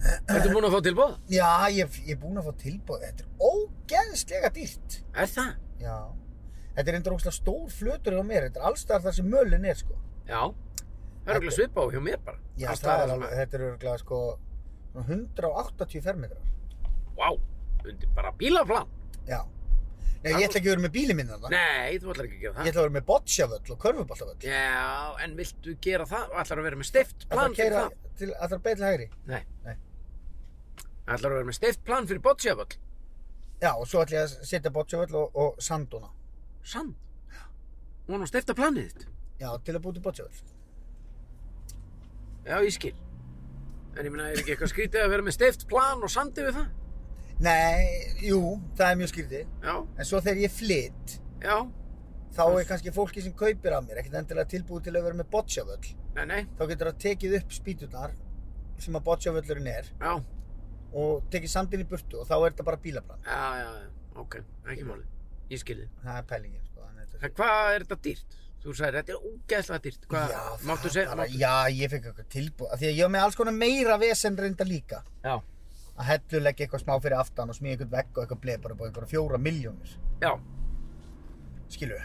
A: Ertu búin að fá tilbúð?
B: já, ég, ég er búin að fá tilbúið þetta er ógeðslega dýrt
A: Er það?
B: já, þetta er einhver ógeðslega stór flötur á mér, þetta er allstar þar sem mölin er sko.
A: Já. Það er
B: Þetta-
A: okkur svipa á hjá mér bara.
B: já,
A: Alls
B: það
A: staðar
B: er
A: sem
B: alveg,
A: að-
B: þetta er örgulega sko svona 180 fermetrar
A: Vá, undir bara bílaplan.
B: já, Nei, ég ætla ekki að vera með bíli minn þarna
A: Nei, þú ætlar ekki að gera það.
B: ég ætla að vera með bocciavöll og körfuboltavöll
A: Já, en viltu gera það? Ætlar að vera með stift
B: Ætlar
A: plan
B: að
A: fyrir
B: keira
A: það?
B: til, ætlar að beila hægri?
A: Nei.
B: Nei.
A: Ætlar að vera með stift plan fyrir bocciaball?
B: Já, og svo ætla ég að setja bocciavöll og, og sanduna.
A: Sann. Hún var nú að stifta planið þitt.
B: Já, til að búti bocciavöll.
A: Já, ég skil. En ég meina, er ekki eitthvað skrítið að vera með stift plan og sandi við það?
B: Nei, jú, það er mjög skrítið.
A: Já,
B: En svo þegar ég flytt,
A: já.
B: þá er kannski fólki sem kaupir af mér, ekkert endilega tilbúið til að vera með bocciavöll.
A: Nei, nei,
B: Þá getur það tekið upp spýturnar sem að bocciavöllurinn er
A: já,
B: og tekið sandin í burtu og þá er þetta bara bílabrann.
A: já, já, já. ok, ekki málið. Ég skil þið.
B: Það er pælingin, sko. þannig að þetta
A: En hvað er þetta dýrt? Þú sagðir, þetta er ógeðslega dýrt. Hvað,
B: Já, það
A: máttu segja?
B: bara,
A: Bara...
B: já, ég fekk eitthvað tilbúið. Af Því að ég var með alls konar meira vesen reynda líka.
A: Já.
B: Að hellu leggja eitthvað smá fyrir aftan og smíða eitthvað vegg og eitthvað bleið bara búið einhverja fjóra miljónir.
A: Já,
B: Skilu?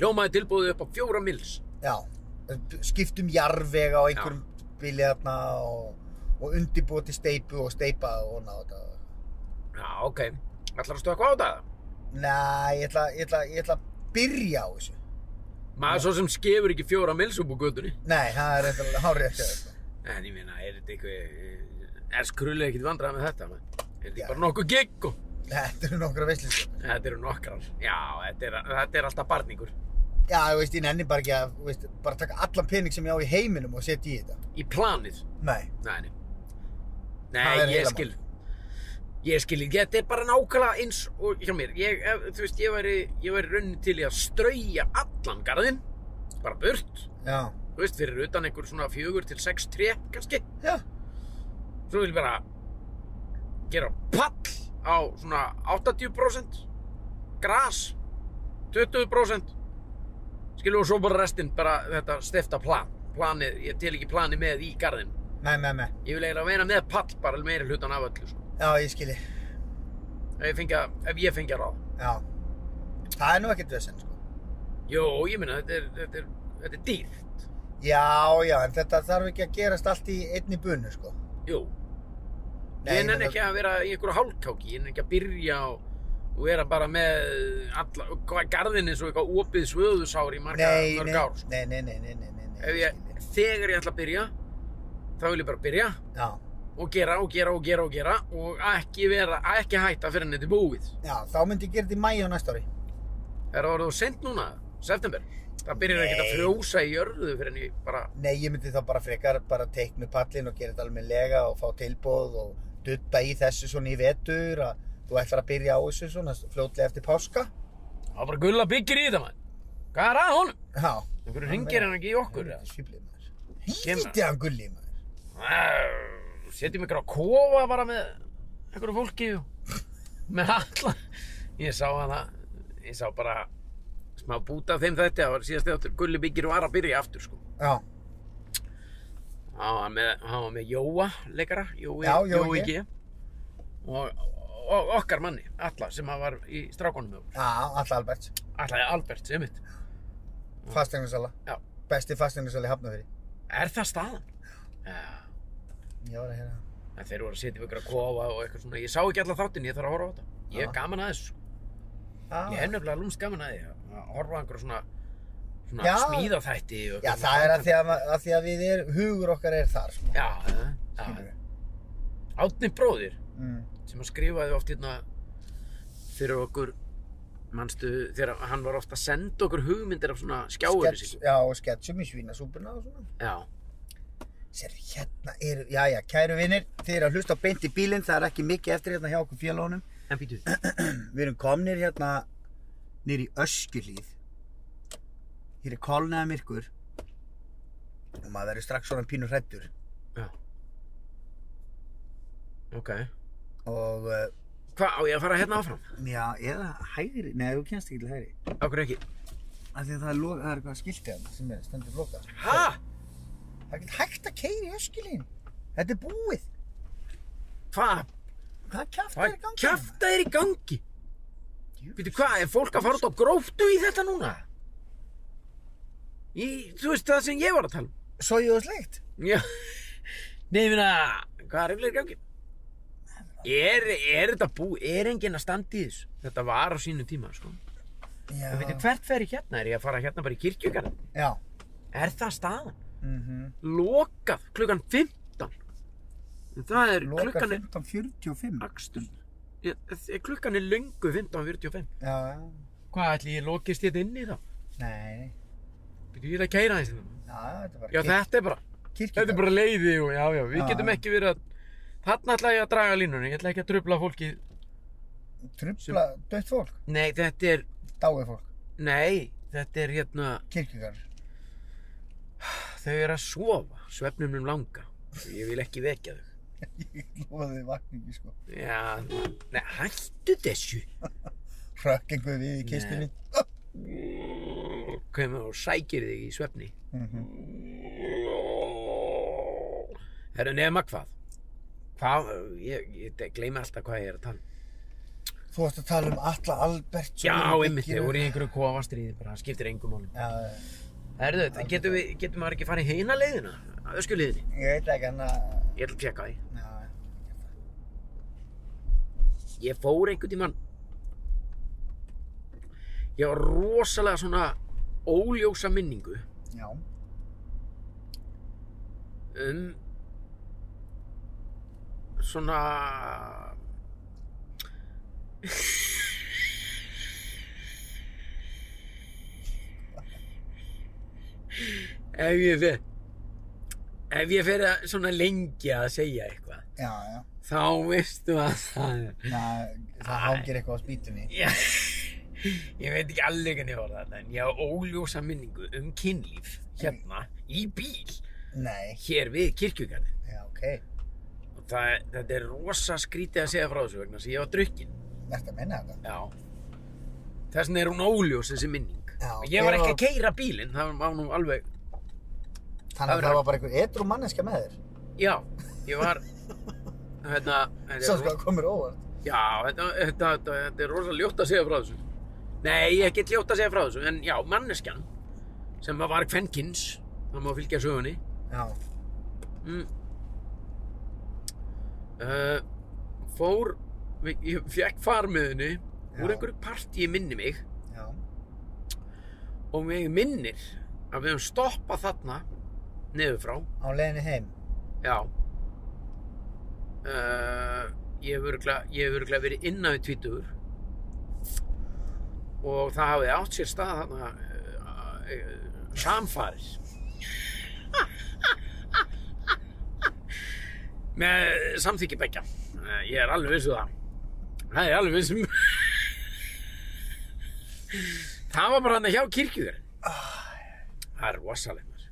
A: hljómaði tilbúðið upp á fjóra mils.
B: Já. Skiptum jarðvega á einhverjum bíli þarna og, og undirbúið til steipu og steipa og ná þetta.
A: Já, ok. Ætlar að stöða á það?
B: Nei, ég ætla, ég ætla, ég ætla að byrja á þessu.
A: Maður svo sem skefur ekki fjóra mils upp úr gödunni.
B: Nei, það er eitthvað hárið eftir þetta.
A: En ég meina, er þetta eitthvað, er skrullega ekkert vandrað með þetta, menn? Er þetta
B: Já.
A: ekki bara nokkuð gigg og...
B: Þetta eru sko. nokkra veislistur.
A: Þetta eru nokkrar. Já, þetta er, þetta er alltaf barningur.
B: Já, þú veist, ég nenni bara ekki að, þú veist, bara taka allan pening sem ég á í heiminum og setja í þetta.
A: Í planið.
B: Nei.
A: Nei, nei.
B: Það er
A: Nei, ég
B: heila
A: skil. Ég skil, ekki. þetta er bara nákvæmlega eins og hjá mér. Ég, ef, þú veist, ég væri, ég væri raunin til í að strauja allan garðinn. Bara burt.
B: Já.
A: Þú veist, fyrir utan einhver svona fjögur til sex tré, kannski.
B: Já.
A: Svo vil ég bara gera pall á svona 80% gras 20% skilur og svo bara restinn bara þetta stefta plan planið, ég tel ekki planið með í garðin
B: Nei, nei, nei.
A: ég vil eiginlega vera með pall bara meira hlutan af öllu sko.
B: Já, ég skilji.
A: ef, ég fengi, að- ef ég fengi að ráð
B: Já. Það er nú ekkert vesen, sko.
A: jú, ég meina, þetta er, þetta er, þetta er dýrt
B: Já, já, en þetta þarf ekki að gerast allt í einni bunu, sko.
A: jú,
B: Nei,
A: ég nenni
B: meina-
A: ekki að vera í einhverju hálkáki ég nenni ekki að byrja og, og vera bara með alla, hvað garðin eins og eitthvað opið svöðusár í marga
B: nei,
A: mörg
B: nei,
A: ár sko.
B: nei, nei, nei, nei, nei, nei, nei,
A: ef ég,
B: skilji.
A: þegar ég ætla að byrja þá vil ég bara byrja
B: Já,
A: og gera og gera og gera og gera og ekki vera, ekki hætta fyrir þetta er búið
B: já, þá myndi ég gera þetta í mæju á næsta ári.
A: er það orðið sent núna, september það byrjar ekki að
B: Nei.
A: frjósa í jörðu fyrir en ég bara,
B: Nei, ég myndi þá bara frekar bara teikna upp pallin og gera þetta almennilega og fá tilbóð og dutta í þessu svona í vetur að þú ætlar að byrja á þessu svona fljótlega eftir páska.
A: það er bara gulla byggir í þetta mann hvað er að honum?
B: Já.
A: einhverju hringir hann ekki í okkur eða?
B: Svíblið maður.
A: Kemur.
B: Hýtti hann gulli maður.
A: Æ, setjum ykkur á kofa bara með einhverju fólki og með alla ég sá að það ég sá bara smá búta af þeim þetta það var síðast þáttur, gulli byggir var að byrja aftur sko
B: Já,
A: hann var með, hann var með Jóa leikara, Jói,
B: Já, Jói G.
A: G og, og okkar manni Alla sem að var í strákonum hjá okkur.
B: já, alltaf Alberts.
A: Alla er Albert sem mitt
B: Fastegnarsala.
A: Mm. Já.
B: Besti fastegnarsala í Hafnafjörði.
A: er það staðan? Já,
B: Ég var að hérna.
A: en þeir voru að setja ykkur að kofa og eitthvað svona, ég sá ekki alla þáttin, ég þarf að horfa á þetta ég
B: Já.
A: hef gaman að þessu,
B: Ah.
A: ég hef nefnilega lúmst gaman að því að- að horfa á einhverja svona, svona
B: Já.
A: smíðaþætti og
B: Já,
A: eitthvað
B: það er
A: svona
B: að því að, að, því að við er, hugur okkar er þar, sko.
A: já, já, já.
B: skilurðu.
A: Átni bróðir
B: Mm.
A: sem að skrifaði oft hérna fyrir okkur manstu þegar hann var oft að senda okkur hugmyndir af svona skjáur
B: Skets, já, og sketsum í svínasúpuna og svona.
A: já
B: Sér, hérna eru, jæja, kæru vinnir, þið eru að hlusta á beint í bílinn, það er ekki mikið eftir hérna hjá okkur félónum.
A: En býtu,
B: Við erum komnir hérna nýr í öskjulíð. Hér er kolnaða myrkur og maður verður strax svona pínur hrættur.
A: ok.
B: Og, uh,
A: Hvað, á ég að fara hérna áfram?
B: já, eða hægri, nei, þú kennst ekki til hægri.
A: Ákveð ekki.
B: Af því að það er, lo- það er eitthvað skiltið hann sem er stendur loka.
A: Ha?
B: Það er ekki hægt að keyra í öskjulíðin. Þetta er búið.
A: Hvað?
B: Hvað kjátt er
A: Hvað
B: í gangi?
A: kjafta er í gangi? Býtu, hvað, er fólk að fara út á gróftu í þetta núna? Í, þú veist það sem ég var að tala um.
B: Sóið og sleikt.
A: Já, nei, ég meina, hvað er yfirlega í gangi? Er, er þetta bú, er enginn að standa í þessu? Þetta var á sínu tíma, sko.
B: Já.
A: Þú veitir, hvert fer ég hérna? Er ég að fara hérna bara í kirkjugarð?
B: Já.
A: Er það staðan?
B: Mm
A: Lokað klukkan 15. En það er,
B: Loka
A: klukkan er,
B: 15.45.
A: akstur, ég- ég- klukkan er löngu 15.45.
B: Já, já.
A: Hvað ætli ég lokist þetta inni þá?
B: Nei, nei.
A: Býtu, ég er að kæra þessi það.
B: Já, þetta er bara
A: Já, þetta er bara,
B: kirkjugarð.
A: þetta er bara leiði og já, já, við
B: Já,
A: getum
B: já.
A: ekki verið að, þarna ætla ég að draga línunni, ég ætla ekki að trubla fólkið
B: Trubla dött fólk,
A: Nei, þetta er,
B: dáið fólk,
A: nei, þetta er hérna,
B: kirkjugarður.
A: þau eru að sofa, svefnum um langa. Ég vil ekki vekja þau.
B: Ég lofaði þið vakningi, sko.
A: Já, nei, hættu þessu.
B: Hrökk einhver við í kistunni.
A: Kemur og sækir þig í svefni.
B: Mm
A: Herru, nema hvað? Hvað, ég, ég gleymi alltaf hvað ég er að tala. um.
B: Þú varst að tala um Alla Albert.
A: Já, einmitt, þau voru í einhverju kofastriði, bara það skiptir engum málum.
B: Já,
A: Herru, þetta getum við, getum maður ekki farið heina leiðina, að ösku leiðinni.
B: ég veit ekki hann að...
A: Ég ætla að tjekka því.
B: Já,
A: ég fór einhvern tímann ég var rosalega svona óljósa minningu
B: já.
A: um svona ef ég fer ef ég fer að svona lengi að segja eitthvað
B: Já, já.
A: þá veistu að það er
B: Já, það
A: Æ.
B: hangir eitthvað á spýtunni.
A: Já, ég veit ekki alveg hvernig ég orða þetta en ég á óljósa minningu um kynlíf hérna í bíl
B: Nei,
A: hér við kirkjugarðin
B: já, ok.
A: og það, þetta er rosa skrítið að segja frá þessu vegna sem ég var drukkin
B: Þetta menna þetta.
A: Já Þess vegna er hún óljós þessi minning
B: Já,
A: Ég var
B: hver
A: ekki
B: var-
A: að keira bílinn það var nú alveg
B: Þannig
A: Það
B: að það var bara einhver edru manneska með þér.
A: Já, ég var hérna, þetta er
B: Svo sko komur óvart.
A: Já, þetta, þetta, þetta, þetta er rosa ljótt að segja frá þessu. Nei, ég er ekki ljótt að segja frá þessu, en já, manneskjan sem var kvenkins, það má fylgja sögunni,
B: Já.
A: mm, uh, fór, ég- ég fekk farmiðinni úr
B: Já.
A: einhverju partíi minni mig
B: Já.
A: og mig minnir að við höfum stoppað þarna niður frá,
B: Á leiðinni heim.
A: já. Uh, ég hef örugglega- ég hef örgulega verið innan við tvítugur og það hafði átt sér stað þarna uh, uh, samfarir með samþykki beggja Eh, ég er alveg viss um það það er ég alveg viss um það var bara hann hjá kirkjugur það er rosaleg maður.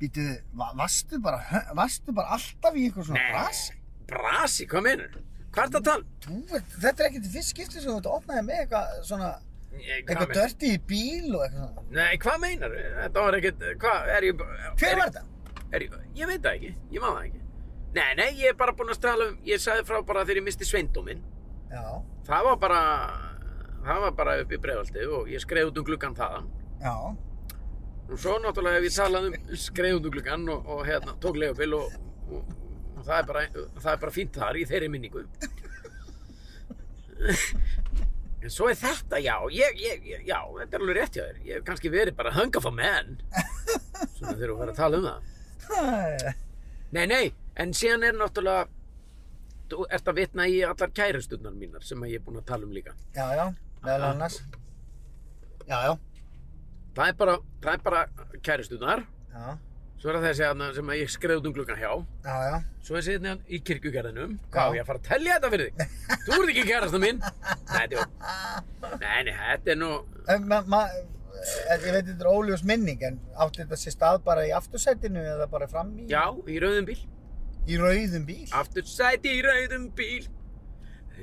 B: Býtu, va varstu bara, hö- varstu bara alltaf í eitthvað svona brasi?
A: brasi, hvað meinar hvað er það að tala um?
B: Þú, ert- þetta er ekkert fyrst skipti sem þú ert opnaði með eitthvað svona,
A: Eh, hvað
B: eitthvað
A: meinar?
B: dörti í bíl og eitthvað svona.
A: Nei, hvað meinar Þetta var ekkert, hvað, er ég
B: Hver
A: er,
B: var þetta?
A: Er, ég- ég veit það ekki, ég maður það ekki Nei, nei, ég er bara búinn að stala um Ég sagði frá bara þegar ég misti sveindóminn
B: Já,
A: Það var bara Það var bara upp í bregaldið og ég skreið út um gluggan þaðan
B: já,
A: Og svo náttúrulega hef ég talað um skreið út um gluggan og, og hérna, tók leigubíl og, og, og það, er bara, það er bara fínt þar í þeirri minningu En svo er þetta, já, ég, ég, ég, já, þetta er alveg rétt hjá þér. Ég hef kannski verið bara hung of a man. Svona þegar við verðum að tala um það. Nei, nei, en síðan er náttúrulega, þú ert að vitna í allar kærastunnar mínar sem að ég er búinn að tala um líka.
B: já, já, meðal annars. Já, já,
A: Það er bara, það er bara kærastunnar
B: já,
A: Svo er það þessi aðna sem að ég skreið út um gluggan hjá.
B: já, já.
A: Svo er þessi aðna í kirkjugarðinum. Hvað,
B: Já.
A: á ég að fara að telja þetta fyrir þig? Þú ert ekki kærasta mín. Nei, þetta er jó. Nei, nei, þetta er nú...
B: En ma, ma, eh, ég veit þetta er óljós minning en átti þetta sér stað bara í aftursætinu eða bara fram í,
A: Já, í rauðum bíl.
B: í rauðum bíl
A: Aftur sæti í rauðum bíl.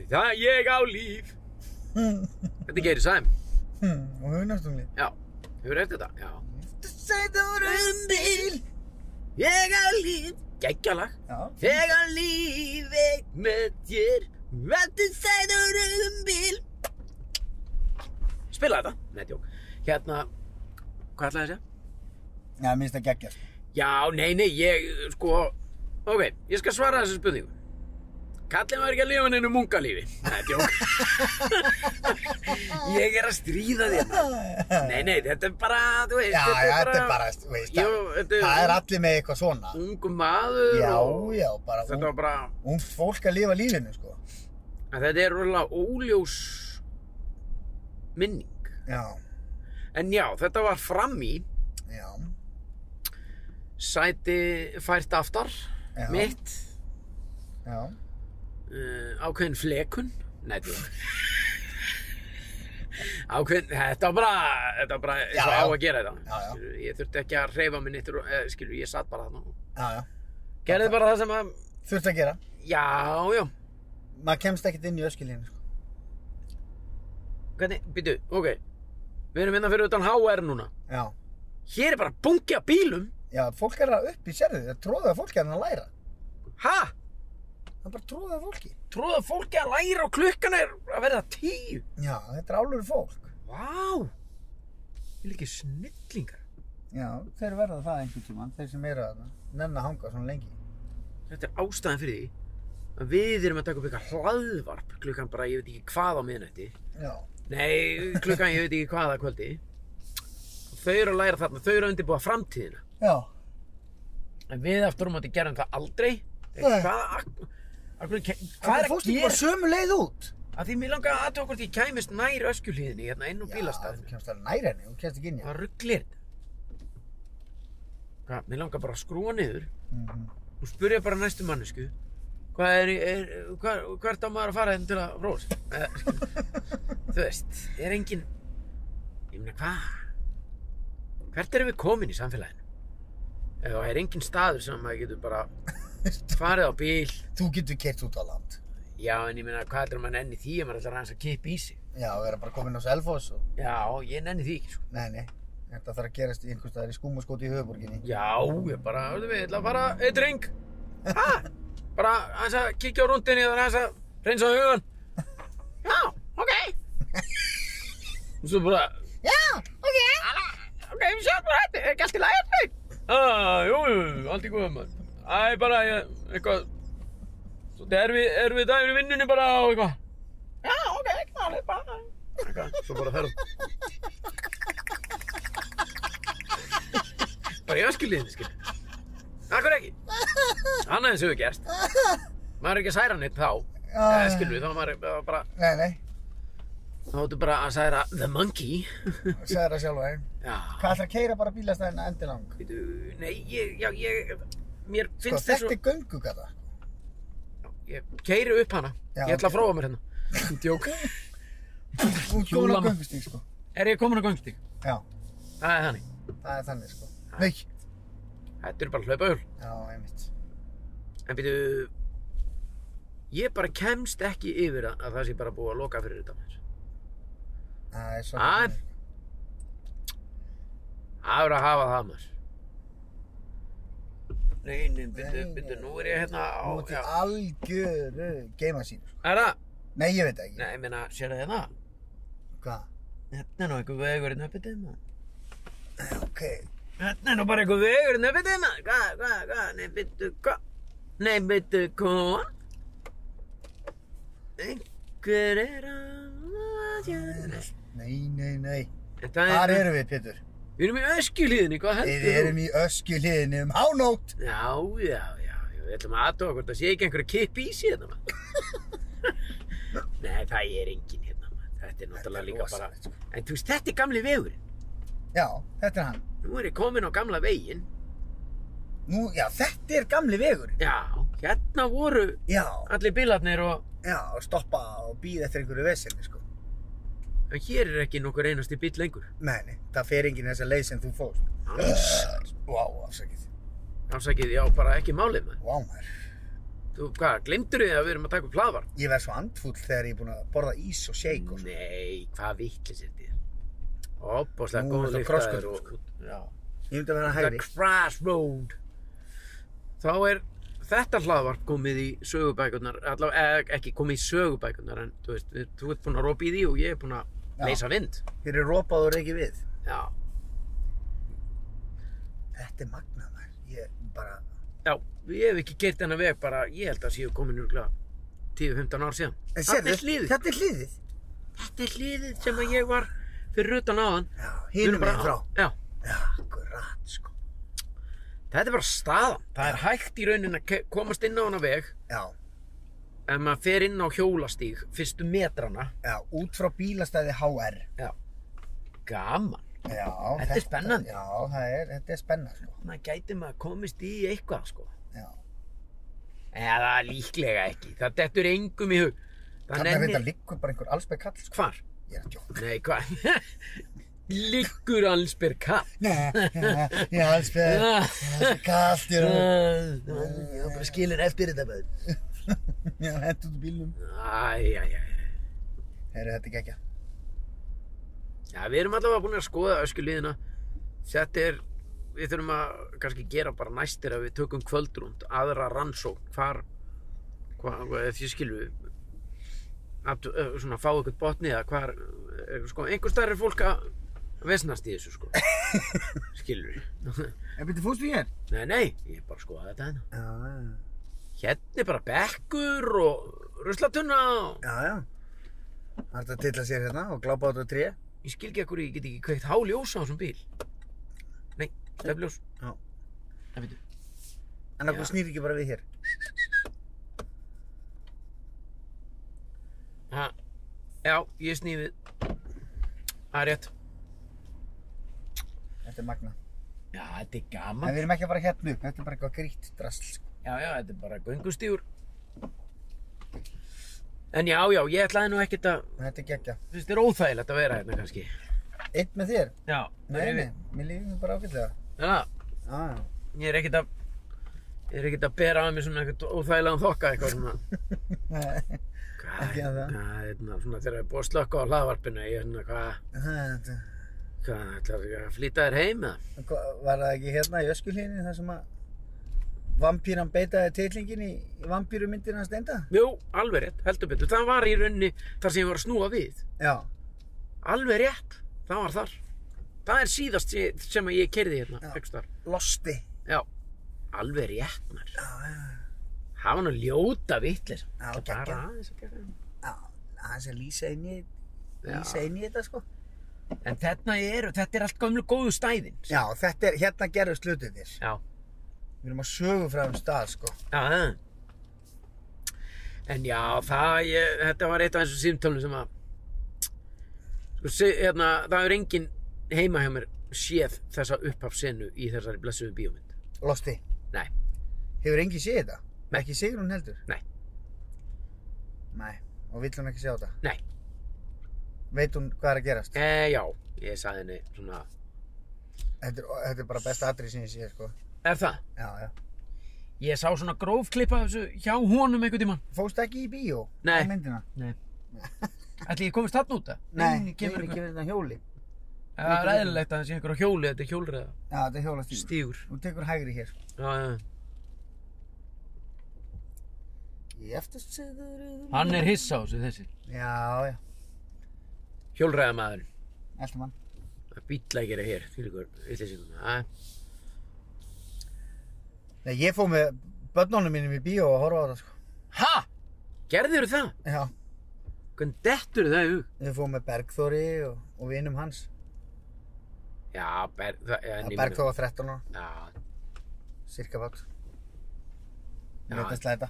A: Það ég á líf.
B: Hmm,
A: Þetta gerir sæm.
B: hmm, og hunastumli
A: Já, hefur eftir þetta? Já.
B: aftursæti á rauðum bíl
A: Ég á líf. Gækjalag.
B: já,
A: Þegar lífið með þér Veltu sæður um bíl Spila þetta Nei, tjók Hérna, hvað ætlaði þessi?
B: já, mér finnst það geggja
A: Já, nei, nei, ég, sko Ok, ég skal svara þessu spurningu Kallið maður ekki að lifa neinu mungalífi Nei, tjók Ég er að stríða þér maður. Nei, nei, þetta er bara, þú veist
B: já, já, þetta er bara þú veist,
A: Jú,
B: það-
A: þetta er-
B: það er allir með eitthvað svona
A: Ungu maður
B: já,
A: og-
B: já, bara
A: Þetta var
B: ung,
A: bara
B: ung fólk að lifa lífinu sko.
A: að þetta er rúlega óljós minning
B: já,
A: en já, þetta var fram í
B: já,
A: sæti fært aftar
B: já,
A: mitt
B: já.
A: uh, ákveðin flekun nei, þú ákveðin, þetta var bara þetta var bara
B: Já,
A: eins og á
B: já.
A: að gera þetta
B: Já, já.
A: Skilur, ég þurfti ekki að reyfa minn eittur, eh, skilur, ég satt bara þarna og-
B: já, já.
A: gerði bara það sem að
B: þurft að gera
A: já, já,
B: maður kemst ekkert inn í öskilinu sko.
A: hvernig, býtu, ok við erum innan fyrir utan HR núna
B: já,
A: hér er bara bungi af bílum
B: já, fólk er að upp í sérðu það tróða fólk er að læra
A: ha?
B: það er bara tróða fólki
A: tróða fólki að læra og klukkan er að verða tíu.
B: já, þetta er álur fólk
A: Vá! Vil ekki snillingar.
B: já, þeir verða það einhvern tímann þeir sem eru að nenn að hanga svona lengi
A: Þetta er ástæðan fyrir því að við erum að taka upp eitthvað hlaðvarp klukkan bara ég veit ekki hvað á miðnætti.
B: já,
A: Nei, klukkan ég veit ekki hvað að kvöldi. Þau eru að læra þarna, þau eru að undirbúa framtíðina.
B: já,
A: En við aftur um að gerum það aldrei.
B: Nei.
A: Hvað, ak- af hverju ke-
B: það
A: hvað er
B: er
A: að
B: fólk ekki
A: gera?
B: bara sömu leið út
A: Af því mér langar að aðtöku hvort ég kæmist nær öskjuhlíðinni hérna inn úr
B: þú
A: bílastæðinu.
B: kemst alveg nær henni, þú kemst ekki inn í
A: Hvað rugglir þetta? Hvað, mér langar bara að skrúa niður
B: henni
A: og spurja bara næstu mannesku hvað er, er hvað, hvert á maður að fara henni til að fróa sig? Eh, Þú veist, er engin ég meina hvað? Hvert erum við komin í samfélaginu? Ef það er engin staður sem maður getur bara farið á bíl
B: þú getur kert út á land
A: já, en ég meina hvað heldur maður nenni því ef maður ætlar aðeins að kippa í sig?
B: já, við erum bara komin á Selfoss og...
A: Já, ég nenni því ekki sko.
B: nei, nei, þetta þarf að gerast í einhvers staðar í skúmaskóti í höfuborginni
A: Já, ég bara, þú veist, ég ætla að fara eitt ring Ha? Bara aðeins að kíkja á rúndinni og aðeins að reynsa á hugan Já, ok Og svo bara
B: já, ok
A: "Alla, Ok, við sjáum bara þetta, er ekki allt í lagi þetta ah, Jú, jú, jú, allt í góðum maður. Æ, bara, ég, eitthvað Svo þetta er við, er við dagur í vinnunni bara og eitthvað Já, ok, ekki máli, bara Eitthvað, svo bara ferð Bara í öskilíðinni, skil Akkur ekki Annað eins hefur gerst Maður er ekki að særa neitt þá
B: Já.
A: Eða skilur við, þá maður er maður bara
B: nei, nei,
A: Þá áttu bara að særa The Monkey
B: segðu það sjálf aðeins
A: Já
B: hvað ætlar að keira bara bílastæðina endilang
A: Bíddu, Nei, ég, já, ég, mér
B: sko,
A: finnst
B: þetta
A: þessu,
B: er göngugata
A: ég keiri upp hana,
B: Já,
A: ég ætla
B: ok.
A: að fróa mér hérna. Djók.
B: þú ert komin á
A: Hjólama.
B: göngustík sko
A: Er ég komin á göngstík?
B: já,
A: Það er þannig.
B: það er þannig sko nei,
A: Þetta eru bara hlaupahjól.
B: já, einmitt
A: En býtu, ég bara kemst ekki yfir að, að það sé bara búið að loka fyrir þetta. maður.
B: það er
A: Æ.
B: svolítið
A: Það er að hafa það maður. Nei, nei, býtu,
B: Nei,
A: býtu,
B: nei.
A: nú er ég hérna á,
B: Nú ert í
A: já.
B: algjöru geima sín sko.
A: Er það?
B: Nei, ég veit það ekki
A: Nei, ég meina, sér það hérna?
B: Hvað?
A: Þetta er nú einhver vegur hérna uppið þeim maður.
B: Ok
A: Þetta er nú bara einhver vegur hérna uppið þeim maður. Hvað, hvað, hvað, nei, býtu, hvað? Nei, veitu hvað? Einhver er að Nei,
B: Nei, nei, nei
A: Það
B: Hvar erum við, Pétur?
A: Við erum í öskjulíðinni, hvað heldur
B: Við erum í öskju hliðinni um hánótt
A: Já, já, já, já, við ætlum að aðtóa hvort það sé ekki einhverja kipp í sig hérna maður. Nei, það er engin hérna maður. Þetta er
B: Þetta er
A: náttúrulega líka bara
B: rosalegt, sko.
A: En þú veist, þetta er gamli vegurinn
B: Já, þetta er hann
A: Nú er ég komin á gamla veginn
B: Nú, já, þetta er gamli vegur.
A: Já, hérna voru
B: Já,
A: allir bílarnir og
B: já, og stoppa og býða eftir einhverju vesinni, sko.
A: en hér er ekki nokkur einasti bíl lengur.
B: Nei, nei, það fer enginn þessa leið sem þú fórst.
A: Alls.
B: Vá, wow, afsakið.
A: Ásakið, já, bara ekki málið maður.
B: Vá, wow, maður.
A: Þú, hvað, glemdur þið að við erum að taka upp hlaðvarp?
B: Ég verð svo andfull þegar ég er búinn að borða ís og shake og svona.
A: Nei, hvað vitlis er þér? Opposlega
B: Nú
A: góð
B: ertu á
A: liftaður
B: krossgötum,
A: og... Já.
B: Ég myndi að vera
A: The
B: hægri.
A: Crossroad. Þá er þetta hlaðvarp komið í sögubækurnar, allavega eh, ekki komið í sögubækurnar en þú veist, við, þú ert búinn að ropa í því og ég er búinn að
B: Já.
A: leysa vind.
B: Þér er ropað og reykið við.
A: Já,
B: Þetta er magnað, maður. Ég bara,
A: já, við hefum ekki gert þennan veg bara, ég held að séu komin úrglega 10-15 ár síðan.
B: en
A: Þetta
B: sérðu,
A: er hliðið,
B: þetta er hliðið.
A: þetta er hliðið sem að ég var fyrir utan áðan.
B: Já,
A: Við erum
B: hinum
A: bara
B: meginn
A: á-
B: frá.
A: Já,
B: Já, akkurat, sko.
A: þetta er bara staðan. Það er hægt í raunin að ke- komast inn á hana veg
B: Já,
A: ef maður fer inn á hjólastíg fyrstu metrana.
B: já, út frá bílastæði HR.
A: Já. Gaman.
B: Já,
A: Þetta er spennandi.
B: Já, það er, þetta er spennandi, sko.
A: Þannig gæti maður komist í eitthvað sko.
B: Já.
A: Eða líklega ekki. Það dettur engum í hug. Það
B: Þannig að þetta
A: nennir...
B: liggur bara einhver allsbeg kall, sko.
A: Hvar?
B: Ég er að djóka.
A: Nei, hvað? Liggur allsbyr kall. Ah.
B: Nei, nei, ég er
A: Eh.
B: allsbeg, allsbeg kall, ég er að...
A: Ég bara skilur eftir þetta maður.
B: Já, hendur út úr bílnum.
A: Æ, æ, æ.
B: Herru, þetta er gekkja.
A: Já, við erum allavega búin að skoða öskuliðina. Þetta er, við þurfum að kannski gera bara næstir að við tökum kvöldrúnd, aðra rannsókn, hvar, hvað, hvað ef ég skilu, að, ö, svona fá eitthvað botni eða hvar, er, sko, einhver starf er fólk að vesnast í þessu, sko. Skilur við.
B: En betur fórstu hér?
A: Nei, nei, ég er bara að skoða þetta hérna.
B: Já,
A: Hérna er bara bekkur og ruslatunna og
B: já, já. Það er þetta að tilla sér hérna og glápa á þetta tré.
A: ég skil ekki ekkur, ég get ekki kveikt háljós á þessum bíl. Nei, stefljós.
B: Já.
A: Það veitum.
B: En
A: Já.
B: okkur snýr ekki bara við hér.
A: Ha, já, ég sný við. Það er rétt.
B: Þetta er magna.
A: Já, þetta er
B: En
A: gaman.
B: við erum ekki að fara hérna upp, þetta er bara eitthvað grýtt drasl, sko.
A: Já, já, þetta er bara göngustígur. En já, já, ég ætlaði nú ekkert að,
B: En Þetta er gekkja.
A: þú veist, þetta er óþægilegt að vera hérna kannski.
B: Eitt með þér?
A: Já,
B: Nei, nei, mér lífum bara ágætlega.
A: Já,
B: Já, já.
A: ég er ekkert að, ég er ekkert að bera af mér svona ekkert óþægilegan þokka eitthvað svona. Hvað,
B: Ekki að það.
A: hvað, hérna, svona þegar ég er búið að slökka á hlaðvarpinu, ég er svona, hvað,
B: Þetta-
A: hvað, ætlar ég að flýta þér heim eða?
B: Hva- Var það ekki hérna í öskulínu þar sem að vampýran beitaði titlingin í vampýrumyndina hans steinda?
A: Jú, alveg rétt, heldur betur. Það var í rauninni þar sem ég var að snúa við.
B: Já.
A: Alveg rétt, það var þar. Það er síðast sem- sem að ég kerði hérna,
B: Já.
A: aukstar.
B: Losti.
A: Já, alveg rétt mér.
B: Já, já.
A: Það var nú ljóta vittlir.
B: Já,
A: bara
B: geggjað.
A: aðeins að gegja.
B: Já, hans er lýsa inn í,
A: Já.
B: lýsa inn í þetta, sko.
A: En þarna eru, þetta er allt gömlu góðu stæðin.
B: Já, þetta er, hérna gerðust hlutinir.
A: Já,
B: Við erum að sögu frá um stað, sko.
A: já, það. En já, það, ég, þetta var eitt af þessum símtölum sem að, sko, se- hérna, það er enginn heima hjá mér séð þessa upphafsenu í þessari blessuðu bíómynd.
B: Losti.
A: Nei.
B: Hefur engi séð þetta?
A: Nei.
B: Ekki Sigrun heldur?
A: Nei.
B: Nei, og vill hún ekki sjá þetta?
A: Nei.
B: Veit hún hvað er að gerast?
A: E, já, ég sagði henni svona,
B: Þetta er, þetta er bara besta atrið sem ég sé, sko.
A: er það?
B: Já, já.
A: Ég sá svona grófklipp af þessu hjá honum einhvern tímann.
B: Fóstu ekki í bíó?
A: Nei.
B: Á myndina?
A: Ætli ég komist þarna út það?
B: Nei,
A: kemur
B: ekki
A: eitthvað.
B: verið þetta hjóli.
A: Það er eðlilegt að það sé einhverja hjóli, þetta er hjólriða.
B: Já, þetta er hjólastíl.
A: Stígur.
B: Þú tekur hægri hér.
A: Já, já.
B: Ég eftir sigur.
A: Hann er hissa á þessu þessi.
B: Já, já.
A: Hjólriða maður.
B: Eltum hann.
A: Það býtla ekki er hér, fyrir ykkur yllesingum. Já,
B: Nei, ég fóð með börnunum mínum í bíó að horfa á þetta, sko.
A: ha! Gerður það?
B: Já.
A: Hvernig dettur það í hug?
B: Við fóðum með Bergþóri og, og vinum hans.
A: Já, ber, það, já, en
B: Það
A: ég
B: Bergþór var 13 ára,
A: meina-
B: cirka bát.
A: Já.
B: Leta slæta.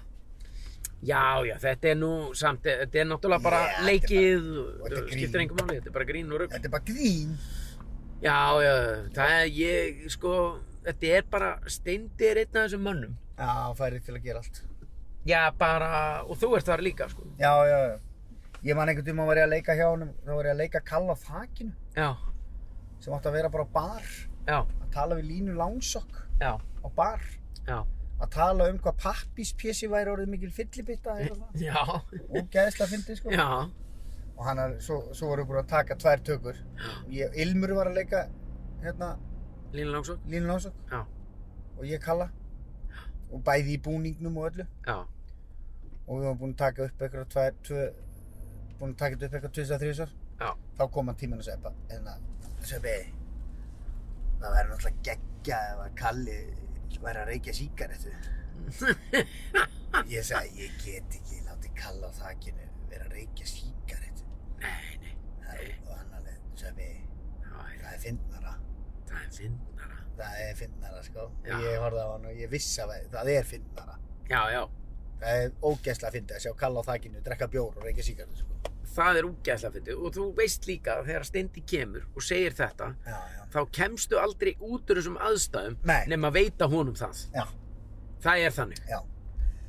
A: Já, já, já, þetta er nú samt, þetta er náttúrulega bara
B: Já, þetta er
A: leikið,
B: og þetta er
A: þetta
B: grín.
A: skiptir engum máli, þetta er bara grín og rugg.
B: Þetta er bara grín.
A: Já, já, það er ég, sko, þetta er bara, Steindi er einn af þessum mönnum.
B: Já, hann færi til að gera allt.
A: Já, bara, og þú ert þar líka, sko.
B: Já, já, já. Ég man einhvern tíma var ég að leika hjá honum, þá var ég að leika kalla á þakinu
A: Já,
B: sem átti að vera bara á bar,
A: já,
B: að tala við Línu Langsokk
A: já,
B: á bar,
A: já,
B: að tala um hvað pappispjessi væri orðið mikil fyllibitta eða eitthvað.
A: já,
B: Og gæðsla fyndið sko.
A: já,
B: Og hann, er- svo, svo voru búin að taka tvær tökur. Ég, Ilmur var að leika, hérna,
A: Lína Langsson,
B: Línu Langsokk
A: já,
B: og ég kalla. Og bæði í búningnum og öllu.
A: já,
B: og við varum búin að taka upp eitthvað tvær, tvö, búin að taka þetta upp eitthvað tvisar, þrísar
A: já,
B: þá kom hann tíminn og segja bara, hérna, Sveppi það væri náttúrulega geggja ef að Kalli væri að reykja síkaretu ég sagði, ég get ekki látið Kalla á þakinu vera að reykja síkaretu
A: nei, nei,
B: Það er- og hann alveg, Sveppi,
A: já,
B: það er fyndnara
A: það er fyndnara.
B: það er fyndnara, sko
A: Já.
B: ég horfði á hann og ég vissi að það er fyndnara
A: Já, já,
B: það er ógeðslega fyndið að sjá Kalla á þakinu drekka bjór og reykja síkaretu, sko
A: það er úgeðslega fyndið og þú veist líka að þegar Steindi kemur og segir þetta,
B: já, já.
A: þá kemstu aldrei út úr þessum aðstæðum
B: Nei.
A: nema veita honum það.
B: Já,
A: Það er þannig.
B: já.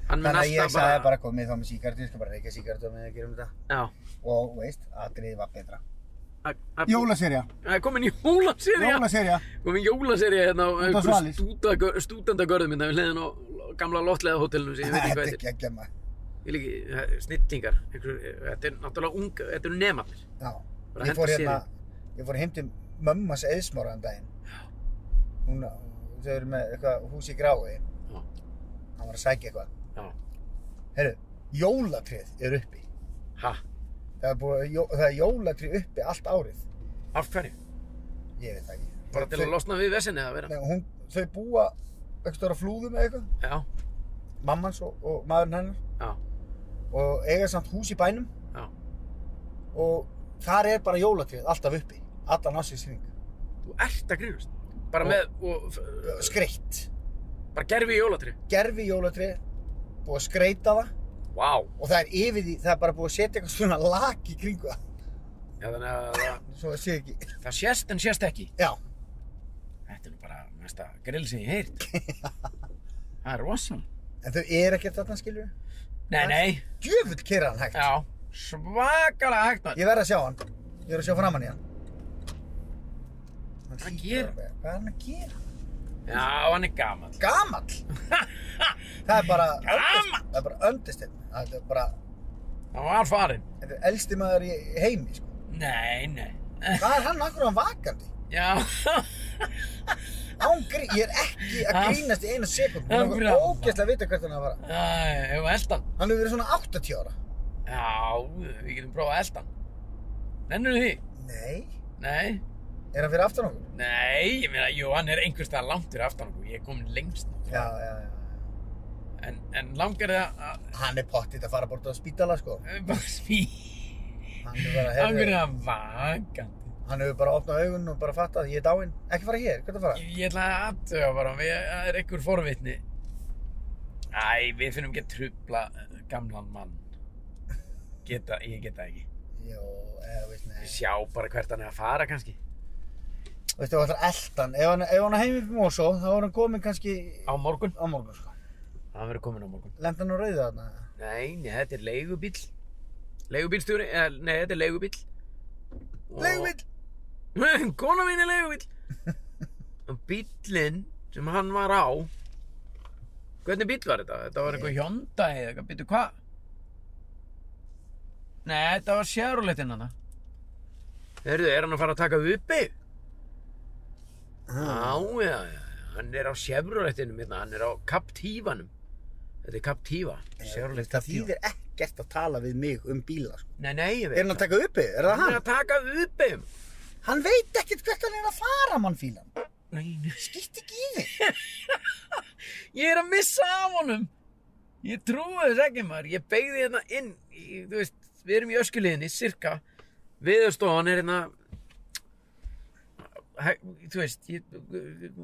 A: Hann mun
B: Þannig að ég
A: alltaf
B: sagði bara komið þá með síkartu, ég skal bara reykja síkartu með að gera um þetta.
A: Já.
B: Og þú veist, atriðið var betra.
A: að- að-
B: Jólaserja,
A: Það er komin jólaserja.
B: jólaserja.
A: Komin jólaserja hérna á
B: Út á Svalir.
A: einhverju stúdendagörðum hérna við hliðin á gamla lottlega hótelinu sem ég veit ekki
B: Þetta
A: hvað
B: er
A: þetta er.
B: ekki að gemma.
A: Ég líki, snillingar. Einhver, þetta er náttúrulega unga, þetta eru nemandir.
B: Já,
A: Bara
B: ég
A: henda
B: fór hérna,
A: seríu.
B: ég fór heim til mömmas eðsmóraðan um daginn. Hún, þau eru með eitthvað hús í grái,
A: Já,
B: hann var að sækja eitthvað.
A: já.
B: Herru, jólatrið er uppi.
A: Ha,
B: Það er, búið, jó, það er jólatrið uppi allt árið.
A: af hverju?
B: Ég veit það ekki.
A: Bara til að
B: Þau-
A: losna við vesinni eða vera?
B: Nei, hún, þau búa aukstur á flúðum eða eitthvað,
A: Já,
B: mammans og, og maðurinn hennar.
A: já,
B: og eiga samt hús í bænum
A: já.
B: og þar er bara jólatrið alltaf uppi, allan ásins hring
A: Þú ert að grínast. Bara
B: Og-
A: með, og,
B: Eh,
A: f-
B: skreitt,
A: bara gerfi í jólatri.
B: gerfi jólatrið búið að skreita það
A: Vá.
B: og það er yfir því, það er bara búið að setja eitthvað svona lak í kringu það
A: Já, þannig að það,
B: svo það sé ekki,
A: það sést en sést ekki.
B: já,
A: Þetta er nú bara mesta grill sem ég heirt. það er rosan.
B: en þau eru ekkert þarna skilur
A: Nei, nei.
B: djöfull kera hann hægt,
A: Já, svakalega hægt maður.
B: ég verð að sjá hann ég er að sjá framan í hann Hann
A: Hvað
B: hlýtur
A: gerir
B: að vera- hvað er hann að gera?
A: Já, hann er gamall.
B: gamall það er bara
A: Gamall?
B: það er bara öndistinn það er bara,
A: Hann var farinn.
B: þetta er elsti maður í heimi sko
A: Nei, nei.
B: Hvað er hann akkur hann vakandi?
A: Já,
B: Án grí, ég er ekki að grínast í eina sekund.
A: Hann
B: Mér er
A: grafar.
B: ógeðslega að vita hvert hann er að fara.
A: Æ, hefur eldan.
B: Hann hefur verið svona 80 ára.
A: Já, við getum prófað eldan. Nennir því?
B: Nei,
A: Nei,
B: er hann fyrir aftan okkur?
A: nei, ég meina, jú, hann er einhvers staðar langt fyrir aftan okkur. Ég er komin lengst.
B: Já, já, já.
A: En, en langar það að
B: Hann er pottitt að fara bort á spítala sko.
A: að bara smí...
B: Hann hefur bara,
A: Langar
B: heyrðu,
A: það að vakandi.
B: hann hefur bara opnað augun og bara fattað ég er dáinn. Ekki fara hér, hvernig að fara?
A: Ég, ég ætla að aðtöga bara, við, það er einhver forvitni. Æ, við finnum ekki að trubla eh, gamlan mann. Geta, ég geta ekki.
B: Jó, eða veist, nei.
A: Við sjá bara hvert hann er að fara kannski.
B: Veistu, það er eldan. Ef hann, ef hann er heim upp í Mosó, þá er hann komin kannski
A: Á morgun.
B: á morgun sko.
A: Hann verður komin á morgun.
B: Lenda hann á rauðu þarna?
A: Nei, nei, þetta er leigubíll. Leigubíllstjóri, eh, nei, þetta er leigubíll. Og-
B: Leigubíll!
A: Kona mín er leigubíll. Og bíllinn sem hann var á, hvernig bíll var þetta? Þetta var eitthvað Hyundai eða eitthvað, býttu hvað? Nei, þetta var Chevroletinn hann. Heyrðu, er hann að fara að taka uppi? Já, já, já, hann er á Chevrolettinum hérna, hann er á Captivanum. Þetta er Captiva, Chevrolet
B: Það
A: Captiva.
B: þýðir ekkert að tala við mig um bíla sko.
A: Nei, nei, ég veit.
B: Er hann að taka uppi? Er það
A: Hann
B: hann?
A: er að taka uppum.
B: Hann veit ekkert hvert hann er að fara, mann fílan.
A: Nei, nei.
B: Gitt ekki í þig.
A: Ég er að missa af honum. Ég trúi þess ekki maður. Ég beigði hérna inn. Í, þú veist, við erum í öskuliðinni, cirka. Viðurstofan er hérna... hæ- Þú veist, ég... Það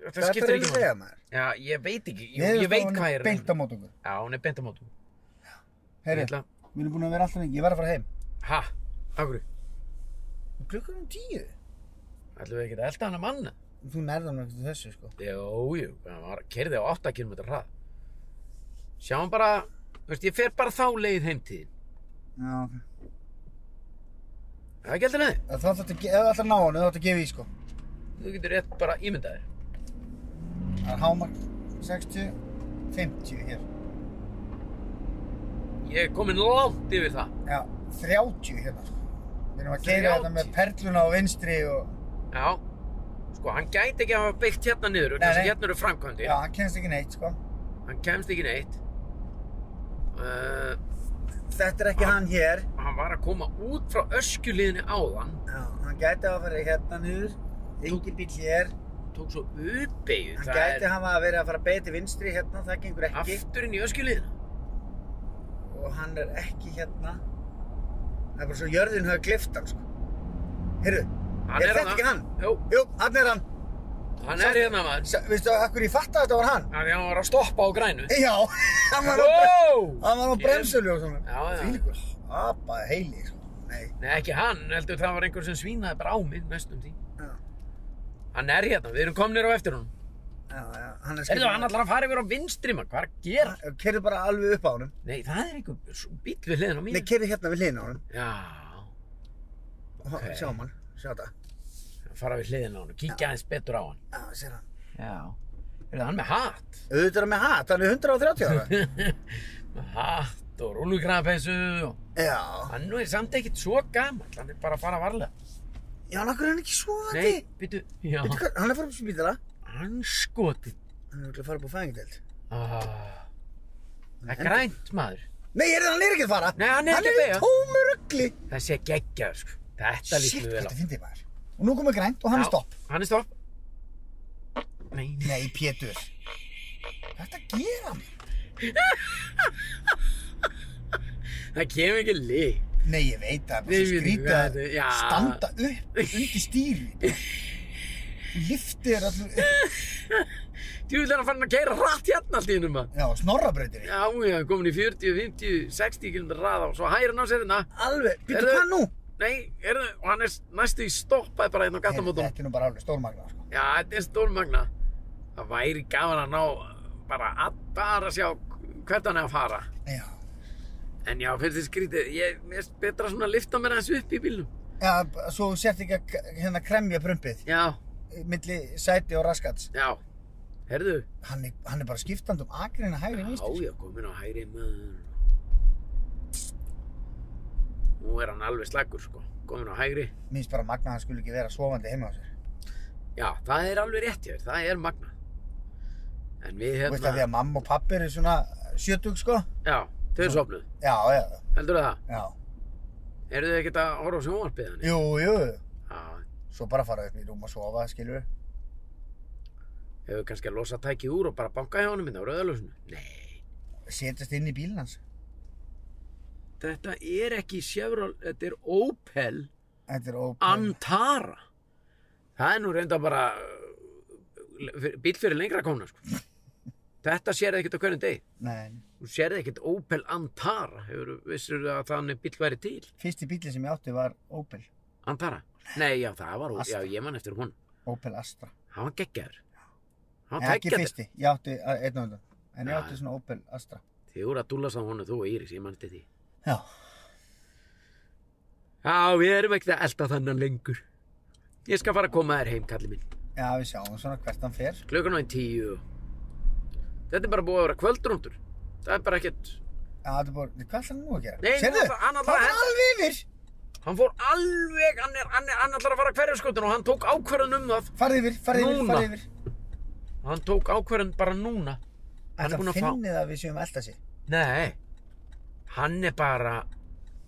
B: Þetta er
A: skiptir
B: ekki
A: ekki
B: segja
A: maður.
B: maður.
A: Já, ég veit ekki. Jú, ég veit hvað ég er.
B: Beint á mót okkur.
A: Já, hún er beint á mótum.
B: Herri,
A: ætla-
B: við erum búin að vera alltaf lengi. Ég var að fara heim.
A: Ha? Akkur?
B: Klukkan um tíu.
A: Ætlum við ekki að elda hana manna?
B: þú nærðan ekki þessu sko
A: Jú, jú, hann var kerði á 8 km hrað. Sjáum bara, þú veist, ég fer bara þá leið heimtíðin.
B: Já, ok.
A: Það er ekki heldur neði.
B: Þá þarf þetta, ef þú ætlar að ná hann, þá þarf að gefa í sko.
A: Þú getur rétt bara ímyndað þér.
B: Það er hámark 60, 50 hér.
A: Ég er komin langt yfir það.
B: Já, 30 hérna sko. Við erum að geira þetta með
A: 30.
B: perluna á vinstri og...
A: Já, sko, hann gæti ekki að hafa byggt hérna niður,
B: Nei,
A: þess að
B: nei.
A: hérna eru framkvæmdi.
B: Já, hann kennst ekki neitt sko.
A: Hann kemst ekki neitt. Uh,
B: Þetta er ekki hann hér.
A: hann var að koma út frá öskjuliðinni áðan,
B: Já, hann gæti að fara hérna niður. Engi bíl hér.
A: tók svo uppeyju.
B: Hann
A: það
B: gæti
A: er
B: hafa verið að fara að beiti vinstri hérna, það gengur ekki.
A: afturinn í öskjuliðina.
B: Og hann er ekki hérna. Það er bara svo jörðin hafa klift hann sko. Heyrðu,
A: Hann
B: Er þetta
A: þarna.
B: ekki hann?
A: Jú,
B: jú, hann er hann.
A: hann er hérna maður.
B: Sa- Veistu að hverju ég fattaði að þetta var hann?
A: Af Því hann var að stoppa á grænu.
B: Já, hann var Ah. á, bre
A: Wow!
B: hann var á bremsuljósunum.
A: Já, já.
B: Þvílíkur apa heili, sko. Nei,
A: Nei, ekki hann, heldur það var einhver sem svínaði bara á mig næstum því.
B: já,
A: Hann er hérna, við erum komnir á eftir honum.
B: já, já, hann er
A: Erðu hann allar að fara yfir á vinstri maður, hvað er að gera?
B: Kerðu bara alveg upp á honum.
A: Nei, það er einhver bíl við hliðin á
B: Nei,
A: mínu.
B: kerðu hérna við hliðin á honum.
A: Já,
B: Okay. Sjá um hann, sjá þetta.
A: fara við hliðin á hann, kíkja aðeins betur á hann.
B: Já, sér hann.
A: Já. Er hann með hatt?
B: Auðvitað er hann með hatt, hann er 130 ára.
A: með hatt og rúlugrafessu og...
B: já,
A: Hann nú er samt ekkert svo gamall, hann er bara að fara varlega.
B: já, hann akkur er hann ekki svoðandi.
A: Nei, býtu, já,
B: Veitu hvað, hann er farið upp sem býtala.
A: hann skotið.
B: Hann er okkur farið upp á fæðingadeild.
A: Ah, það er grænt maður.
B: Nei, er hann er ekki að fara.
A: Nei, hann er ekki að
B: að
A: beygja.
B: Hann er í tómu ruggli.
A: Þessi er geggjað, sko. Þetta líst
B: Shit,
A: mér vel á.
B: þetta finnst ég maður. Og nú komið grænt og hann er
A: Já,
B: stopp.
A: Hann er stopp. Nei,
B: Nei, Pétur. Þetta gera hann.
A: það kemur ekki lið.
B: Nei, ég veit það, bara
A: Nei,
B: svo
A: við-
B: skrítið
A: við-
B: að
A: við- já.
B: standa upp undir stýri. Þú liftir þér allur upp.
A: Djúvill er hann fann að keira rætt hérna allt í hennum maður.
B: Já, snorrabrautir þig.
A: Já, ég er komin í 40, 50, 60 km ræða og svo hægir hann á sér hérna.
B: Alveg, býttu
A: Heyrðu,
B: hvað nú?
A: Nei, er það, og hann er næstu í stoppaði bara hérna á
B: Heyrðu,
A: gattamótunum.
B: Þetta er nú bara alveg stórmagna, sko.
A: Já, þetta er stórmagna. Það væri gaman að ná bara að bara sjá hvert hann er að fara.
B: Já,
A: En já, fyrir því skrítið, ég mér er betra svona að lifta mér aðeins upp í bílnum.
B: já b- svo þú sért ekki að k- hérna kremja prumpið.
A: Já,
B: Milli sæti og raskats.
A: já, herðu.
B: Hann er, hann er bara skiptand um akrinna hægri
A: Já,
B: vinstri.
A: já, komin á hægri maður. Nú er hann alveg slagur, sko. Komin á hægri.
B: Mér finnst bara magna að hann skulle ekki vera sofandi heima á sér.
A: Já, það er alveg rétt hjá þér. Það er magna. En við
B: Þú veist að því
A: hérna...
B: að mamma og pappi eru svona sjötug, sko.
A: Já, þau eru sopnuð.
B: Já, já,
A: Heldur það?
B: já.
A: Eru þau ekkert að horfa á sjónvarpið hann?
B: Jú, jú.
A: Já,
B: Svo bara fara upp í rúm og sofa, skilur.
A: hefur kannski að losa tækið úr og bara banka hjá honum minna á rauðalösinu? Nei,
B: Setjast inn í bílinn hans.
A: þetta er ekki Chevrolet, þetta er Opel
B: Þetta er ópæðið.
A: Antara. Það er nú reynda bara uh, fyr- bíll fyrir lengra komna, sko. Þetta sér ekkert á hverjum degi.
B: Nei,
A: Þú sérði ekkert Opel Antara, hefur vissur að þannig bíll væri til.
B: fyrsti bíli sem ég átti var Opel,
A: Antara? Nei, já, það var,
B: Astra.
A: já, ég man eftir hún.
B: Opel Astra.
A: Hann var geggjaður. Hann
B: En
A: var
B: ekki
A: tækjaður.
B: fyrsti, ég átti a- einn og undan. En ég
A: Já.
B: átti svona Opel Astra.
A: Þið voru að dúllast á honum, þú og Íris, ég man eftir því.
B: Já,
A: Já, við erum ekkert að elda þannan lengur. Ég skal fara að koma þér heim, kalli minn.
B: já við sjáum svona hvert hann fer.
A: Klukkan á einn tíu. Þetta er bara búið að vera kvöldrúndur. Það er bara ekkert...
B: Já, þetta er bara, Nei, hvað ætlar hann nú að gera?
A: Nei, nú
B: Sérðu,
A: ætlar- hann ætlar
B: það
A: að
B: er
A: henda-
B: alveg yfir.
A: Hann fór alveg, hann er, hann er, hann ætlar að fara hverjarskotun og hann tók ákvörðun um það.
B: Farði yfir, farði yfir,
A: Núna.
B: farði yfir.
A: Hann tók ákvörðun bara núna. Hann er
B: Þetta
A: búinn að fá-
B: finnið að við séum að elda sér.
A: Nei, hann er bara,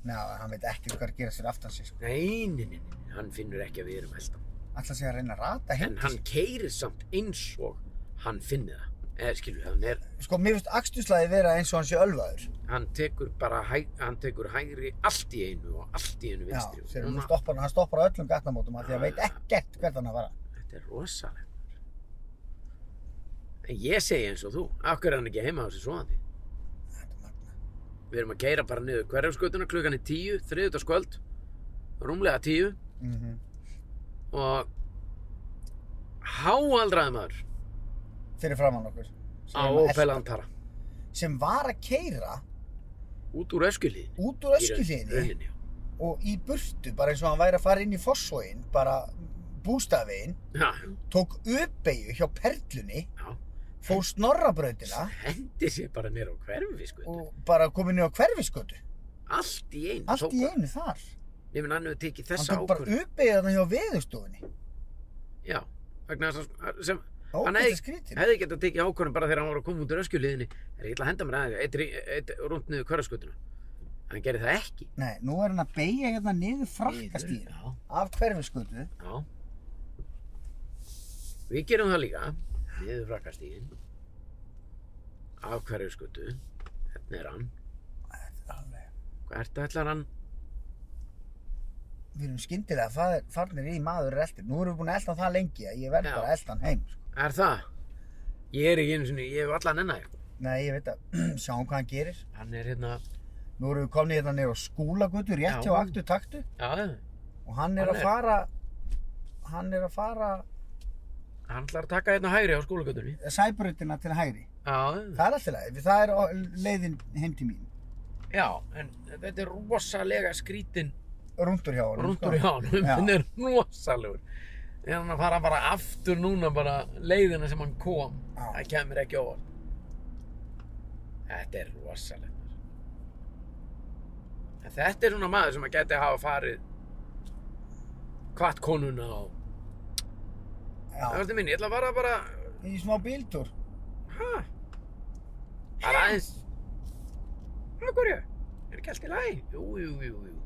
B: Ná, hann veit ekki hvað er að gera sér aftan sér. Sko.
A: nei, nei, nei, nei, hann finnur ekki að við erum elda.
B: Alltaf sé að reyna að rata
A: En
B: hindi
A: hann
B: sér.
A: keirir samt eins og hann finnir það. Eða skilur, hann er,
B: Sko, mér finnst akstuslæði vera eins og hann sé ölvaður.
A: hann tekur bara, hæ, hann tekur hægri allt í einu og allt í einu
B: Já,
A: vinstri. og
B: sér,
A: núna-
B: hann stoppar, hann stoppar á öllum gatnamótum af því að
A: Já.
B: veit ekkert hvert hann er að fara.
A: Þetta er rosalegt. En ég segi eins og þú, af hverju er hann ekki heima á þessu svoðandi?
B: Þetta er magna.
A: Við erum að keira bara niður hverjafskutuna klukkan er tíu, Mhm. þriðutaskvöld, rúmlega tíu
B: Mhm.
A: og háaldraði maður
B: fyrir framann okkur sem
A: á
B: var að
A: Opel
B: elta-
A: Antara
B: sem var að keira
A: út úr öskulíðinni
B: út
A: í
B: úr
A: raun-
B: öskilíðinni
A: rauninni, já.
B: og í burtu bara eins og hann væri að fara inn í fossóin bara bústafin
A: Já,
B: tók uppeyju hjá perlunni
A: já,
B: fór snorrabrautina
A: hendi sér bara nýr á hverfi sko.
B: og bara komið niður á hverfiskötu
A: allt í einu
B: allt í einu þar
A: nefnir hann hefur tekið
B: hann
A: þessa
B: tók bara
A: ákvörðun.
B: uppeyju þarna hjá veðurstofunni
A: já, vegna þess að sem Hann
B: ógæsta
A: hefði-
B: skrítin
A: hefði getað tekið ákvörðum bara þegar hann var að koma út úr öskulíðinni er ég ætla að henda mér aðeins eitt, eitt, eitt rúnd niður hverfaskutuna hann gerði það ekki
B: nei, nú er hann að beigja hérna niður
A: Niður,
B: frakkastýr
A: já,
B: af hverfiskötu
A: já við gerum það líka niður frakkastíðin af hverfaskutu hérna er hann
B: Þetta er alveg-
A: hvert ætlar hann
B: við erum skyndilega fa- farnir í maður er eldur nú erum við búin að elda það lengi að ég verð
A: Já.
B: bara að elda hann heim sko.
A: er það ég er ekki einu sinni ég hef allan enna sko.
B: nei, ég veit að sjáum hvað hann gerir
A: hann er hérna
B: nú erum við komnið hérna niður á skúlagötu rétt
A: Já.
B: hjá aktu taktu
A: já,
B: og hann er
A: Hann
B: að
A: er-
B: fara hann er að fara
A: hann ætlar að taka hérna hægri á skólagötunni
B: sæbrutina til hægri
A: já,
B: það er alltaf leið, það er o- leiðin heim til mín
A: já en þetta er rosalega skrítin
B: rúndur hjá honum
A: rúndur í
B: sko.
A: hánum
B: Já.
A: hann er rosalegur er hann að fara bara aftur núna bara leiðina sem hann kom
B: Já.
A: það kemur ekki ofan þetta er rosaleg en þetta er svona maður sem að geti hafa farið kvart konuna og það
B: já,
A: varstu minni, ég ætla að fara bara
B: í smá bíltúr
A: hæ bara aðeins hvað hverju, er ekki allt í lagi jú, jú, jú, jú,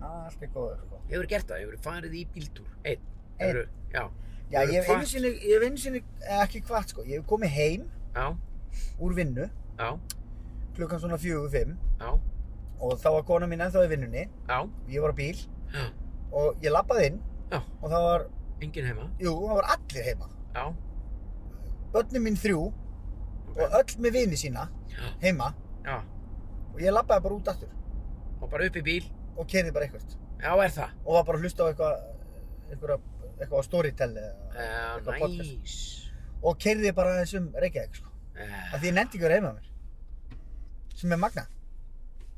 B: Já, allt er góður sko.
A: hefur gert það, hefur farið í bíltúr einn,
B: Einn.
A: Hefurðu- já,
B: já,
A: Hefurðu
B: ég hef einu
A: kvatt?
B: sinni, ég hef einu sinni eh, ekki kvart sko, ég hef komið heim
A: já,
B: úr vinnu
A: já
B: klukkan svona fjögur, fimm
A: Já,
B: og þá var kona mín ennþá í vinnunni
A: já,
B: ég var á bíl
A: já,
B: og ég labbaði inn
A: Já.
B: og það var,
A: enginn heima,
B: jú, það var allir heima
A: já,
B: börnin mín þrjú og öll með vini sína
A: já,
B: heima
A: já,
B: og ég labbaði bara út aftur
A: og bara upp í bíl,
B: og kerði bara eitthvað
A: já er það,
B: og var bara að hlusta á eitthvað eitthvað, eitthvað á storytel eða-
A: já,
B: Eitthvað podcast.
A: næs,
B: og kerði bara þessum Reykjavík sko.
A: já,
B: að því ég nefndi ekki að vera heima hjá mér sem er magna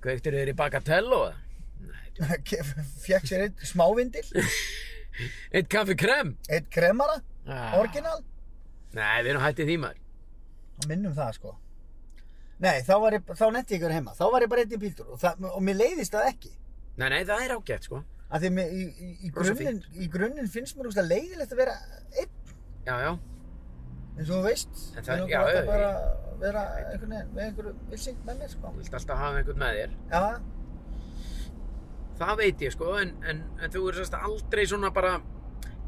A: kveiktir þér í bagatello eða? Nei, djú.
B: fekk sér eitt smávindil
A: eitt kaffi krem,
B: eitt kremara,
A: Ah.
B: orginal
A: nei, við erum hættið því maður,
B: og minnum það sko nei, þá, var ég, þá nefndi ég ekki að vera heima þá var ég bara einn í bíldur og, það, og mér leiðist það ekki
A: nei, nei, það er ágætt, sko,
B: að því mér, í, í, í,
A: Rosa
B: grunninn, í grunninn finnst mér úrslag leiðilegt að vera einn
A: já, já,
B: eins og þú veist
A: En það-
B: mig langar
A: já,
B: alltaf
A: já,
B: bara að vera einhvern veginn með einhverju vilsing með mér sko
A: þú vilt alltaf hafa einhvern með þér,
B: já,
A: það veit ég, sko, en, en, en þú er sérst aldrei svona bara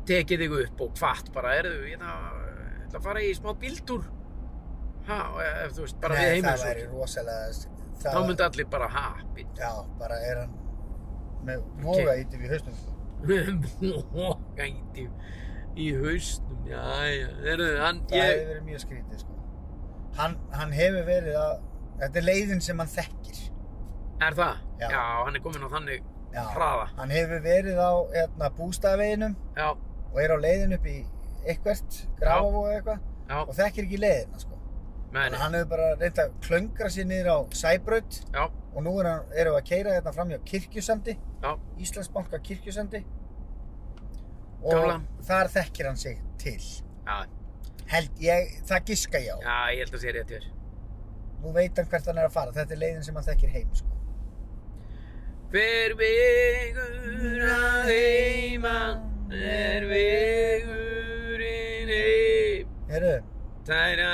A: tekið þig upp og hvatt bara, erðu, ég ætla ég ætla að fara í smá bíltúr, ha, og ef þú veist, bara
B: nei,
A: við heima
B: það væri rosalega það
A: þá
B: væri-
A: myndi allir bara, ha, bíl,
B: já, bara er hann með voga í í haustum sko
A: Mókænti í haustum, já, já, þeirðu, hann,
B: það hefur
A: ég,
B: verið mjög skrítið sko hann, hann hefur verið að þetta er leiðin sem hann þekkir
A: er það?
B: Já.
A: hann er kominn á þannig
B: já,
A: hraða,
B: hann hefur verið á hérna, bústaðveginum
A: já,
B: og er á leiðin upp í eitthvert, grafavó eða eitthvað
A: já,
B: og þekkir ekki leiðina sko
A: meni,
B: Þannig að hann hefur bara reynd að klöngra sér niður á Sæbraut
A: já,
B: og nú er hann, erum við að keira hérna fram hjá Kirkjusandi
A: já,
B: Íslandsbanka Kirkjusandi og
A: Gamla.
B: þar þekkir hann sig til
A: já,
B: held ég, það giska ég á
A: já, ég held að sé rétt hér.
B: nú veit hann hvert hann er að fara, þetta er leiðin sem hann þekkir heim sko.
A: Hver vegur að heiman er vegurinn heim.
B: Heru,
A: Tæ, ræ, ræ,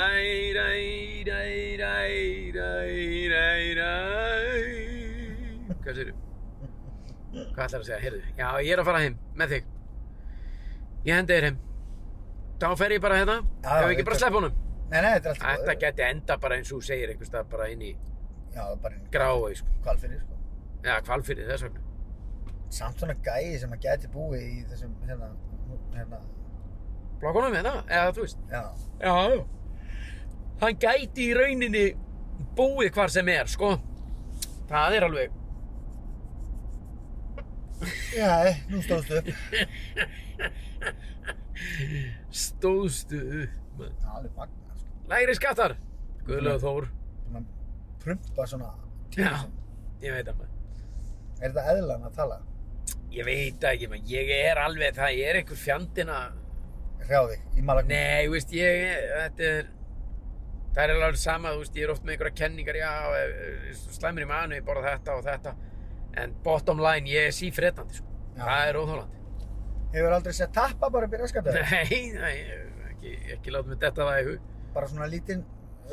A: ræ, ræ, ræ, ræ, ræ. Hvað segirðu? Hvað ætlar að segja? Heyrðu, já, ég er að fara heim með þig. Ég hendi þér heim. Þá fer ég bara hérna.
B: Já,
A: Ef við
B: ég
A: ekki bara
B: tek-
A: slepp honum.
B: nei, nei, þetta er alltaf
A: Þetta geti enda bara eins og þú segir einhvers stað bara inn í
B: já, bara einn
A: gráu, sko.
B: kvalfyrir sko.
A: Eða kvalfyrir þess vegna.
B: samt svona gæi sem hann gæti búið í þessum hérna, hérna
A: Blokkunum hérna, eða þú veist.
B: já,
A: Já. Hann gæti í rauninni búið hvar sem er, sko. Það er alveg
B: eh, já, nú stóðstu upp
A: Stóðstu upp maður.
B: Það er alveg magna, sko.
A: Lægri skattar Guðlega Þór
B: Búin að prumpa svona
A: Já,
B: tíma sem.
A: ég veit að maður
B: Er þetta eðlan að tala?
A: Ég veit það ekki maður Ég er alveg, það er einhver fjandinn að
B: Hrjá þig í malagum.
A: Nei, þú veist, ég, þetta er, það er alveg sama, þú veist, ég er oft með einhverja kenningar, já, e, ef- ef- slæmur í manu, ég borða þetta og þetta, en bottom line, ég er sífretandi, sko,
B: Já.
A: það er óþólandi.
B: Hefur aldrei sett tappa bara upp í raskatöðu?
A: Nei, nei, ekki, ekki láta mig detta það í hug.
B: Bara svona lítinn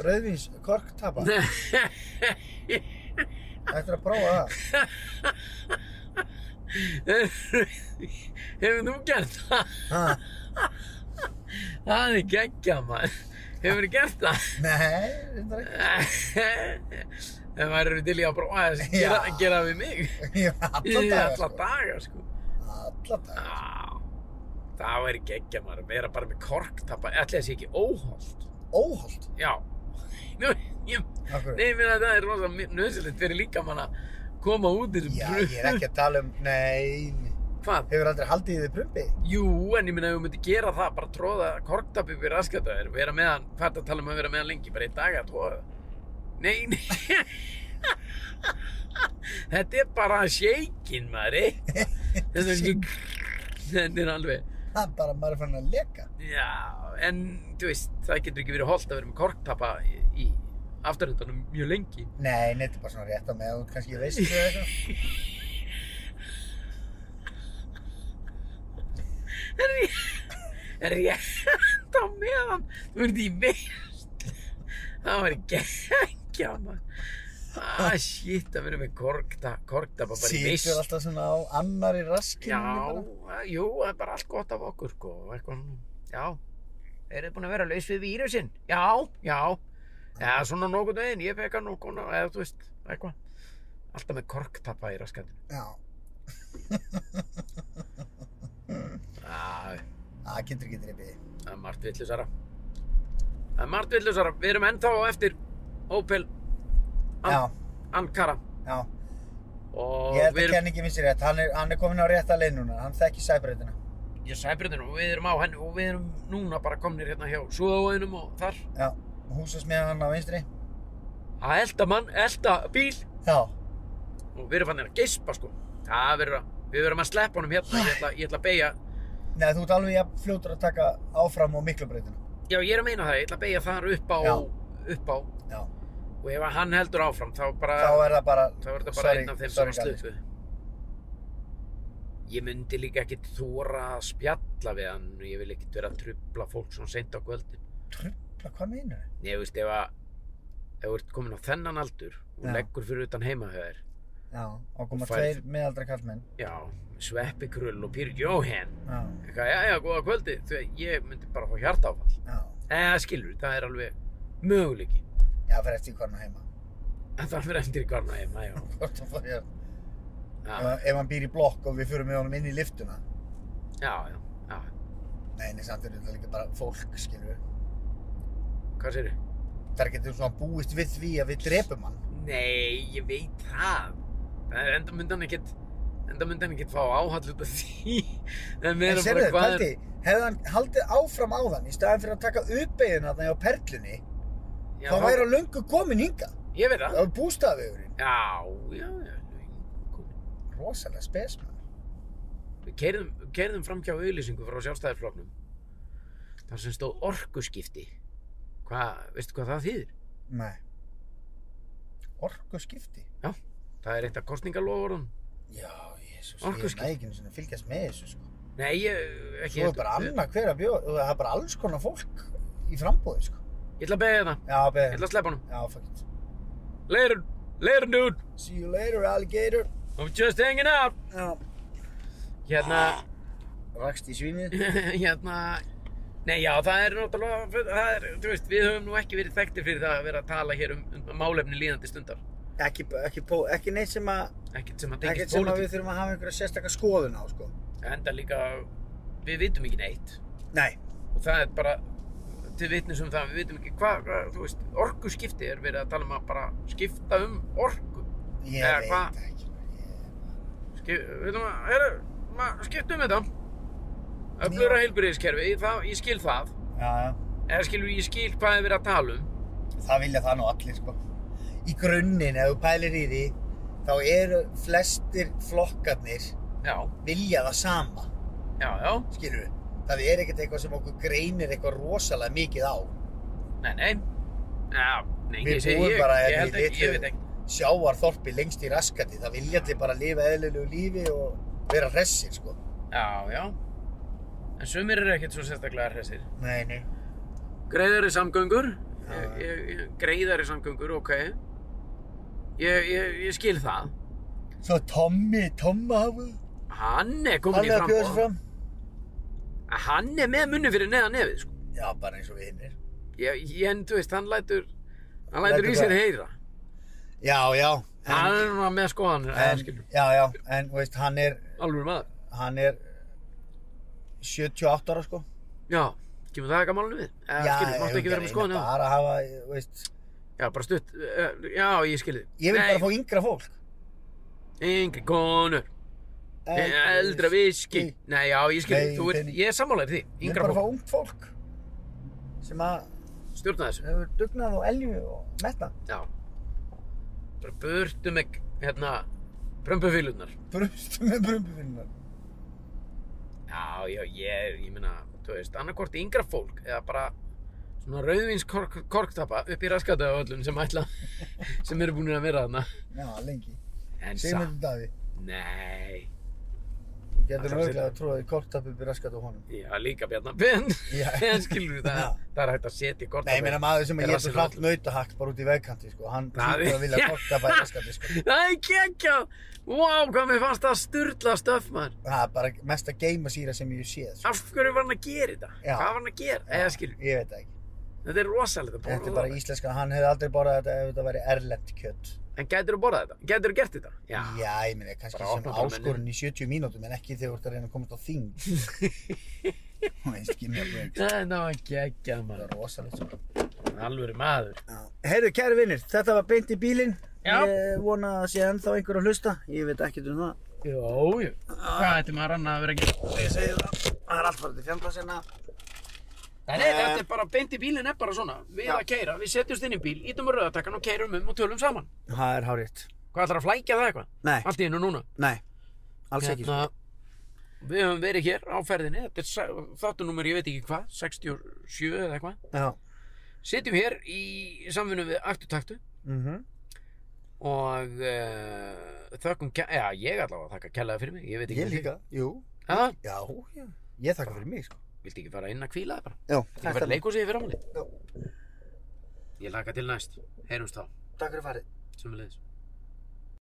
B: rauðvins korktappa? Þetta er að prófa það.
A: Hefur þú gert það?
B: Ha?
A: Það er geggjað, maður. Hefur þú gert það?
B: Nei, þetta er ekki.
A: En maður eru til í að prófa að gera,
B: Já.
A: gera við mig.
B: Ég er alla
A: Í
B: daga,
A: alla
B: sko.
A: daga, sko.
B: Alla daga.
A: Já, það væri geggja maður að vera bara með korktappa, ætli þessi ekki óholt.
B: Óholt.
A: Já, nú, ég,
B: Akkur.
A: nei, minna, það er rosa nöðsilegt fyrir líka mann að koma út í
B: Já, ég er ekki að tala um, nei, nei.
A: Hvað?
B: hefur aldrei haldið í þið prumpi?
A: Jú, en ég minna, ef við myndum gera það, bara tróða korktappi upp í raskataður, vera með hann, hvað ertu að tala um að vera með hann lengi, bara einn dag að tróða. Nei, nei. Þetta er bara shakin, maður, eitthvað. Þetta er ekki, þetta er alveg.
B: Það er bara, maður er fann að leka.
A: Já, en þú veist, það getur ekki verið holdt að vera með korktappa í, í afturhundanum mjög lengi.
B: Nei, nei, þetta er bara svona rétt á með og kannski veistu eða eitthvað.
A: En ég, en ég, þá meðan, þú ert í veist. Það var geggja, maður. Ah, shit, að vera með korkta, korktappa bara í veist.
B: Sýtur alltaf svona á annari raskinu.
A: Já, að- jú, það er bara allt gott af okkur, sko. Eitthvað, svona. já, eru þið búin að vera laus við vírusinn? Já, já. Já, svona nokkuð veginn, ég fekk hann nokkuð, eða þú veist, eitthvað. Alltaf með korktappa í raskatinu.
B: Já.
A: Já,
B: Það getur ekki drifið.
A: það er margt villusara. Það er margt villusara. Við erum ennþá á eftir Opel An
B: Já,
A: Ankara.
B: já.
A: Ah. Og
B: Ég held
A: við
B: að
A: erum,
B: kenningi finnst rétt. Hann er, hann er komin á rétta leið núna. Hann þekki sæbreytina.
A: ég sæbröndin og við erum á henni og við erum núna bara komnir hérna hjá Súðavóðinum og þar.
B: Já. Húsasmiðan hann á vinstri.
A: Að elda mann, elda bíl
B: Já.
A: og við erum fannir að geispa sko það verður að, við verðum að sleppa honum hérna ég ætla, ég ætla að beigja,
B: Nei, þú ert alveg jafn fljótur að taka áfram og miklubreytina.
A: já ég er að meina það ég ætla að beigja þar upp á,
B: Já.
A: upp á
B: Já.
A: og ef hann heldur áfram þá bara,
B: Þá er það bara,
A: Ah. þá er þetta bara
B: sorry,
A: einn af þeim
B: sorry,
A: sem
B: Galli.
A: að sluppu ég myndi líka ekki þóra að spjalla við hann ég vil ekki vera að trubla fólk svona seint á kvöldin
B: Trubla, hvað meinar þið?
A: ég veist ef að ef þú ert komin á þennan aldur og
B: Já.
A: leggur fyrir utan heima hjá þér
B: Já, og koma
A: Og færð.
B: tveir miðaldra kallmenn.
A: já, sveppi krull og Pír Jóhann
B: Já,
A: eitthvað, já, já, góða kvöldi því að ég myndi bara fá hjartáfall
B: já.
A: Nei, það skilur, það er alveg möguleiki.
B: Já, fyrir eftir hvað hann á heima.
A: En það fyrir eftir hvarna heima, já.
B: Hvort hann fór hér. Ef,
A: Já,
B: hann- ef hann býr í blokk og við förum með honum inn í liftuna.
A: já, já. já.
B: Nei, nei, samt er þetta líka bara fólk, skilur við.
A: Hvað sér þið?
B: Það er ekki eitthvað svona búist við því að við drepum hann.
A: Nei, ég veit það. það er enda myndi hann ekkert, enda myndi hann ekkert fá áhall út af því. En við
B: En
A: erum
B: sérðu,
A: bara hvað
B: Kaldi, hefði hann haldið áfram á þann í staðan fyrir að taka uppeyðin að það hjá perlunni,
A: Já,
B: þá væri hann löngu komin hingað.
A: Ég veit
B: Það
A: það.
B: var bústaðvegurinn.
A: Já, já, já. komin.
B: Rosalega spes, maður.
A: Við keirðum, keirðum framkjá auðlýsingu frá sjálfstæðarfloknum. Þar sem stóð orkuskipti. Hvað, veistu hvað það þýðir?
B: Nei. Orku skipti.
A: Það er eitt af kostningalofurðum.
B: Já, jésus,
A: Orkuskipti.
B: ég næ ekki einu sinni að fylgjast með þessu, sko.
A: Nei, ég, ekki.
B: Svo er bara annað hver að bjóða, það er bara alls konar fólk í frambúði, sko.
A: Ég ætla að beða það.
B: Já,
A: Ég
B: beður.
A: ætla að sleppa honum.
B: Já, fuck it.
A: Later, later dude,
B: See you later, alligator.
A: I'm just hanging out
B: Já.
A: Hérna,
B: Rakst í svínið.
A: hérna Nei já, það er náttúrulega, það er, þú veist, við höfum nú ekki verið þekktir fyrir það að vera að tala hér um, um málefni líðandi stundar
B: Ekki, ekki, pó, ekki neitt sem að,
A: Ekkert sem að
B: ekkert
A: tengist
B: sem að við
A: pólitík
B: þurfum að hafa einhverja sérstakka skoðun á, sko.
A: Enda líka, við vitum ekki neitt
B: Nei.
A: Og það er bara, til vitnis um það, við vitum ekki hvað, hva, þú veist, orkuskipti er verið að tala um að bara skipta um orku
B: Ég
A: Eða
B: veit
A: hvað?
B: ekki. Ég-
A: Skip, Við veitum að, heyrðu, maður skipta um þetta öflura heilbriðiskerfi, ég skil það
B: Já, já.
A: eða skilur ég skil hvað er verið að tala um
B: Það vilja það nú allir sko. Í grunninn, ef þú pælir í því, þá eru flestir flokkarnir
A: já,
B: vilja það sama,
A: já, já,
B: skilur við. Það er ekkert eitthvað sem okkur greinir eitthvað rosalega mikið á.
A: nei, nei já, nei,
B: Við
A: ég segi
B: búum
A: ég,
B: bara
A: ég
B: hérna
A: held
B: í
A: ekki, ég
B: litlu-
A: veit ekki
B: Sjávarþorpi lengst í raskati, það vilja allir bara lifa eðlilegu lífi og vera hressir, sko.
A: já, já en sumir eru ekkert svo sérstaklega hressir
B: Nei, nei.
A: greiðari samgöngur
B: Já.
A: Ég- ég- ég- greiðari samgöngur, ok ég, ég, ég skil það
B: Svo Tommy, Tomma hafa,
A: hann er komin
B: hann
A: í
B: er að bjóða
A: framboð
B: sér fram.
A: hann er með munni fyrir neðan nefið sko.
B: Já, bara eins og við hinnir.
A: ég, ég, en þú veist, hann lætur hann
B: Lætur
A: lætur í sér
B: hvað?
A: heyra
B: Já, já.
A: hann er svona með skoðanir
B: en,
A: en,
B: já, já, en, þú veist, hann er,
A: alveg maður
B: hann er 78 ára, sko.
A: já, kemur það ekki að málunum við eða, já, skilur, máttu ekki vera með skoðanir á?
B: bara að hafa, þú veist,
A: já, bara stutt, eh, já, ég skilði
B: ég vil bara fá yngra fólk.
A: yngri konur, eh, eldra viski
B: Nei.
A: nei, já, ég skilði,
B: Nei,
A: þú ert,
B: nei.
A: ég er sammálaðir því
B: Ég vil
A: yngra
B: bara fá
A: fólk,
B: ungt fólk sem að
A: stjórna þessu
B: hefur dugnað og elju og metta.
A: já bara burtu með, hérna prömpufylurnar
B: Brustu með brumbufinnar.
A: já, já, ég, ég meina þú veist, annarkvort yngra fólk eða bara svona rauðvinskorktappa upp í raskata á öllum sem ætla sem eru búin að vera þarna
B: Já, lengi.
A: en
B: Segjum
A: samt,
B: þetta Davi.
A: nei
B: Þú
A: Ætlar
B: getur
A: að
B: mögulega
A: setja-
B: að tróða í korktappi upp í raskat á honum.
A: já, líka bjarnabinn
B: Já.
A: en skilur við
B: Já.
A: það, það er hægt að setja
B: Nei, ég meina
A: korktappa
B: maður
A: Er
B: sem að ég
A: rassinn
B: er hratt
A: allur?
B: nautahakt bara út í vegkanti, sko. Hann
A: Daði.
B: hlýtur að vilja korktappa í raskati, sko.
A: það er kekkjað wow, hvað mér fannst það sturla stöf maður
B: Það er bara mesta geimasýra sem ég séð, sko.
A: af hverju var hann að gera þetta,
B: Já.
A: hvað var hann að gera eða skilur,
B: Ég veit það ekki.
A: þetta er rosalega
B: Þetta er bara íslenska, hann hefði aldrei borðað þetta ef þetta væri erlend kjött.
A: En gætir þú borðað þetta? Gætir þú gert þetta? Já.
B: Já, ég meina, kannski
A: Bara
B: sem
A: opna bara
B: áskorun í 70 mínútum en ekki þegar þú ert að reyna að komast á þing. Þú veist ekki mér breyk.
A: Það er náttúrulega geggjað
B: Það
A: maður.
B: er rosalegt sko. svo.
A: Alvöru maður.
B: Heyrðu, kæri vinnir, þetta var beint í bílinn.
A: Já.
B: Ég vona að sé ennþá einhver að hlusta. Ég veit ekkert um það.
A: Jó, jú. Hvað ætti maður annað að vera að gera?
B: Ég segi það. Það er allt farið til hérna. fjandla sinna.
A: Nei, nei, þetta er bara, beint í bílinn er bara svona. Við að keira, við setjumst inn í bíl, ítum á rauðatakkan og keirum um og tölum saman.
B: Það er hárétt.
A: Hvað ætlar að flækja það eitthvað?
B: Nei,
A: Allt í einu núna.
B: nei. Alls ekki.
A: Hérna, Við höfum verið hér á ferðinni, þetta er sa- þáttunúmer, ég veit ekki hvað, 67 eða eitthvað.
B: Já.
A: Sitjum hér í samvinnu við Aktutaktu
B: Mhm.
A: og uh, þökkum, ke- já, ég allavega þakka kærlega fyrir mig, ég veit ekki.
B: Ég
A: fyrir
B: líka. Jú.
A: þig. Ha?
B: Já, já. Ég þakka fyrir mig, sko.
A: Viltu ekki fara inn að kvíla það bara?
B: Já.
A: Viltu ekki fara í leikhúsið í fyrramáli?
B: Já.
A: Ég laka til næst. Heyrumst þá.
B: Takk fyrir farið.
A: Sumulegis.